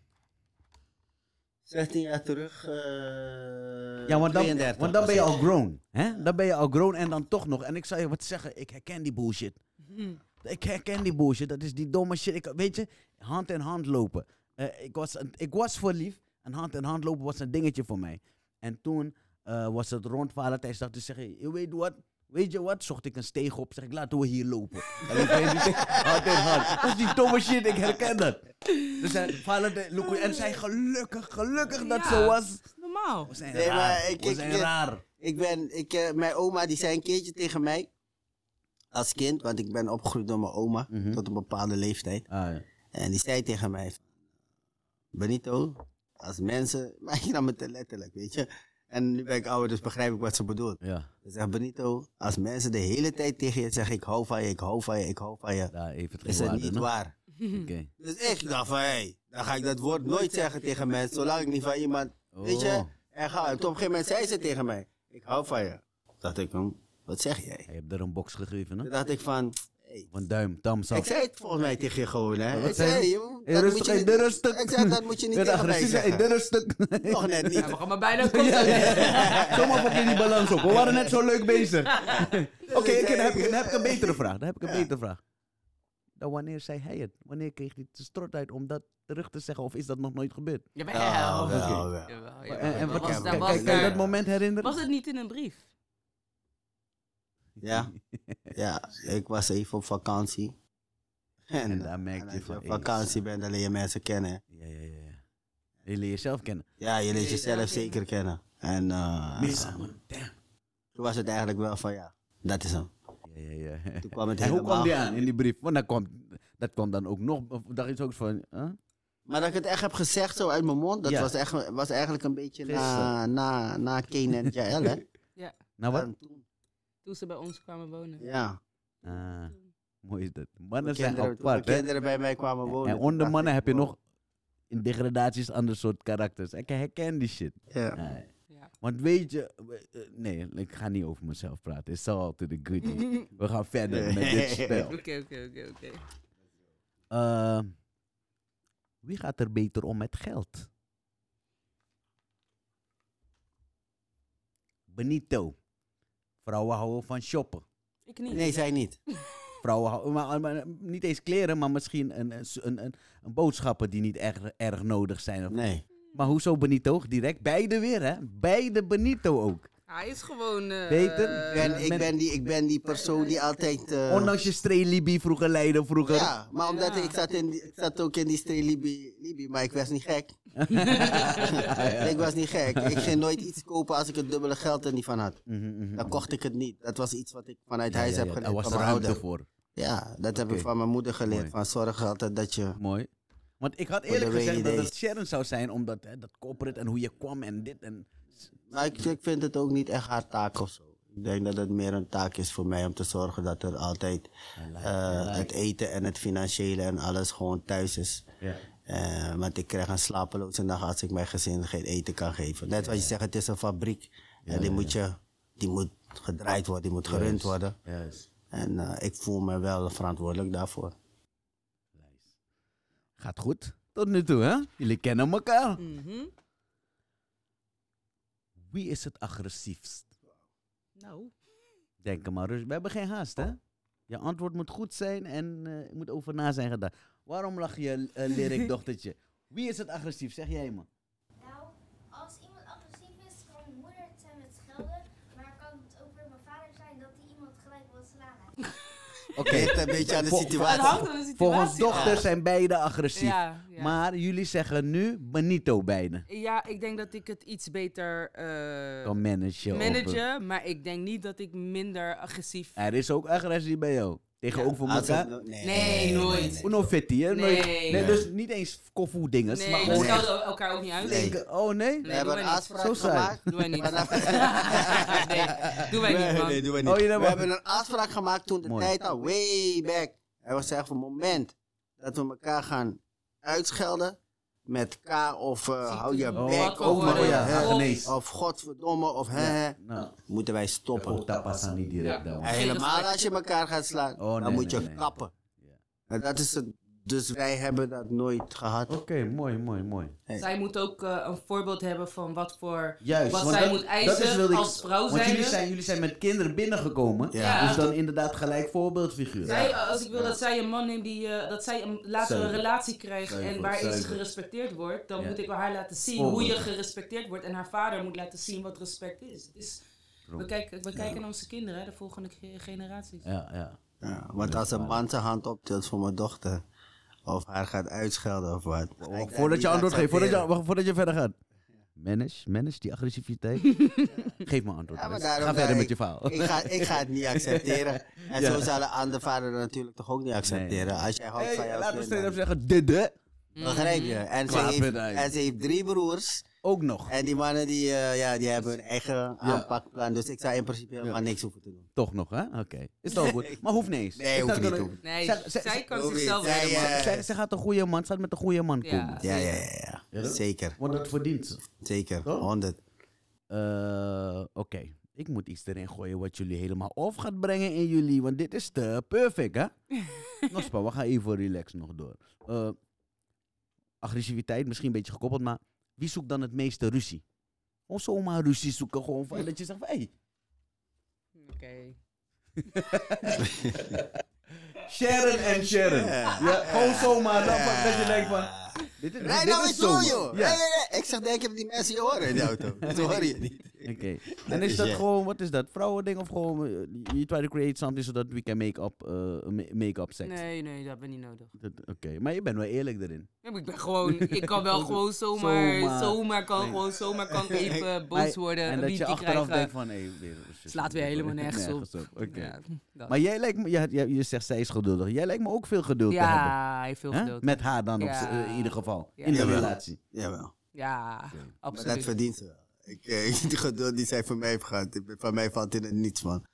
[SPEAKER 3] 16 jaar terug, eh
[SPEAKER 1] Ja, want dan,
[SPEAKER 3] 32
[SPEAKER 1] want dan ben je
[SPEAKER 3] was
[SPEAKER 1] al
[SPEAKER 3] ik.
[SPEAKER 1] grown. Hè? Dan ben je al grown en dan toch nog. En ik zou je wat zeggen, ik herken die bullshit.
[SPEAKER 3] Mhm.
[SPEAKER 1] Ik herken die bullshit, dat is die domme shit. Ik, weet je, hand in hand lopen. Eh, ik, was, een- ik was verliefd en hand in hand lopen was een dingetje voor mij. En toen eh, was het rond Valentijnsdag, dus zeg je, je weet wat? Weet je wat? Zocht ik een steeg op, zeg ik, laten we hier lopen. en ik weet niet, hand in hand. Dat is die domme shit, ik herken dat. Dus eh, Valentijn, Loeko- en zij gelukkig, gelukkig dat
[SPEAKER 2] Ja.
[SPEAKER 1] zo was.
[SPEAKER 2] Dat is normaal.
[SPEAKER 1] We zijn
[SPEAKER 3] Nee,
[SPEAKER 1] raar.
[SPEAKER 3] maar eh, ik-
[SPEAKER 1] we
[SPEAKER 3] ik-
[SPEAKER 1] zijn
[SPEAKER 3] ik-
[SPEAKER 1] raar.
[SPEAKER 3] Ik ben, ik, eh, mijn oma die zei een keertje tegen mij, als kind, want ik ben opgegroeid door mijn oma,
[SPEAKER 1] Mhm.
[SPEAKER 3] tot een bepaalde leeftijd.
[SPEAKER 1] Ah,
[SPEAKER 3] En die zei tegen mij: van, Benito, als mensen. Maar je nam het te letterlijk, weet je. En nu ben ik ouder, dus begrijp ik wat ze bedoelt.
[SPEAKER 1] ja,
[SPEAKER 3] Ze zegt: Benito, als mensen de hele tijd tegen je zeggen: Ik hou van je, ik hou van je, ik hou van je.
[SPEAKER 1] daar heeft het
[SPEAKER 3] Is
[SPEAKER 1] geen
[SPEAKER 3] het
[SPEAKER 1] waarde,
[SPEAKER 3] niet
[SPEAKER 1] no?
[SPEAKER 3] waar?
[SPEAKER 1] Oké.
[SPEAKER 3] Dus ik dacht: van, Hé, dan ga ik dat woord nooit zeggen tegen mensen, zolang ik niet van iemand. Weet je?
[SPEAKER 1] Oh.
[SPEAKER 3] En, ga, en toen op een gegeven moment zei ze tegen mij: Ik hou van je. Dacht ik, hm, Wat zeg jij?
[SPEAKER 1] Je hebt er een box gegeven, hè?
[SPEAKER 3] Toen dacht ik van... hey,
[SPEAKER 1] Van duim, thumbs up.
[SPEAKER 3] Ik zei het volgens mij tegen je gewoon, hè?
[SPEAKER 1] wat
[SPEAKER 3] ik
[SPEAKER 1] zei
[SPEAKER 3] zei,
[SPEAKER 1] je?
[SPEAKER 3] joh,
[SPEAKER 1] Hey,
[SPEAKER 3] dat
[SPEAKER 1] rustig,
[SPEAKER 3] moet je
[SPEAKER 1] hey,
[SPEAKER 3] niet-
[SPEAKER 1] doe rustig.
[SPEAKER 3] Ik zei, dat moet je niet
[SPEAKER 1] Werd
[SPEAKER 3] tegen mij
[SPEAKER 1] agressief, hey,
[SPEAKER 3] zeggen.
[SPEAKER 1] dit is stuk.
[SPEAKER 3] Nog net niet.
[SPEAKER 2] Ja, we gaan maar bijna concluderen.
[SPEAKER 1] Zomaar pak je die balans op. We waren net zo leuk bezig. Oké, ik- dan, heb ik- dan heb ik een betere vraag. Dan heb ik een
[SPEAKER 3] Ja.
[SPEAKER 1] betere vraag. Dan wanneer zei hij het? Wanneer kreeg hij de strot uit om dat terug te zeggen? Of is dat nog nooit gebeurd?
[SPEAKER 2] Jawel.
[SPEAKER 3] Ja, wel,
[SPEAKER 1] Ah, Oké.
[SPEAKER 3] wel.
[SPEAKER 2] Jawel,
[SPEAKER 1] En,
[SPEAKER 2] jawel.
[SPEAKER 1] en
[SPEAKER 2] Maar
[SPEAKER 1] wat
[SPEAKER 2] was,
[SPEAKER 1] kijk,
[SPEAKER 2] daar,
[SPEAKER 1] kijk,
[SPEAKER 2] was,
[SPEAKER 1] kan je
[SPEAKER 2] daar-
[SPEAKER 1] dat moment herinneren?
[SPEAKER 2] was het niet in een brief?
[SPEAKER 3] Ja. Ja, ik was even op vakantie. En,
[SPEAKER 1] En
[SPEAKER 3] eh,
[SPEAKER 1] daar merk
[SPEAKER 3] en
[SPEAKER 1] je
[SPEAKER 3] als je
[SPEAKER 1] van...
[SPEAKER 3] op
[SPEAKER 1] hey,
[SPEAKER 3] vakantie bent, dan leer je mensen kennen. hè.
[SPEAKER 1] Ja, ja, ja. ja. Je leert jezelf kennen.
[SPEAKER 3] Ja, je leert
[SPEAKER 2] Leer jezelf
[SPEAKER 3] jezelf
[SPEAKER 2] kennen.
[SPEAKER 3] zeker kennen. En
[SPEAKER 1] Ah.
[SPEAKER 3] eh, toen was het eigenlijk wel van ja, dat is hem.
[SPEAKER 1] Ja, ja, ja.
[SPEAKER 3] Toen kwam het
[SPEAKER 1] En hoe
[SPEAKER 3] helemaal.
[SPEAKER 1] kwam die aan in die brief? Want dat kwam, dat kwam dan ook nog... Of dacht je ook van... Huh?
[SPEAKER 3] Maar dat ik het echt heb gezegd zo uit mijn mond, dat
[SPEAKER 1] Ja.
[SPEAKER 3] was, echt, was eigenlijk een beetje na,
[SPEAKER 1] Gisteren.
[SPEAKER 3] na, na Kane en Jael, hè?
[SPEAKER 1] Nou, wat?
[SPEAKER 3] Daarom toen.
[SPEAKER 2] Toen ze bij ons kwamen wonen.
[SPEAKER 3] Ja,
[SPEAKER 1] Ah, mooi is dat. Mannen
[SPEAKER 3] toen
[SPEAKER 1] zijn
[SPEAKER 3] kinderen, toen mijn
[SPEAKER 1] apart, hè?
[SPEAKER 3] kinderen bij mij kwamen wonen.
[SPEAKER 1] En
[SPEAKER 3] toen
[SPEAKER 1] onder
[SPEAKER 3] dacht
[SPEAKER 1] mannen
[SPEAKER 3] ik,
[SPEAKER 1] heb je
[SPEAKER 3] wow.
[SPEAKER 1] nog in degradaties ander soort karakters. Ik herken die shit.
[SPEAKER 3] Ja.
[SPEAKER 1] Ah,
[SPEAKER 2] Ja.
[SPEAKER 1] Want weet je, we- eh, nee, ik ga niet over mezelf praten. It's all to the good. We gaan verder met dit spel.
[SPEAKER 2] Oké, oké, oké, oké.
[SPEAKER 1] Eh, wie gaat er beter om met geld? Benito. Vrouwen houden van shoppen.
[SPEAKER 2] Ik niet.
[SPEAKER 3] Nee, zij niet.
[SPEAKER 1] Vrouwen houden, maar, maar niet eens kleren, maar misschien een, een, een, een, boodschappen die niet erg, erg nodig zijn. Of
[SPEAKER 3] Nee.
[SPEAKER 1] Maar hoezo Benito? Direct. Beide weer, hè? Beide Benito ook.
[SPEAKER 2] Hij is gewoon... eh,
[SPEAKER 1] Beter?
[SPEAKER 3] Ik ben,
[SPEAKER 1] Met-
[SPEAKER 3] ik, ben die, ik ben die persoon die altijd. eh,
[SPEAKER 1] Ondanks je strelibi vroeger, Leiden vroeger.
[SPEAKER 3] Ja, maar omdat
[SPEAKER 2] Ja.
[SPEAKER 3] ik, zat in, die- ik zat ook in die streek Libi, Libi, maar ik was niet gek. ik was niet gek. Ik ging nooit iets kopen als ik het dubbele geld er niet van had.
[SPEAKER 1] Mhm, mhm.
[SPEAKER 3] Dan kocht ik het niet. Dat was iets wat ik vanuit
[SPEAKER 1] Ja,
[SPEAKER 3] huis
[SPEAKER 1] ja,
[SPEAKER 3] heb
[SPEAKER 1] ja,
[SPEAKER 3] geleerd
[SPEAKER 1] Er was
[SPEAKER 3] van mijn
[SPEAKER 1] ruimte
[SPEAKER 3] ouder.
[SPEAKER 1] voor.
[SPEAKER 3] Ja, dat heb ik
[SPEAKER 1] Oké.
[SPEAKER 3] van mijn moeder geleerd.
[SPEAKER 1] Mooi.
[SPEAKER 3] Van zorg altijd dat je...
[SPEAKER 1] Mooi. Want ik had
[SPEAKER 3] Voor de
[SPEAKER 1] eerlijk gezegd
[SPEAKER 3] rainy
[SPEAKER 1] dat
[SPEAKER 3] days.
[SPEAKER 1] het Sharon zou zijn, omdat hè, dat corporate en hoe je kwam en dit en...
[SPEAKER 3] Maar Nou, ik, ik vind het ook niet echt haar taak of zo. Ik denk dat het meer een taak is voor mij om te zorgen dat er altijd eh, het eten en het financiële en alles gewoon thuis is.
[SPEAKER 1] Ja.
[SPEAKER 3] Eh, want ik krijg een slapeloze nacht als ik mijn gezin geen eten kan geven. Net wat je zegt, het is een fabriek. en die, Moet je, die moet gedraaid worden, die moet gerund worden.
[SPEAKER 1] Juist.
[SPEAKER 3] En eh, ik voel me wel verantwoordelijk daarvoor.
[SPEAKER 1] Gaat goed. Tot nu toe, hè? Jullie kennen elkaar.
[SPEAKER 2] mhm.
[SPEAKER 1] Wie is het agressiefst?
[SPEAKER 2] Nou,
[SPEAKER 1] Denk er maar rustig. We hebben geen haast, hè? Je antwoord moet goed zijn en eh, er moet over na zijn gedaan. Waarom lach je, eh Lyric, dochtertje? Wie is het agressief? Zeg jij me.
[SPEAKER 4] Nou, als iemand agressief is, kan mijn moeder het zijn met schelden. Maar kan het ook weer mijn vader zijn dat hij iemand gelijk wil slaan. eigenlijk.
[SPEAKER 1] Oké.
[SPEAKER 3] Ligt een beetje eh, aan de
[SPEAKER 1] Vol-
[SPEAKER 2] het
[SPEAKER 3] situatie.
[SPEAKER 2] hangt aan de situatie.
[SPEAKER 1] Volgens
[SPEAKER 2] af.
[SPEAKER 1] dochter zijn beide agressief.
[SPEAKER 2] Ja, ja.
[SPEAKER 1] Maar jullie zeggen nu Benito beide.
[SPEAKER 2] Ja, ik denk dat ik het iets beter eh,
[SPEAKER 1] Kan managen. of-
[SPEAKER 2] managen, maar ik denk niet dat ik minder agressief...
[SPEAKER 1] Er is ook agressie bij jou. Tegenover
[SPEAKER 3] Als
[SPEAKER 1] elkaar.
[SPEAKER 3] het-
[SPEAKER 2] Ah, Nee, nooit.
[SPEAKER 1] Uno fitti, hè?
[SPEAKER 2] Nee.
[SPEAKER 1] Nooit- nee. Dus niet eens koffie dinges.
[SPEAKER 2] Nee,
[SPEAKER 1] maar
[SPEAKER 2] we
[SPEAKER 1] gewoon
[SPEAKER 3] nee.
[SPEAKER 2] schelden elkaar ook niet uit.
[SPEAKER 3] Nee.
[SPEAKER 1] echt- Oh nee?
[SPEAKER 3] We
[SPEAKER 2] Nee,
[SPEAKER 3] hebben
[SPEAKER 2] doen
[SPEAKER 3] een
[SPEAKER 2] wij niet.
[SPEAKER 1] Zo
[SPEAKER 3] afspraak
[SPEAKER 1] saai.
[SPEAKER 3] gemaakt.
[SPEAKER 2] Doen wij niet.
[SPEAKER 3] Vanaf-
[SPEAKER 2] nee, doen wij niet, man.
[SPEAKER 3] doen wij
[SPEAKER 1] Oh, je
[SPEAKER 3] we
[SPEAKER 1] hebt-
[SPEAKER 3] hebben een afspraak gemaakt toen de
[SPEAKER 1] Mooi.
[SPEAKER 3] tijd al way back. En we zeggen van moment dat we elkaar gaan uitschelden met K of eh, hou je
[SPEAKER 2] Oh,
[SPEAKER 3] bek
[SPEAKER 2] wat
[SPEAKER 3] of,
[SPEAKER 2] voor
[SPEAKER 3] hou je
[SPEAKER 2] woorden.
[SPEAKER 3] hè,
[SPEAKER 1] Genees.
[SPEAKER 3] of godverdomme of hè, hè.
[SPEAKER 1] Nou,
[SPEAKER 3] Moeten wij stoppen.
[SPEAKER 1] dat past dan niet direct
[SPEAKER 2] Ja.
[SPEAKER 1] dan.
[SPEAKER 3] En helemaal als je elkaar gaat slaan,
[SPEAKER 1] Oh, nee,
[SPEAKER 3] dan moet je
[SPEAKER 1] nee, nee.
[SPEAKER 3] kappen. En dat is het. Dus wij hebben dat nooit gehad.
[SPEAKER 1] Oké, mooi, mooi, mooi.
[SPEAKER 2] Zij moet ook eh, een voorbeeld hebben van wat voor...
[SPEAKER 1] Juist.
[SPEAKER 2] Wat
[SPEAKER 1] want
[SPEAKER 2] zij
[SPEAKER 1] dat-
[SPEAKER 2] moet
[SPEAKER 1] dat
[SPEAKER 2] eisen
[SPEAKER 1] is wilde ik-
[SPEAKER 2] als vrouw
[SPEAKER 1] Want jullie
[SPEAKER 2] zijnde.
[SPEAKER 1] zijn, jullie zijn met kinderen binnengekomen.
[SPEAKER 2] Ja.
[SPEAKER 1] Dus dan inderdaad gelijk voorbeeldfiguur.
[SPEAKER 2] Zij, als ik wil dat zij een man neemt die... eh, dat zij een, later een
[SPEAKER 1] Zuiver.
[SPEAKER 2] relatie krijgt en
[SPEAKER 1] Zuiver,
[SPEAKER 2] waarin ze
[SPEAKER 1] zuiver.
[SPEAKER 2] gerespecteerd wordt... dan
[SPEAKER 1] Ja.
[SPEAKER 2] moet ik wel haar laten zien hoe
[SPEAKER 1] Voorbeeld.
[SPEAKER 2] je gerespecteerd wordt. En haar vader moet laten zien wat respect is. Dus we kijken, we kijken naar onze kinderen, hè, de volgende ge- generaties.
[SPEAKER 1] Ja, ja.
[SPEAKER 3] Ja, want als een man zijn hand optilt voor mijn dochter, of haar gaat uitschelden of wat. ga ik
[SPEAKER 1] Wacht,
[SPEAKER 3] dat
[SPEAKER 1] Oh, voordat
[SPEAKER 3] niet
[SPEAKER 1] je antwoord geeft, voordat je,
[SPEAKER 3] accepteren.
[SPEAKER 1] wacht, voordat je verder gaat. Manage, manage die agressiviteit. Geef me antwoord.
[SPEAKER 3] Ja,
[SPEAKER 1] Alex.
[SPEAKER 3] maar daarom
[SPEAKER 1] Ga
[SPEAKER 3] zei
[SPEAKER 1] verder
[SPEAKER 3] ik-
[SPEAKER 1] met je verhaal.
[SPEAKER 3] Ik ga, ik ga het niet accepteren. En
[SPEAKER 1] Ja.
[SPEAKER 3] zo zal een ander vader dat natuurlijk toch ook niet accepteren. Als jij houdt van
[SPEAKER 1] Hey,
[SPEAKER 3] jouw
[SPEAKER 1] laten we
[SPEAKER 3] kind,
[SPEAKER 1] straight
[SPEAKER 3] dan-
[SPEAKER 1] up zeggen, dit hè?
[SPEAKER 3] Begrijp
[SPEAKER 1] Mm.
[SPEAKER 3] je? En ze,
[SPEAKER 1] Klaar,
[SPEAKER 3] heeft,
[SPEAKER 1] punt uit.
[SPEAKER 3] en ze heeft drie broers.
[SPEAKER 1] Ook nog.
[SPEAKER 3] En die mannen die, eh, ja, die hebben hun eigen aanpakplan. Dus ik zou in principe helemaal niks hoeven te doen.
[SPEAKER 1] Toch nog, hè? Oké. Is dat goed? Maar hoeft niet eens.
[SPEAKER 3] Nee,
[SPEAKER 1] Is
[SPEAKER 3] hoeft
[SPEAKER 1] dat
[SPEAKER 3] niet,
[SPEAKER 1] er-
[SPEAKER 3] hoeft niet.
[SPEAKER 2] Nee,
[SPEAKER 1] Zij- zij-
[SPEAKER 2] zij kan
[SPEAKER 3] Sorry,
[SPEAKER 2] zichzelf
[SPEAKER 3] zij,
[SPEAKER 2] redden, man.
[SPEAKER 3] eh,
[SPEAKER 1] Zij, zij gaat een goede man, staat met een goede man
[SPEAKER 2] Ja.
[SPEAKER 1] komen.
[SPEAKER 3] Ja, ja, ja. ja.
[SPEAKER 1] Ja, Oh. dat-
[SPEAKER 3] Zeker,
[SPEAKER 1] Want dat verdient ze.
[SPEAKER 3] zeker.
[SPEAKER 1] Toch?
[SPEAKER 3] 100.
[SPEAKER 1] Eh, Oké. Ik moet iets erin gooien wat jullie helemaal of gaat brengen in jullie. Want dit is te perfect, hè? Nospa, we gaan even relax nog door. Eh, agressiviteit, misschien een beetje gekoppeld, maar wie zoekt dan het meeste ruzie? Gewoon zomaar ruzie zoeken, gewoon van dat je zegt van, hey,
[SPEAKER 2] Oké.
[SPEAKER 1] Sharon en Sharon.
[SPEAKER 3] Ja.
[SPEAKER 1] Ja, gewoon zomaar, dat,
[SPEAKER 3] Ja.
[SPEAKER 1] dat je denkt van, dit is,
[SPEAKER 3] Nee,
[SPEAKER 1] dit
[SPEAKER 3] nou
[SPEAKER 1] is
[SPEAKER 3] is zo,
[SPEAKER 1] zomaar.
[SPEAKER 3] joh.
[SPEAKER 1] Ja.
[SPEAKER 3] Nee, nee, nee. Ik zeg, denk ik, die mensen je horen in de auto. Dat hoor je niet.
[SPEAKER 1] Oké. En is
[SPEAKER 3] is
[SPEAKER 1] dat
[SPEAKER 3] jij.
[SPEAKER 1] gewoon, wat is dat? Vrouwending of gewoon, eh, you try to create something zodat we can make up, eh, ma- make up sex?
[SPEAKER 2] Nee, nee, dat hebben we niet nodig.
[SPEAKER 1] Dat- Oké, maar je bent wel eerlijk erin.
[SPEAKER 2] Ja, maar Ik ben gewoon, ik kan wel gewoon zomaar,
[SPEAKER 1] Zomaar.
[SPEAKER 2] zomaar, kan gewoon zomaar kan ik even boos
[SPEAKER 1] Maar-
[SPEAKER 2] worden,
[SPEAKER 1] En
[SPEAKER 2] een
[SPEAKER 1] dat je
[SPEAKER 2] ruzie
[SPEAKER 1] achteraf
[SPEAKER 2] krijgen.
[SPEAKER 1] denkt van, hé, weer-
[SPEAKER 2] Slaat weer helemaal nergens op.
[SPEAKER 1] Oké.
[SPEAKER 2] Ja, dat.
[SPEAKER 1] Maar jij lijkt me, ja, ja, je zegt zij is geduldig. Jij lijkt me ook veel geduld te hebben.
[SPEAKER 2] ja, hij heeft veel
[SPEAKER 1] Hè?
[SPEAKER 2] geduld.
[SPEAKER 1] Met haar dan op
[SPEAKER 2] Ja.
[SPEAKER 1] z'n- eh, in ieder geval.
[SPEAKER 2] Ja.
[SPEAKER 1] In de
[SPEAKER 3] Jawel.
[SPEAKER 1] relatie.
[SPEAKER 3] Jawel.
[SPEAKER 2] Ja,
[SPEAKER 3] Maar dat
[SPEAKER 2] absoluut.
[SPEAKER 3] verdient ze wel. Ik, eh, die geduld die zij van mij heeft gehad, ik ben- van mij valt in het niets van.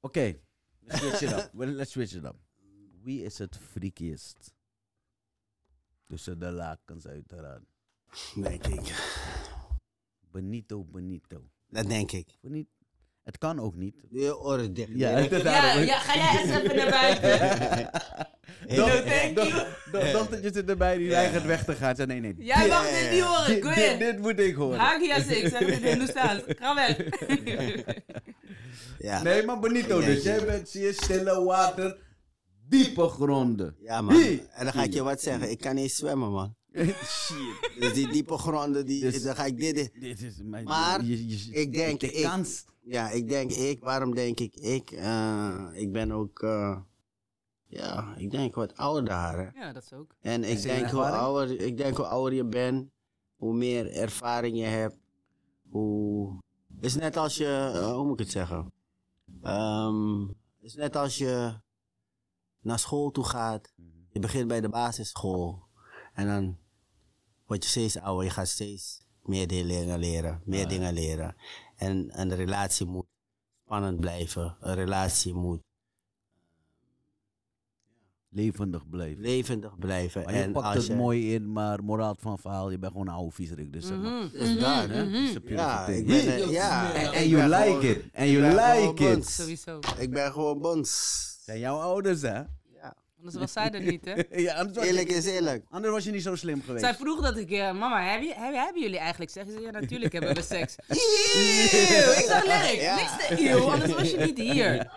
[SPEAKER 1] Oké, let's switch it up. Well, Let's switch it up. Wie is het freakiest? Tussen de lakens uiteraard.
[SPEAKER 3] Denk ik.
[SPEAKER 1] Benito, Benito.
[SPEAKER 3] Dat denk ik.
[SPEAKER 1] Benito. Het kan ook niet.
[SPEAKER 3] Doe je oren dicht.
[SPEAKER 1] Ja,
[SPEAKER 3] Direct.
[SPEAKER 2] Ja, ja, ga jij eens even naar buiten.
[SPEAKER 1] Doch- doch- doch- Dochtertje zit erbij die weigert weg te gaan. Zei, nee, nee.
[SPEAKER 2] Jij mag dit niet horen,
[SPEAKER 1] Dit,
[SPEAKER 2] go
[SPEAKER 1] dit,
[SPEAKER 2] in.
[SPEAKER 1] dit moet ik horen.
[SPEAKER 2] Hagia Six, zeg het in Hindoestaans. Ga weg.
[SPEAKER 3] Ja.
[SPEAKER 1] Nee, maar Benito
[SPEAKER 3] Ja,
[SPEAKER 1] dus.
[SPEAKER 3] ja.
[SPEAKER 1] Jij bent zeer stille water, diepe gronden.
[SPEAKER 3] Ja, man.
[SPEAKER 1] Hi.
[SPEAKER 3] En dan ga ik je wat zeggen. Ik kan niet zwemmen, man.
[SPEAKER 1] Shit.
[SPEAKER 3] Dus die diepe gronden, die,
[SPEAKER 1] Dus-
[SPEAKER 3] dan ga ik dit... dit-
[SPEAKER 1] Dit is mijn...
[SPEAKER 3] Maar
[SPEAKER 1] je- je-
[SPEAKER 3] ik denk
[SPEAKER 1] De
[SPEAKER 3] ik-
[SPEAKER 1] kans.
[SPEAKER 3] Ja, ik denk ik. Waarom denk ik ik? Eh, ik ben ook... eh, ja, ik denk wat ouder. hè.
[SPEAKER 2] Ja, dat is ook.
[SPEAKER 3] En ik
[SPEAKER 1] Is er
[SPEAKER 3] denk,
[SPEAKER 1] een
[SPEAKER 3] hoe
[SPEAKER 1] ervaring?
[SPEAKER 3] ouder, ik denk hoe ouder je bent, hoe meer ervaring je hebt, hoe... Het is net als je... eh, hoe moet ik het zeggen? Ehm, het is net als je naar school toe gaat.
[SPEAKER 1] Mhm.
[SPEAKER 3] Je begint bij de basisschool. En dan word je steeds ouder. Je gaat steeds meer dingen leren. Meer
[SPEAKER 1] Ah,
[SPEAKER 3] dingen leren. En een relatie moet spannend blijven. Een relatie moet
[SPEAKER 1] Levendig blijven.
[SPEAKER 3] levendig blijven.
[SPEAKER 1] Maar
[SPEAKER 3] en
[SPEAKER 1] je pakt
[SPEAKER 3] als
[SPEAKER 1] het
[SPEAKER 3] je,
[SPEAKER 1] mooi in, maar moraal van verhaal, je bent gewoon een oude viezerik. Dus zeg
[SPEAKER 2] Mhm.
[SPEAKER 1] maar.
[SPEAKER 3] Is daar, hè?
[SPEAKER 1] Hè? Is een
[SPEAKER 3] Mhm. Ja,
[SPEAKER 1] pure
[SPEAKER 3] ik
[SPEAKER 1] thing.
[SPEAKER 3] ben, eh, ja.
[SPEAKER 1] En-
[SPEAKER 3] ik
[SPEAKER 1] En you
[SPEAKER 3] ben
[SPEAKER 1] like
[SPEAKER 3] gewoon-
[SPEAKER 1] it. En you
[SPEAKER 3] ben gewoon
[SPEAKER 1] like it.
[SPEAKER 3] bond.
[SPEAKER 2] Sowieso.
[SPEAKER 3] Ik ben gewoon bons.
[SPEAKER 1] Zijn jouw ouders, hè?
[SPEAKER 2] Anders was zij er niet, hè?
[SPEAKER 1] ja, anders was,
[SPEAKER 3] Eerlijk
[SPEAKER 1] je,
[SPEAKER 3] is eerlijk.
[SPEAKER 1] anders was je niet zo slim geweest.
[SPEAKER 2] Zij vroeg dat ik, eh, mama, heb je, heb, hebben jullie eigenlijk seks? Ik zei, ja, natuurlijk hebben we seks. Eeuw, ik dacht, nee,
[SPEAKER 3] Ja.
[SPEAKER 2] niks te eeuw, anders was je niet hier.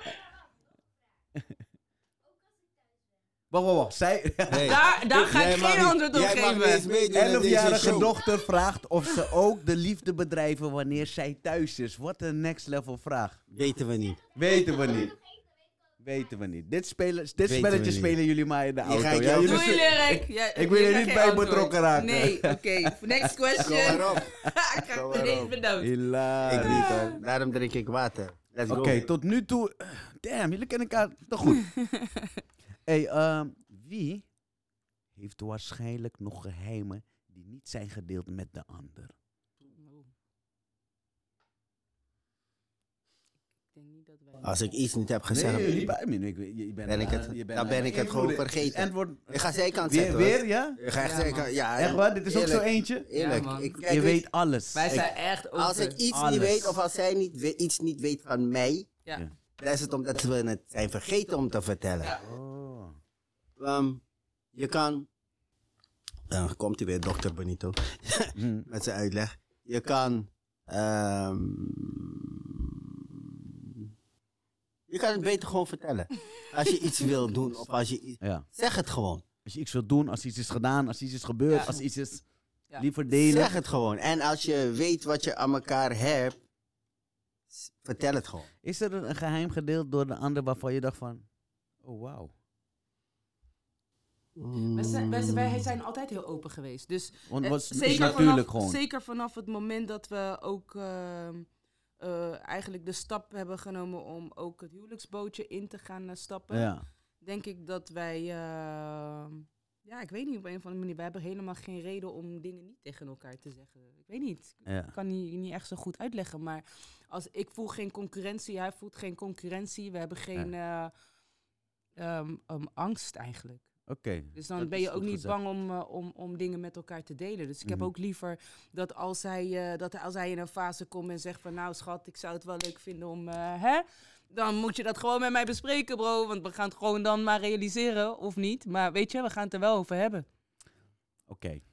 [SPEAKER 1] Wacht, wacht, wacht. Zij,
[SPEAKER 2] Daar, daar ga ik
[SPEAKER 3] Jij mag
[SPEAKER 2] geen
[SPEAKER 3] niet-
[SPEAKER 2] antwoord op
[SPEAKER 3] jij mag niet eens
[SPEAKER 2] geven.
[SPEAKER 3] meedoen aan deze
[SPEAKER 1] 11-jarige
[SPEAKER 3] show.
[SPEAKER 1] dochter vraagt of ze ook de liefde bedrijven wanneer zij thuis is. Wat een next level vraag.
[SPEAKER 3] Weten we niet.
[SPEAKER 1] Weten we niet. Weten we niet. Dit, spelen, dit
[SPEAKER 3] we
[SPEAKER 1] spelletje
[SPEAKER 3] niet.
[SPEAKER 1] spelen jullie maar in de auto.
[SPEAKER 3] ga ik
[SPEAKER 1] ja?
[SPEAKER 3] jou-
[SPEAKER 1] Jullie
[SPEAKER 2] Doei,
[SPEAKER 1] zitten-
[SPEAKER 2] Lyric. Ja,
[SPEAKER 1] Ik wil
[SPEAKER 2] je
[SPEAKER 1] er
[SPEAKER 2] krijgt
[SPEAKER 1] niet
[SPEAKER 2] geen
[SPEAKER 1] bij
[SPEAKER 2] antwoord.
[SPEAKER 1] betrokken raken.
[SPEAKER 2] Nee, oké. Next
[SPEAKER 3] Kom
[SPEAKER 2] question.
[SPEAKER 3] maar op.
[SPEAKER 2] ik
[SPEAKER 3] Kom
[SPEAKER 2] krijg
[SPEAKER 3] maar
[SPEAKER 2] ineens
[SPEAKER 3] op.
[SPEAKER 2] bedankt.
[SPEAKER 1] Hilarisch.
[SPEAKER 3] Ik niet hoor. Daarom drink ik water. Let's
[SPEAKER 1] Oké,
[SPEAKER 3] go.
[SPEAKER 1] tot nu toe. Damn, jullie kennen elkaar toch goed. hey, ehm, wie heeft waarschijnlijk nog geheimen die niet zijn gedeeld met de ander?
[SPEAKER 3] Als ik iets niet heb gezegd.
[SPEAKER 1] jullie bij me. Ik, je, je bent
[SPEAKER 3] Ben ik het- dan ben ik het gewoon vergeten. ik ga zijkant
[SPEAKER 1] weer,
[SPEAKER 3] zetten.
[SPEAKER 1] weer, ja?
[SPEAKER 3] Ik ga echt
[SPEAKER 2] Ja,
[SPEAKER 3] zeker-
[SPEAKER 2] man.
[SPEAKER 3] ja,
[SPEAKER 1] Echt waar? Dit is ook
[SPEAKER 3] eerlijk,
[SPEAKER 1] zo eentje.
[SPEAKER 3] Eerlijk.
[SPEAKER 2] Ja, man.
[SPEAKER 3] ik, kijk
[SPEAKER 1] Je
[SPEAKER 3] eens,
[SPEAKER 1] weet alles.
[SPEAKER 2] Wij zijn echt open.
[SPEAKER 3] als ik iets
[SPEAKER 1] alles.
[SPEAKER 3] niet weet of als zij niet, we- iets niet weet van mij,
[SPEAKER 2] Ja.
[SPEAKER 1] Ja.
[SPEAKER 3] dan is het omdat we het zijn vergeten om te vertellen.
[SPEAKER 1] Oh.
[SPEAKER 3] Ehm, je kan. Dan komt hij weer, dokter Benito.
[SPEAKER 1] Hm.
[SPEAKER 3] met zijn uitleg. Je kan. ehm, je kan het beter gewoon vertellen. Als je iets wil doen of als je. i-
[SPEAKER 1] Ja.
[SPEAKER 3] Zeg het gewoon.
[SPEAKER 1] Als je iets wilt doen, als iets is gedaan, als iets is gebeurd,
[SPEAKER 2] Ja.
[SPEAKER 1] als iets is...
[SPEAKER 2] Ja.
[SPEAKER 1] Liever delen.
[SPEAKER 3] Zeg het gewoon. En als je weet wat je aan elkaar hebt, s- vertel het gewoon.
[SPEAKER 1] Is er een geheim gedeeld door de ander waarvan je dacht van... Oh, wauw.
[SPEAKER 2] Wij zijn, wij, zijn- wij zijn altijd heel open geweest. Dus
[SPEAKER 1] Want
[SPEAKER 2] eh,
[SPEAKER 1] wat is- is
[SPEAKER 2] zeker
[SPEAKER 1] natuurlijk
[SPEAKER 2] vanaf,
[SPEAKER 1] gewoon.
[SPEAKER 2] Zeker vanaf het moment dat we ook ehm, eh, eigenlijk de stap hebben genomen om ook het huwelijksbootje in te gaan eh, stappen.
[SPEAKER 1] Ja.
[SPEAKER 2] Denk ik dat wij, ehm, ja, ik weet niet op een of andere manier, wij hebben helemaal geen reden om dingen niet tegen elkaar te zeggen. Ik weet niet,
[SPEAKER 1] ja.
[SPEAKER 2] ik kan niet, niet echt zo goed uitleggen, maar als ik voel geen concurrentie, hij voelt geen concurrentie, we hebben geen eh, ehm, ehm, angst eigenlijk. Dus dan
[SPEAKER 1] dat
[SPEAKER 2] ben
[SPEAKER 1] is
[SPEAKER 2] je ook
[SPEAKER 1] goed
[SPEAKER 2] niet
[SPEAKER 1] gezegd.
[SPEAKER 2] bang om, eh, om, om dingen met elkaar te delen. Dus ik heb
[SPEAKER 1] Mhm.
[SPEAKER 2] ook liever dat als, hij, eh, dat als hij in een fase komt en zegt van... Nou schat, ik zou het wel leuk vinden om... eh, hè? Dan moet je dat gewoon met mij bespreken, bro. Want we gaan het gewoon dan maar realiseren, of niet. Maar weet je, we gaan het er wel over hebben.
[SPEAKER 1] Oké, I,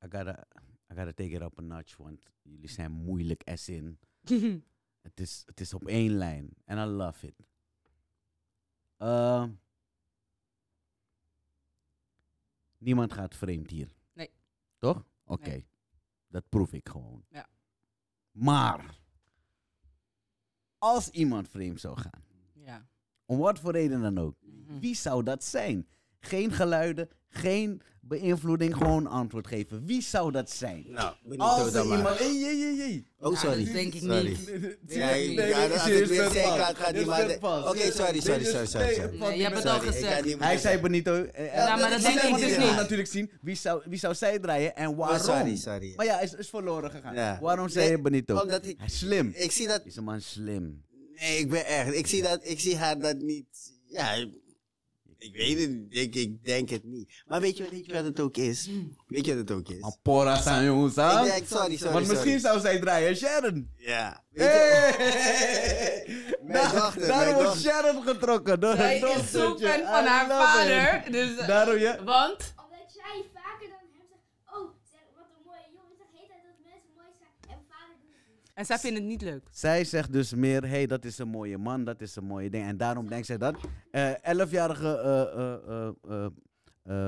[SPEAKER 1] gotta, I gotta take it up a notch, want jullie zijn moeilijk as in. Het is, het is op één lijn. En I love it. Ehm, niemand gaat vreemd hier.
[SPEAKER 2] Nee.
[SPEAKER 1] Toch? Oké.
[SPEAKER 2] Nee.
[SPEAKER 1] Dat proef ik gewoon.
[SPEAKER 2] Ja.
[SPEAKER 1] Maar. Als iemand vreemd zou gaan.
[SPEAKER 2] ja.
[SPEAKER 1] Om wat voor reden dan ook.
[SPEAKER 2] Mhm.
[SPEAKER 1] Wie zou dat zijn? Geen geluiden, geen beïnvloeding, gewoon antwoord geven. Wie zou dat zijn?
[SPEAKER 3] Nou,
[SPEAKER 1] Als
[SPEAKER 3] benieuwd
[SPEAKER 1] er
[SPEAKER 3] dan maar.
[SPEAKER 1] iemand... Hey, hey, hey, hey.
[SPEAKER 3] Oh, sorry.
[SPEAKER 2] dat denk ik
[SPEAKER 3] sorry.
[SPEAKER 2] niet.
[SPEAKER 3] Ja,
[SPEAKER 2] Nee,
[SPEAKER 3] ik-
[SPEAKER 2] nee,
[SPEAKER 3] ja,
[SPEAKER 1] dit
[SPEAKER 3] als
[SPEAKER 1] is
[SPEAKER 3] ik weer
[SPEAKER 1] het
[SPEAKER 3] zeg,
[SPEAKER 1] pas.
[SPEAKER 3] gaat, gaat
[SPEAKER 1] Dit
[SPEAKER 3] niet
[SPEAKER 1] is
[SPEAKER 3] maar...
[SPEAKER 1] het pas.
[SPEAKER 3] Oké, sorry, sorry, sorry, sorry. sorry.
[SPEAKER 2] Nee, je hebt het al
[SPEAKER 3] Sorry, ik ga
[SPEAKER 2] gezegd.
[SPEAKER 3] niet meer
[SPEAKER 1] Hij
[SPEAKER 3] zeggen.
[SPEAKER 1] zei Benito. eh, eh,
[SPEAKER 2] Ja, maar dat
[SPEAKER 1] zij
[SPEAKER 2] denk ik
[SPEAKER 1] moet
[SPEAKER 2] dus
[SPEAKER 1] gewoon
[SPEAKER 2] niet.
[SPEAKER 1] natuurlijk zien wie zou, wie zou zij draaien en waarom.
[SPEAKER 3] Oh, sorry, sorry.
[SPEAKER 1] Maar ja, is, is verloren gegaan.
[SPEAKER 3] Ja.
[SPEAKER 1] Waarom zei
[SPEAKER 3] Nee,
[SPEAKER 1] je Benito?
[SPEAKER 3] omdat ik-
[SPEAKER 1] Hij is slim.
[SPEAKER 3] Ik zie dat...
[SPEAKER 1] Deze man is slim.
[SPEAKER 3] Nee, ik ben echt... Ik zie, dat, ik zie haar dat niet... Ja, ik weet het niet. Ik, ik denk het niet. Maar weet je, weet je wat het ook is? Weet je wat het ook is?
[SPEAKER 1] Ampora zijn jongens aan.
[SPEAKER 3] Ik denk, sorry, sorry,
[SPEAKER 1] Want misschien zou
[SPEAKER 3] sorry.
[SPEAKER 1] zij draaien Sharon.
[SPEAKER 3] Ja. Eh. Weet je-
[SPEAKER 1] Hey!
[SPEAKER 3] Mijn
[SPEAKER 1] Daar-
[SPEAKER 3] dochter,
[SPEAKER 1] Daar
[SPEAKER 3] mijn
[SPEAKER 1] wordt
[SPEAKER 3] dochter.
[SPEAKER 1] Sharon getrokken door
[SPEAKER 2] Zij
[SPEAKER 1] haar
[SPEAKER 2] is zo
[SPEAKER 1] dochtertje. I
[SPEAKER 2] fan van haar
[SPEAKER 1] love it.
[SPEAKER 2] vader. Dus, eh,
[SPEAKER 1] Daarom je...
[SPEAKER 2] Want...
[SPEAKER 4] Omdat jij vaker dan hem zegt, oh, zeg, wat een mooie jongen. Zeg, heet hij dat mensen mooi zijn en vader doet het niet.
[SPEAKER 2] En zij vindt het niet leuk.
[SPEAKER 1] Zij zegt dus meer, hé, hey, dat is een mooie man, dat is een mooie ding. En daarom denkt zij dat. Eh, 11-jarige eh eh, eh, eh,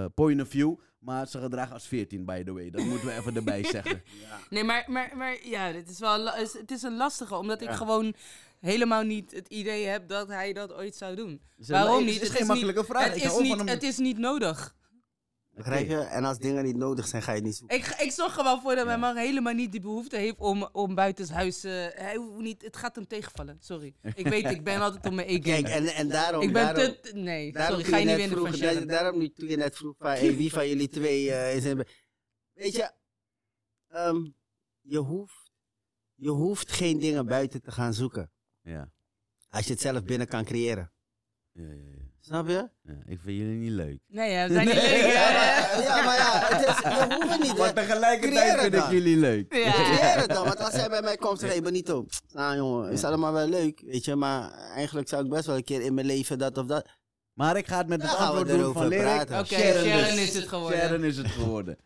[SPEAKER 1] eh, point of view, maar ze gedragen als 14, by the way. Dat moeten we even erbij zeggen.
[SPEAKER 2] Nee, maar, maar, maar ja, dit is wel, la- is- het is een lastige, omdat ik
[SPEAKER 3] Ja.
[SPEAKER 2] gewoon helemaal niet het idee heb dat hij dat ooit zou doen.
[SPEAKER 1] Dus, eh,
[SPEAKER 2] Waarom
[SPEAKER 1] het
[SPEAKER 2] niet?
[SPEAKER 1] is geen makkelijke
[SPEAKER 2] niet,
[SPEAKER 1] vraag.
[SPEAKER 2] Het
[SPEAKER 1] Ik
[SPEAKER 2] is,
[SPEAKER 1] hou
[SPEAKER 2] niet,
[SPEAKER 1] van hem.
[SPEAKER 2] het is niet nodig.
[SPEAKER 3] Begrijp je? En als dingen niet nodig zijn, ga je het niet zoeken.
[SPEAKER 2] Ik, ga- ik zorg er wel voor dat mijn man helemaal niet die behoefte heeft om, om buitenshuis... eh, hij hoeft niet, het gaat hem tegenvallen, sorry. Ik weet, ik ben altijd op mijn e
[SPEAKER 3] Kijk, en, en daarom...
[SPEAKER 2] Ik ben
[SPEAKER 3] daarom,
[SPEAKER 2] te... te- Nee,
[SPEAKER 3] daarom
[SPEAKER 2] sorry,
[SPEAKER 3] toen
[SPEAKER 2] ga je niet
[SPEAKER 3] net
[SPEAKER 2] winnen van
[SPEAKER 3] vroeg-
[SPEAKER 2] Sharon.
[SPEAKER 3] daar- Daarom niet- toen je net vroeg van, hey, wie van jullie twee eh, is... een- Weet je, ehm, je, hoeft, je hoeft geen dingen buiten te gaan zoeken.
[SPEAKER 1] Ja.
[SPEAKER 3] Als je het zelf binnen kan creëren.
[SPEAKER 1] Ja, ja, ja.
[SPEAKER 3] Snap je?
[SPEAKER 1] Ja, Ik vind jullie niet leuk.
[SPEAKER 2] Nee, ja, we zijn niet leuk,
[SPEAKER 3] Ja,
[SPEAKER 2] hè?
[SPEAKER 3] maar ja, maar ja het is, je hoeft het niet.
[SPEAKER 1] Maar
[SPEAKER 3] hè.
[SPEAKER 1] tegelijkertijd
[SPEAKER 3] creëren
[SPEAKER 1] vind ik
[SPEAKER 3] dan.
[SPEAKER 1] jullie leuk.
[SPEAKER 2] Ja.
[SPEAKER 3] Creëer het dan, want als hij bij mij komt en zegt, Benito, nou jongen, is allemaal wel leuk, weet je, maar eigenlijk zou ik best wel een keer in mijn leven dat of dat.
[SPEAKER 1] Maar ik ga het met
[SPEAKER 3] Dan
[SPEAKER 1] het
[SPEAKER 3] gaan we
[SPEAKER 1] antwoord doen
[SPEAKER 3] erover
[SPEAKER 1] van Lerik.
[SPEAKER 3] praten.
[SPEAKER 2] Oké,
[SPEAKER 1] Sharon
[SPEAKER 2] Sharon
[SPEAKER 1] dus.
[SPEAKER 2] is het geworden.
[SPEAKER 1] Sharon is het geworden.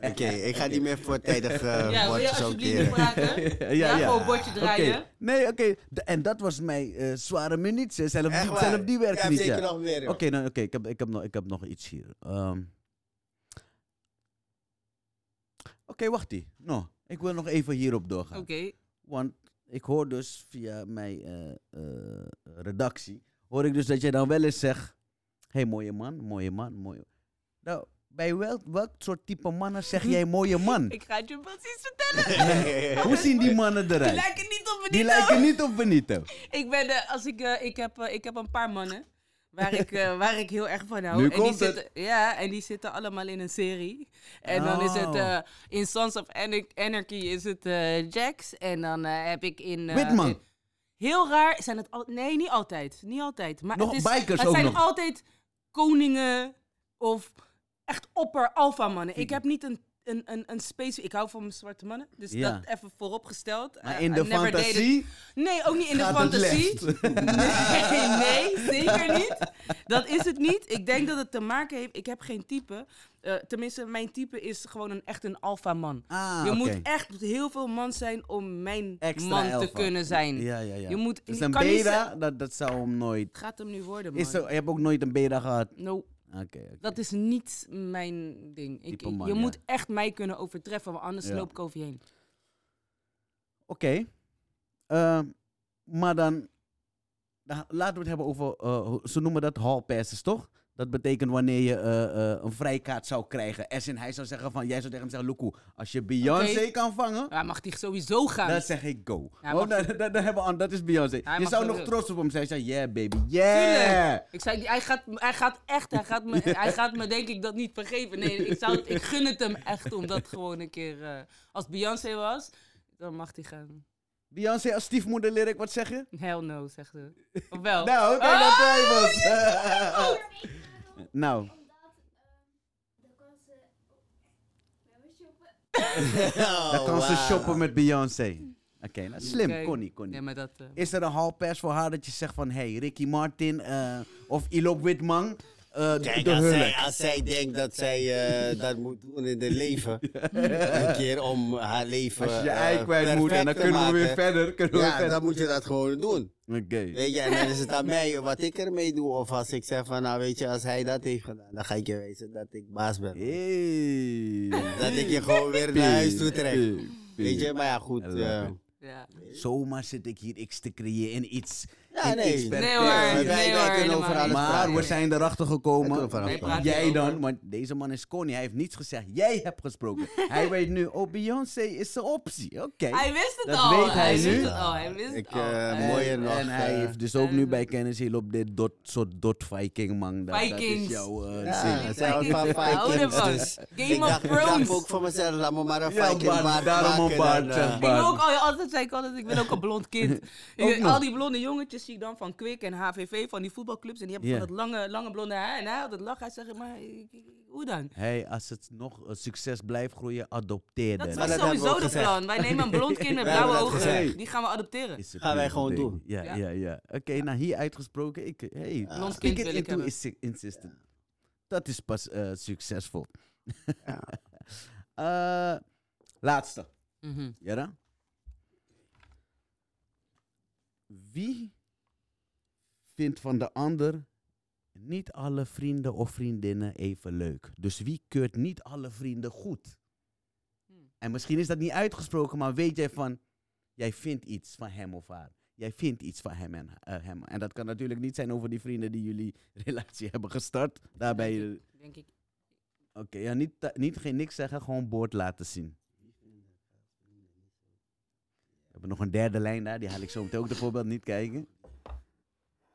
[SPEAKER 3] Oké, ik ga niet meer voortijdig
[SPEAKER 2] Ja,
[SPEAKER 3] eh
[SPEAKER 2] wil je
[SPEAKER 3] bordjes ook
[SPEAKER 2] alsjeblieft niet
[SPEAKER 3] keren.
[SPEAKER 2] praten?
[SPEAKER 1] ja,
[SPEAKER 2] Ja, gewoon bordje
[SPEAKER 1] Oké.
[SPEAKER 2] draaien.
[SPEAKER 1] Nee, oké. De- En dat was mijn eh, zware munitie. Zelf,
[SPEAKER 3] Echt
[SPEAKER 1] die,
[SPEAKER 3] waar?
[SPEAKER 1] zelf die werkt
[SPEAKER 3] Ja,
[SPEAKER 1] niet.
[SPEAKER 3] zeker
[SPEAKER 1] ja.
[SPEAKER 3] nog meer.
[SPEAKER 1] Oké, nou, oké, ik, heb, ik, heb nog- ik heb nog iets hier. Ehm. Oké, wacht ie. Nou, ik wil nog even hierop doorgaan.
[SPEAKER 2] Oké.
[SPEAKER 1] Want ik hoor dus via mijn eh, eh, redactie, hoor ik dus dat jij dan wel eens zegt, hé hey, mooie man, mooie man, mooie... Nou, bij welk, welk soort type mannen zeg jij mooie man?
[SPEAKER 2] Ik ga het je precies vertellen.
[SPEAKER 1] Hoe zien die mannen
[SPEAKER 2] Die
[SPEAKER 1] eruit?
[SPEAKER 2] lijken niet op me
[SPEAKER 1] Die lijken niet op Benito.
[SPEAKER 2] Ik ben, eh, als ik, eh, ik, heb, eh, ik heb een paar mannen waar ik, eh, waar ik heel erg van hou.
[SPEAKER 1] Nu
[SPEAKER 2] en die
[SPEAKER 1] komt het.
[SPEAKER 2] zitten, Ja, en die zitten allemaal in een serie. En dan is het,
[SPEAKER 1] Oh.
[SPEAKER 2] eh, in Sons of Anar- Anarchy is het eh, Jax. En dan eh, heb ik in... eh,
[SPEAKER 1] Witman.
[SPEAKER 2] in- heel raar zijn het al, Nee, niet altijd. Niet altijd. Maar
[SPEAKER 1] Nog
[SPEAKER 2] het is,
[SPEAKER 1] bikers
[SPEAKER 2] maar het
[SPEAKER 1] ook
[SPEAKER 2] zijn
[SPEAKER 1] nog.
[SPEAKER 2] altijd koningen of echt opper alpha mannen. Ik heb niet een... Een, een, een space, ik hou van zwarte mannen, dus
[SPEAKER 1] Ja.
[SPEAKER 2] dat even vooropgesteld.
[SPEAKER 1] Maar
[SPEAKER 2] Eh,
[SPEAKER 1] in
[SPEAKER 2] I
[SPEAKER 1] de
[SPEAKER 2] never dated-
[SPEAKER 1] fantasie
[SPEAKER 2] Nee, ook niet in de
[SPEAKER 1] gaat het
[SPEAKER 2] fantasie.
[SPEAKER 1] left.
[SPEAKER 2] Nee, nee, zeker niet. Dat is het niet. Ik denk dat het te maken heeft. Ik heb geen type. Eh, tenminste, mijn type is gewoon een, echt een alfa man.
[SPEAKER 1] Ah,
[SPEAKER 2] je
[SPEAKER 1] oké.
[SPEAKER 2] moet echt heel veel man zijn om mijn
[SPEAKER 1] Extra
[SPEAKER 2] man
[SPEAKER 1] alpha.
[SPEAKER 2] te kunnen zijn.
[SPEAKER 1] Ja, ja, ja.
[SPEAKER 2] Je moet,
[SPEAKER 1] dus
[SPEAKER 2] je
[SPEAKER 1] een
[SPEAKER 2] kan niet zeggen-
[SPEAKER 1] beta, dat, dat zou hem nooit...
[SPEAKER 2] Het gaat hem nu worden, man.
[SPEAKER 1] Is er, je hebt ook nooit een beta gehad?
[SPEAKER 2] No,
[SPEAKER 1] Oké, oké.
[SPEAKER 2] dat is niet mijn ding. Ik,
[SPEAKER 1] Type
[SPEAKER 2] ik-
[SPEAKER 1] man,
[SPEAKER 2] je
[SPEAKER 1] ja.
[SPEAKER 2] moet echt mij kunnen overtreffen, want anders
[SPEAKER 1] Ja.
[SPEAKER 2] loop ik over je heen.
[SPEAKER 1] Oké. Ehm, maar dan, dan laten we het hebben over, eh, hoe- ze noemen dat hall passes, toch? Dat betekent wanneer je eh, eh, een vrijkaart zou krijgen. As in, hij zou zeggen van, jij zou tegen hem zeggen, Luku, als je Beyoncé
[SPEAKER 2] Oké.
[SPEAKER 1] kan vangen,
[SPEAKER 2] Maar hij mag die sowieso gaan.
[SPEAKER 1] dan zeg ik go.
[SPEAKER 2] Hij
[SPEAKER 1] Oh,
[SPEAKER 2] mag-
[SPEAKER 1] dan, dan, dan hebben we, aan- dat is Beyoncé.
[SPEAKER 2] Hij
[SPEAKER 1] Je
[SPEAKER 2] mag
[SPEAKER 1] zou
[SPEAKER 2] dat
[SPEAKER 1] nog
[SPEAKER 2] ook.
[SPEAKER 1] trots op hem zijn. Je zou, yeah baby, yeah.
[SPEAKER 2] Tuurlijk. Ik zei, hij gaat, hij gaat echt, hij gaat, me, hij gaat me denk ik dat niet vergeven. Nee, ik, zou, het- ik gun het hem echt om dat gewoon een keer... eh, als Beyoncé was, dan mag hij gaan.
[SPEAKER 1] Beyoncé als stiefmoeder, lyric, wat zeg je?
[SPEAKER 2] Hell no, zegt ze. Of wel? Oh,
[SPEAKER 1] Nou, kijk, dat twijfels.
[SPEAKER 4] Maar weet je waarom?
[SPEAKER 1] nou,
[SPEAKER 4] Omdat ehm, Oh,
[SPEAKER 3] Oh,
[SPEAKER 1] Dan kan ze shoppen met Beyoncé. Oké, nou, slim.
[SPEAKER 2] Kijk,
[SPEAKER 1] Connie, Connie.
[SPEAKER 2] Ja, maar dat... eh,
[SPEAKER 1] Is er een hall pass voor haar dat je zegt van... Hey, Ricky Martin eh, of Ilok Witman. eh
[SPEAKER 3] Kijk,
[SPEAKER 1] de
[SPEAKER 3] als zij,
[SPEAKER 1] hulk.
[SPEAKER 3] als zij denkt dat zij eh, dat moet doen in haar leven, een keer om haar leven
[SPEAKER 1] Als je je
[SPEAKER 3] eh,
[SPEAKER 1] ei kwijt moet en dan
[SPEAKER 3] perfect te
[SPEAKER 1] kunnen we weer
[SPEAKER 3] maken,
[SPEAKER 1] verder. Kunnen we
[SPEAKER 3] Ja,
[SPEAKER 1] verder.
[SPEAKER 3] dan moet je dat gewoon doen.
[SPEAKER 1] Oké.
[SPEAKER 3] Weet je, en dan is het aan mij wat ik ermee doe. Of als ik zeg van, nou weet je, als hij dat heeft gedaan, dan ga ik je wijzen dat ik baas ben.
[SPEAKER 1] Hey.
[SPEAKER 3] Dat ik je gewoon weer naar huis toe trek.
[SPEAKER 1] Pie, pie.
[SPEAKER 3] Weet je, maar ja, goed.
[SPEAKER 1] I love
[SPEAKER 3] eh,
[SPEAKER 1] it.
[SPEAKER 2] ja.
[SPEAKER 1] Zomaar zit ik hier x te creëren in iets.
[SPEAKER 3] Ja,
[SPEAKER 1] in
[SPEAKER 3] nee.
[SPEAKER 1] iets
[SPEAKER 3] Nee
[SPEAKER 1] perfects.
[SPEAKER 2] hoor,
[SPEAKER 3] ja,
[SPEAKER 2] nee
[SPEAKER 3] wij-
[SPEAKER 2] hoor,
[SPEAKER 3] wij kunnen
[SPEAKER 2] helemaal
[SPEAKER 3] over alles
[SPEAKER 2] niet.
[SPEAKER 1] Maar
[SPEAKER 3] praten.
[SPEAKER 1] we zijn erachter
[SPEAKER 3] Wij
[SPEAKER 1] gekomen.
[SPEAKER 3] kunnen
[SPEAKER 2] Wij praten
[SPEAKER 1] Jij
[SPEAKER 2] erover.
[SPEAKER 1] dan, want deze man is koning. Hij heeft niets gezegd. Jij hebt gesproken. Hij weet nu, oh, Beyoncé is zijn optie. Oké.
[SPEAKER 2] Hij wist het
[SPEAKER 1] Dat
[SPEAKER 2] al.
[SPEAKER 1] weet hij
[SPEAKER 2] wist
[SPEAKER 1] nu.
[SPEAKER 2] het al. Hij wist
[SPEAKER 3] Ik,
[SPEAKER 2] het al.
[SPEAKER 3] eh,
[SPEAKER 2] Hij-
[SPEAKER 3] mooier
[SPEAKER 1] En,
[SPEAKER 3] nog,
[SPEAKER 1] en hij
[SPEAKER 3] eh,
[SPEAKER 1] heeft dus ook nu
[SPEAKER 2] eh,
[SPEAKER 1] bij kennis heel op dit dot, soort dot Viking man. Dat, dat is
[SPEAKER 2] Vikings.
[SPEAKER 1] jouw eh,
[SPEAKER 3] Ja,
[SPEAKER 1] zin.
[SPEAKER 3] het zijn allemaal
[SPEAKER 2] Vikings.
[SPEAKER 3] Vikings,
[SPEAKER 2] Houden ervan.
[SPEAKER 3] dus
[SPEAKER 2] Game
[SPEAKER 3] ik
[SPEAKER 2] of
[SPEAKER 3] dacht, Ik
[SPEAKER 2] Thrones.
[SPEAKER 3] dacht ook voor mezelf, laat me maar een
[SPEAKER 1] Ja,
[SPEAKER 3] Viking
[SPEAKER 1] baard,
[SPEAKER 3] baard
[SPEAKER 1] daarom
[SPEAKER 3] maken
[SPEAKER 1] een baard,
[SPEAKER 3] dan,
[SPEAKER 1] zeg
[SPEAKER 3] eh,
[SPEAKER 2] Ik ben
[SPEAKER 1] maar.
[SPEAKER 2] ook al, altijd zei ik altijd, ik ben ook een blond kind.
[SPEAKER 1] Ook nog.
[SPEAKER 2] al die blonde jongetjes zie ik dan van Kwik en HVV, van die voetbalclubs. En die hebben
[SPEAKER 1] Ja.
[SPEAKER 2] van dat lange, lange blonde haar. En hij had het lach. Hij zegt, maar ik- ik- hoe dan?
[SPEAKER 1] Hey, als het nog eh, succes blijft groeien, adopteer
[SPEAKER 2] Dat
[SPEAKER 1] dan.
[SPEAKER 2] is
[SPEAKER 3] Maar dat hebben we
[SPEAKER 2] sowieso
[SPEAKER 3] ook
[SPEAKER 2] de
[SPEAKER 3] gezegd.
[SPEAKER 2] plan. Wij nemen een blond kind met
[SPEAKER 3] Wij hebben
[SPEAKER 2] blauwe
[SPEAKER 3] dat gezegd.
[SPEAKER 2] ogen. Die gaan we adopteren.
[SPEAKER 1] Is het
[SPEAKER 3] Gaan wij
[SPEAKER 1] nu
[SPEAKER 3] gewoon
[SPEAKER 1] meteen.
[SPEAKER 3] doen.
[SPEAKER 1] Ja, ja,
[SPEAKER 2] Ja.
[SPEAKER 1] ja. Oké, nou hier uitgesproken. Ik, hey,
[SPEAKER 2] Blond
[SPEAKER 1] speak
[SPEAKER 2] kind
[SPEAKER 1] it
[SPEAKER 2] wil ik
[SPEAKER 1] into
[SPEAKER 2] hebben.
[SPEAKER 1] is insistent. Dat is pas eh, succesvol.
[SPEAKER 3] Ja.
[SPEAKER 1] Eh, laatste.
[SPEAKER 2] Mhm.
[SPEAKER 1] Jara? Wie vindt van de ander niet alle vrienden of vriendinnen even leuk? Dus wie keurt niet alle vrienden goed?
[SPEAKER 2] Hmm.
[SPEAKER 1] En misschien is dat niet uitgesproken, maar weet jij van, jij vindt iets van hem of haar. Jij vindt iets van hem en, eh, hem. en dat kan natuurlijk niet zijn over die vrienden die jullie relatie hebben gestart. Daarbij, eh, oké,
[SPEAKER 2] Denk ik.
[SPEAKER 1] ja, niet, ta- niet geen niks zeggen, gewoon boord laten zien. We hebben nog een derde lijn daar, die haal ik zo meteen ook de voorbeeld niet kijken.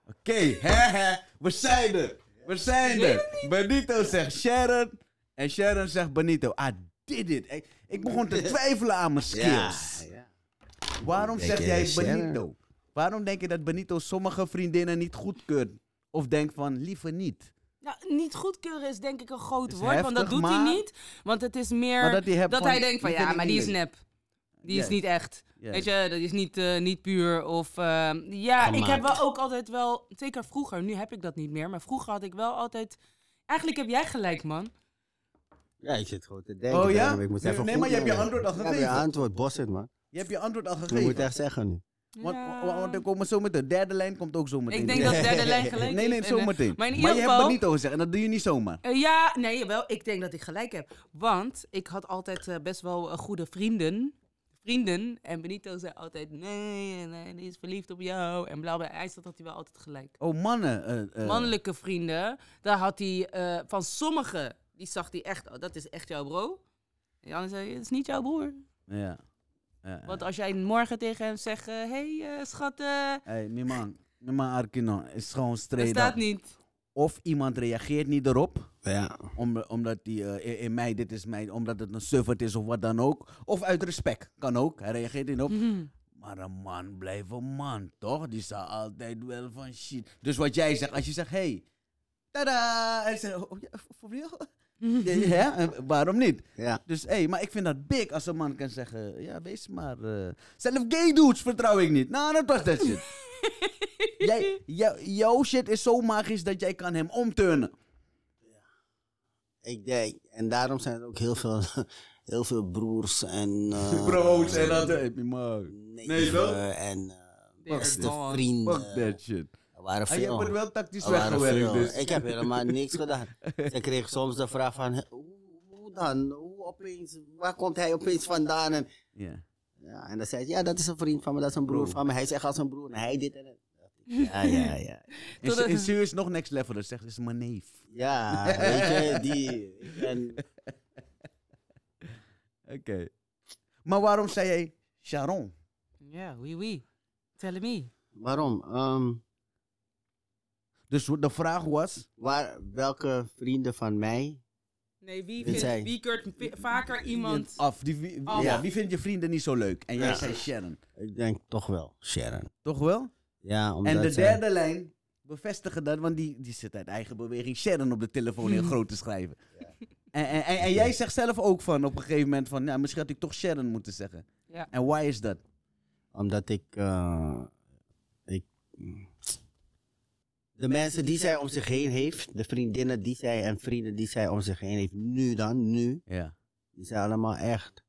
[SPEAKER 1] Oké, hè, hè, we zijn er. We zijn er. Benito zegt Sharon. En Sharon zegt Benito. I did it. Ik, ik begon te twijfelen aan mijn
[SPEAKER 3] Ja,
[SPEAKER 1] skills.
[SPEAKER 3] ja.
[SPEAKER 1] Waarom
[SPEAKER 3] Denk
[SPEAKER 1] zeg
[SPEAKER 3] jij
[SPEAKER 1] jij
[SPEAKER 3] Sharon?
[SPEAKER 1] Benito? Waarom denk je dat Benito sommige vriendinnen niet goedkeurt? Of denkt van, liever niet.
[SPEAKER 2] Nou, niet goedkeuren is denk ik een groot
[SPEAKER 1] Is
[SPEAKER 2] woord, want dat
[SPEAKER 1] heftig,
[SPEAKER 2] doet
[SPEAKER 1] maar-
[SPEAKER 2] hij niet. Want het is meer
[SPEAKER 1] Maar
[SPEAKER 2] dat,
[SPEAKER 1] dat hij hebt van,
[SPEAKER 2] hij denkt van,
[SPEAKER 1] die
[SPEAKER 2] ja,
[SPEAKER 1] vind ik
[SPEAKER 2] maar die
[SPEAKER 1] niet
[SPEAKER 2] is
[SPEAKER 1] leuk.
[SPEAKER 2] nep. Die is
[SPEAKER 1] Juist.
[SPEAKER 2] niet echt.
[SPEAKER 1] Juist.
[SPEAKER 2] Weet je, dat is niet, eh, niet puur. Of, ehm, ja, ik heb
[SPEAKER 3] Gemaakt.
[SPEAKER 2] wel ook altijd wel, zeker vroeger, nu heb ik dat niet meer. Maar vroeger had ik wel altijd, eigenlijk heb jij gelijk, man.
[SPEAKER 3] Ja, ik zit gewoon te denken.
[SPEAKER 1] Oh ja?
[SPEAKER 3] daarom, Ik moet
[SPEAKER 1] Nee,
[SPEAKER 3] even
[SPEAKER 1] nee,
[SPEAKER 3] goed
[SPEAKER 1] maar je hebt je
[SPEAKER 3] nadenken.
[SPEAKER 1] antwoord al
[SPEAKER 3] Ik heb
[SPEAKER 1] gegeven.
[SPEAKER 3] je antwoord, bos het man.
[SPEAKER 1] Je hebt je antwoord al
[SPEAKER 3] Je moet
[SPEAKER 1] gegeven.
[SPEAKER 3] echt zeggen nu.
[SPEAKER 1] Want,
[SPEAKER 2] Ja.
[SPEAKER 1] want, want er komen zo meteen. De derde lijn komt ook zo meteen.
[SPEAKER 2] Ik denk dat derde lijn gelijk
[SPEAKER 1] Nee, nee,
[SPEAKER 2] heeft. En, eh,
[SPEAKER 1] zometeen.
[SPEAKER 2] Maar
[SPEAKER 1] Maar,
[SPEAKER 2] in
[SPEAKER 1] je
[SPEAKER 2] ieder
[SPEAKER 1] hebt
[SPEAKER 2] geval...
[SPEAKER 1] Benito gezegd en dat doe je niet zomaar.
[SPEAKER 2] Eh, ja, nee, wel. Ik denk dat ik gelijk heb. Want ik had altijd eh, best wel eh, goede vrienden. Vrienden. En Benito zei altijd, nee, en, eh, die is verliefd op jou. En bla bla. Hij zat had hij wel altijd gelijk.
[SPEAKER 1] Oh, mannen. eh, eh,
[SPEAKER 2] Mannelijke vrienden, daar had hij eh, van sommigen, die zag hij echt, oh, dat is echt jouw bro. En Jan zei, het is niet jouw broer.
[SPEAKER 1] Ja. Ja, ja.
[SPEAKER 2] Want als jij morgen tegen hem zegt, hé hey, eh, schat, eh,
[SPEAKER 1] Hey, mijn man. Mijn man Arkino is gewoon
[SPEAKER 2] dat
[SPEAKER 1] streden.
[SPEAKER 2] staat niet.
[SPEAKER 1] Of iemand reageert niet erop.
[SPEAKER 3] Ja.
[SPEAKER 1] Om, omdat die eh, in- in mij, dit is mij, omdat het een suffert is of wat dan ook. Of uit respect, kan ook. Hij reageert niet op. Maar een man blijft een man, toch? Die zal altijd wel van shit. Dus wat jij zegt, als je zegt, hey, tada! Hij zegt, oh, ja, voor real? Ja, ja, eh, waarom niet?
[SPEAKER 3] Ja.
[SPEAKER 1] Dus hé, hey, maar ik vind dat big als een man kan zeggen, ja, wees maar. eh, zelf gay dudes vertrouw ik niet. Nou, dat was dat shit. jij, jou- jouw shit is zo magisch dat jij kan hem omturnen.
[SPEAKER 3] Ik denk, en daarom zijn er ook heel veel, heel veel broers en...
[SPEAKER 1] Ah.
[SPEAKER 3] eh,
[SPEAKER 1] en dat heb je maar. Nee, wel?
[SPEAKER 3] neven en eh,
[SPEAKER 2] Fuck
[SPEAKER 3] beste
[SPEAKER 2] that.
[SPEAKER 3] vrienden.
[SPEAKER 1] Fuck that shit.
[SPEAKER 3] Er waren
[SPEAKER 1] Ah, je
[SPEAKER 3] veel.
[SPEAKER 1] hebt er wel tactisch
[SPEAKER 3] Er waren
[SPEAKER 1] weggewerkt,
[SPEAKER 3] veel.
[SPEAKER 1] dus.
[SPEAKER 3] Ik heb helemaal niks gedaan. Ze kreeg soms de vraag van, "Hè, hoe, hoe dan? Hoe opeens? Waar komt hij opeens vandaan? En,
[SPEAKER 1] Ja.
[SPEAKER 3] ja, en dan zei ze, ja, dat is een vriend van me, dat is een broer
[SPEAKER 1] Broer.
[SPEAKER 3] van me. Hij is echt als een broer. En hij dit en dat. Ja, ja, ja.
[SPEAKER 1] In,
[SPEAKER 2] Totdat-
[SPEAKER 1] in serieus nog next level, dat zegt, is mijn neef.
[SPEAKER 3] Ja, weet je, die... En,
[SPEAKER 1] Oké. Maar waarom zei jij Sharon?
[SPEAKER 2] Ja, oui, oui. Tell me.
[SPEAKER 3] waarom? Ehm,
[SPEAKER 1] Dus de vraag was.
[SPEAKER 3] waar, welke vrienden van mij
[SPEAKER 2] Nee, wie,
[SPEAKER 3] Dit
[SPEAKER 2] vindt,
[SPEAKER 3] zei-
[SPEAKER 2] wie keurt vi- vaker iemand...
[SPEAKER 1] Af, die, wie,
[SPEAKER 2] Af.
[SPEAKER 1] Ja, wie vindt je vrienden niet zo leuk? En jij
[SPEAKER 3] Ja.
[SPEAKER 1] zei Sharon.
[SPEAKER 3] Ik denk toch wel Sharon.
[SPEAKER 1] Toch wel?
[SPEAKER 3] Ja, omdat eh,
[SPEAKER 1] en de
[SPEAKER 3] zij-
[SPEAKER 1] derde lijn bevestigen dat, want die, die zit uit eigen beweging Sharon op de telefoon in groot te schrijven. En, en, en, en jij zegt zelf ook van op een gegeven moment van, nou, misschien had ik toch Sharon moeten zeggen.
[SPEAKER 2] Ja.
[SPEAKER 1] En why is dat?
[SPEAKER 3] Omdat ik. eh, ik de mensen die zij om zich heen heeft, de vriendinnen die zij en vrienden die zij om zich heen heeft, nu dan, nu,
[SPEAKER 1] Ja.
[SPEAKER 3] die zijn allemaal echt.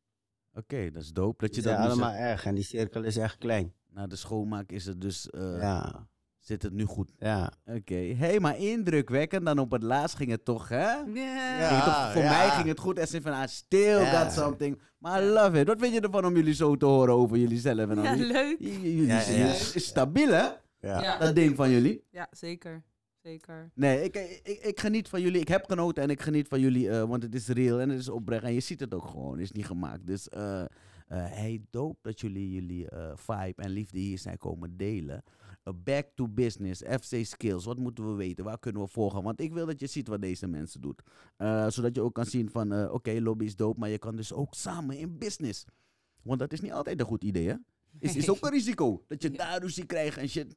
[SPEAKER 1] Oké, dat is dope. Dat
[SPEAKER 3] Die
[SPEAKER 1] je
[SPEAKER 3] zijn
[SPEAKER 1] dat nu
[SPEAKER 3] allemaal
[SPEAKER 1] zegt.
[SPEAKER 3] echt en die cirkel is echt klein.
[SPEAKER 1] Na de schoonmaak is het dus, eh,
[SPEAKER 3] Ja,
[SPEAKER 1] zit het nu goed.
[SPEAKER 3] ja.
[SPEAKER 1] Oké, hey, maar indrukwekkend. Dan op het laatst ging het toch, hè?
[SPEAKER 2] Ja.
[SPEAKER 1] Ging het toch-
[SPEAKER 3] Ja,
[SPEAKER 1] voor
[SPEAKER 3] ja.
[SPEAKER 1] mij ging het goed. En ze van, ah, still
[SPEAKER 3] Ja.
[SPEAKER 1] got something. Maar I love it. Wat vind je ervan om jullie zo te horen over jullie zelf? En al
[SPEAKER 2] Ja,
[SPEAKER 1] Nou, die-
[SPEAKER 2] leuk.
[SPEAKER 1] J- j- Jullie
[SPEAKER 3] Ja,
[SPEAKER 1] zijn
[SPEAKER 3] ja.
[SPEAKER 1] is stabiel, hè?
[SPEAKER 3] Ja.
[SPEAKER 2] Ja.
[SPEAKER 1] Dat ding van jullie.
[SPEAKER 2] Ja, zeker. Zeker.
[SPEAKER 1] Nee, ik, ik, ik geniet van jullie. Ik heb genoten en ik geniet van jullie, eh, want het is real en het is oprecht. En je ziet het ook gewoon, het is niet gemaakt. Dus eh eh, hey, dope dat jullie jullie eh, vibe en liefde hier zijn komen delen. Eh, back to business, FC Skills. Wat moeten we weten? Waar kunnen we volgen? Want ik wil dat je ziet wat deze mensen doen. Eh, zodat je ook kan zien van, eh, oké, lobby is dope, maar je kan dus ook samen in business. Want dat is niet altijd een goed idee, hè? Is, is ook een risico. Dat je daar ruzie krijgt en shit.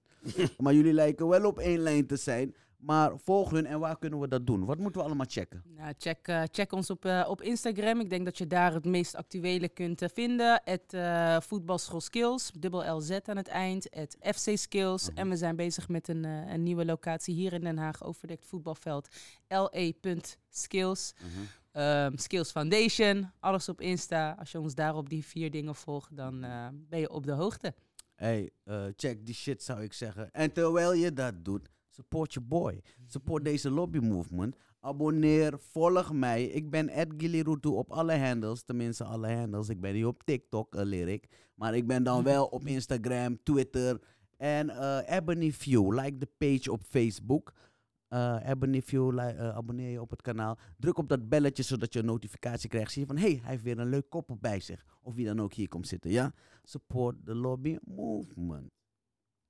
[SPEAKER 1] maar jullie lijken wel op één lijn te zijn. Maar volg hun en waar kunnen we dat doen? Wat moeten we allemaal checken?
[SPEAKER 2] Nou, check, eh, check ons op, eh, op Instagram. Ik denk dat je daar het meest actuele kunt eh, vinden. Het eh voetbalschoolskills, dubbel LZ aan het eind. Het FC Skills.
[SPEAKER 1] Mhm.
[SPEAKER 2] En we zijn bezig met een, eh, een nieuwe locatie hier in Den Haag. Overdekt voetbalveld. LE.skills.
[SPEAKER 1] Mhm.
[SPEAKER 2] Ehm, Skills Foundation. Alles op Insta. Als je ons daar op die vier dingen volgt, dan eh, ben je op de hoogte.
[SPEAKER 1] Hey, eh, check die shit zou ik zeggen. En terwijl je dat doet, support je boy. Support deze lobby movement. Abonneer, volg mij. Ik ben at Gilirutu op alle handles. Tenminste, alle handles. Ik ben niet op TikTok, eh, Lyric. Maar ik ben dan wel op Instagram, Twitter. En eh Ebony View. Like de page op Facebook. eh Ebony View, li- eh, abonneer je op het kanaal. Druk op dat belletje zodat je een notificatie krijgt. Zie je van, hé, hey, hij heeft weer een leuk koppel bij zich. Of wie dan ook hier komt zitten, ja? Support the lobby movement.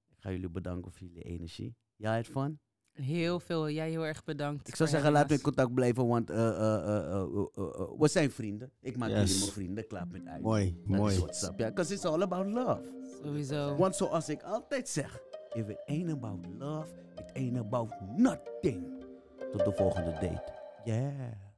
[SPEAKER 1] Ik ga jullie bedanken voor jullie energie. Jij het van?
[SPEAKER 2] Heel veel. Jij heel erg bedankt.
[SPEAKER 1] Ik zou
[SPEAKER 2] voor
[SPEAKER 1] zeggen, laten we in
[SPEAKER 2] helaas.
[SPEAKER 1] contact blijven, want eh, eh, eh, eh, eh, eh, eh, we zijn vrienden. Ik maak
[SPEAKER 3] Yes.
[SPEAKER 1] jullie mijn vrienden, klaar met uit.
[SPEAKER 3] Mooi,
[SPEAKER 1] Dat is
[SPEAKER 3] mooi.
[SPEAKER 1] WhatsApp, ja. Because it's all about love.
[SPEAKER 2] Sowieso.
[SPEAKER 1] Want zoals ik altijd zeg, if it ain't about love, it ain't about nothing. Tot de volgende date. Yeah.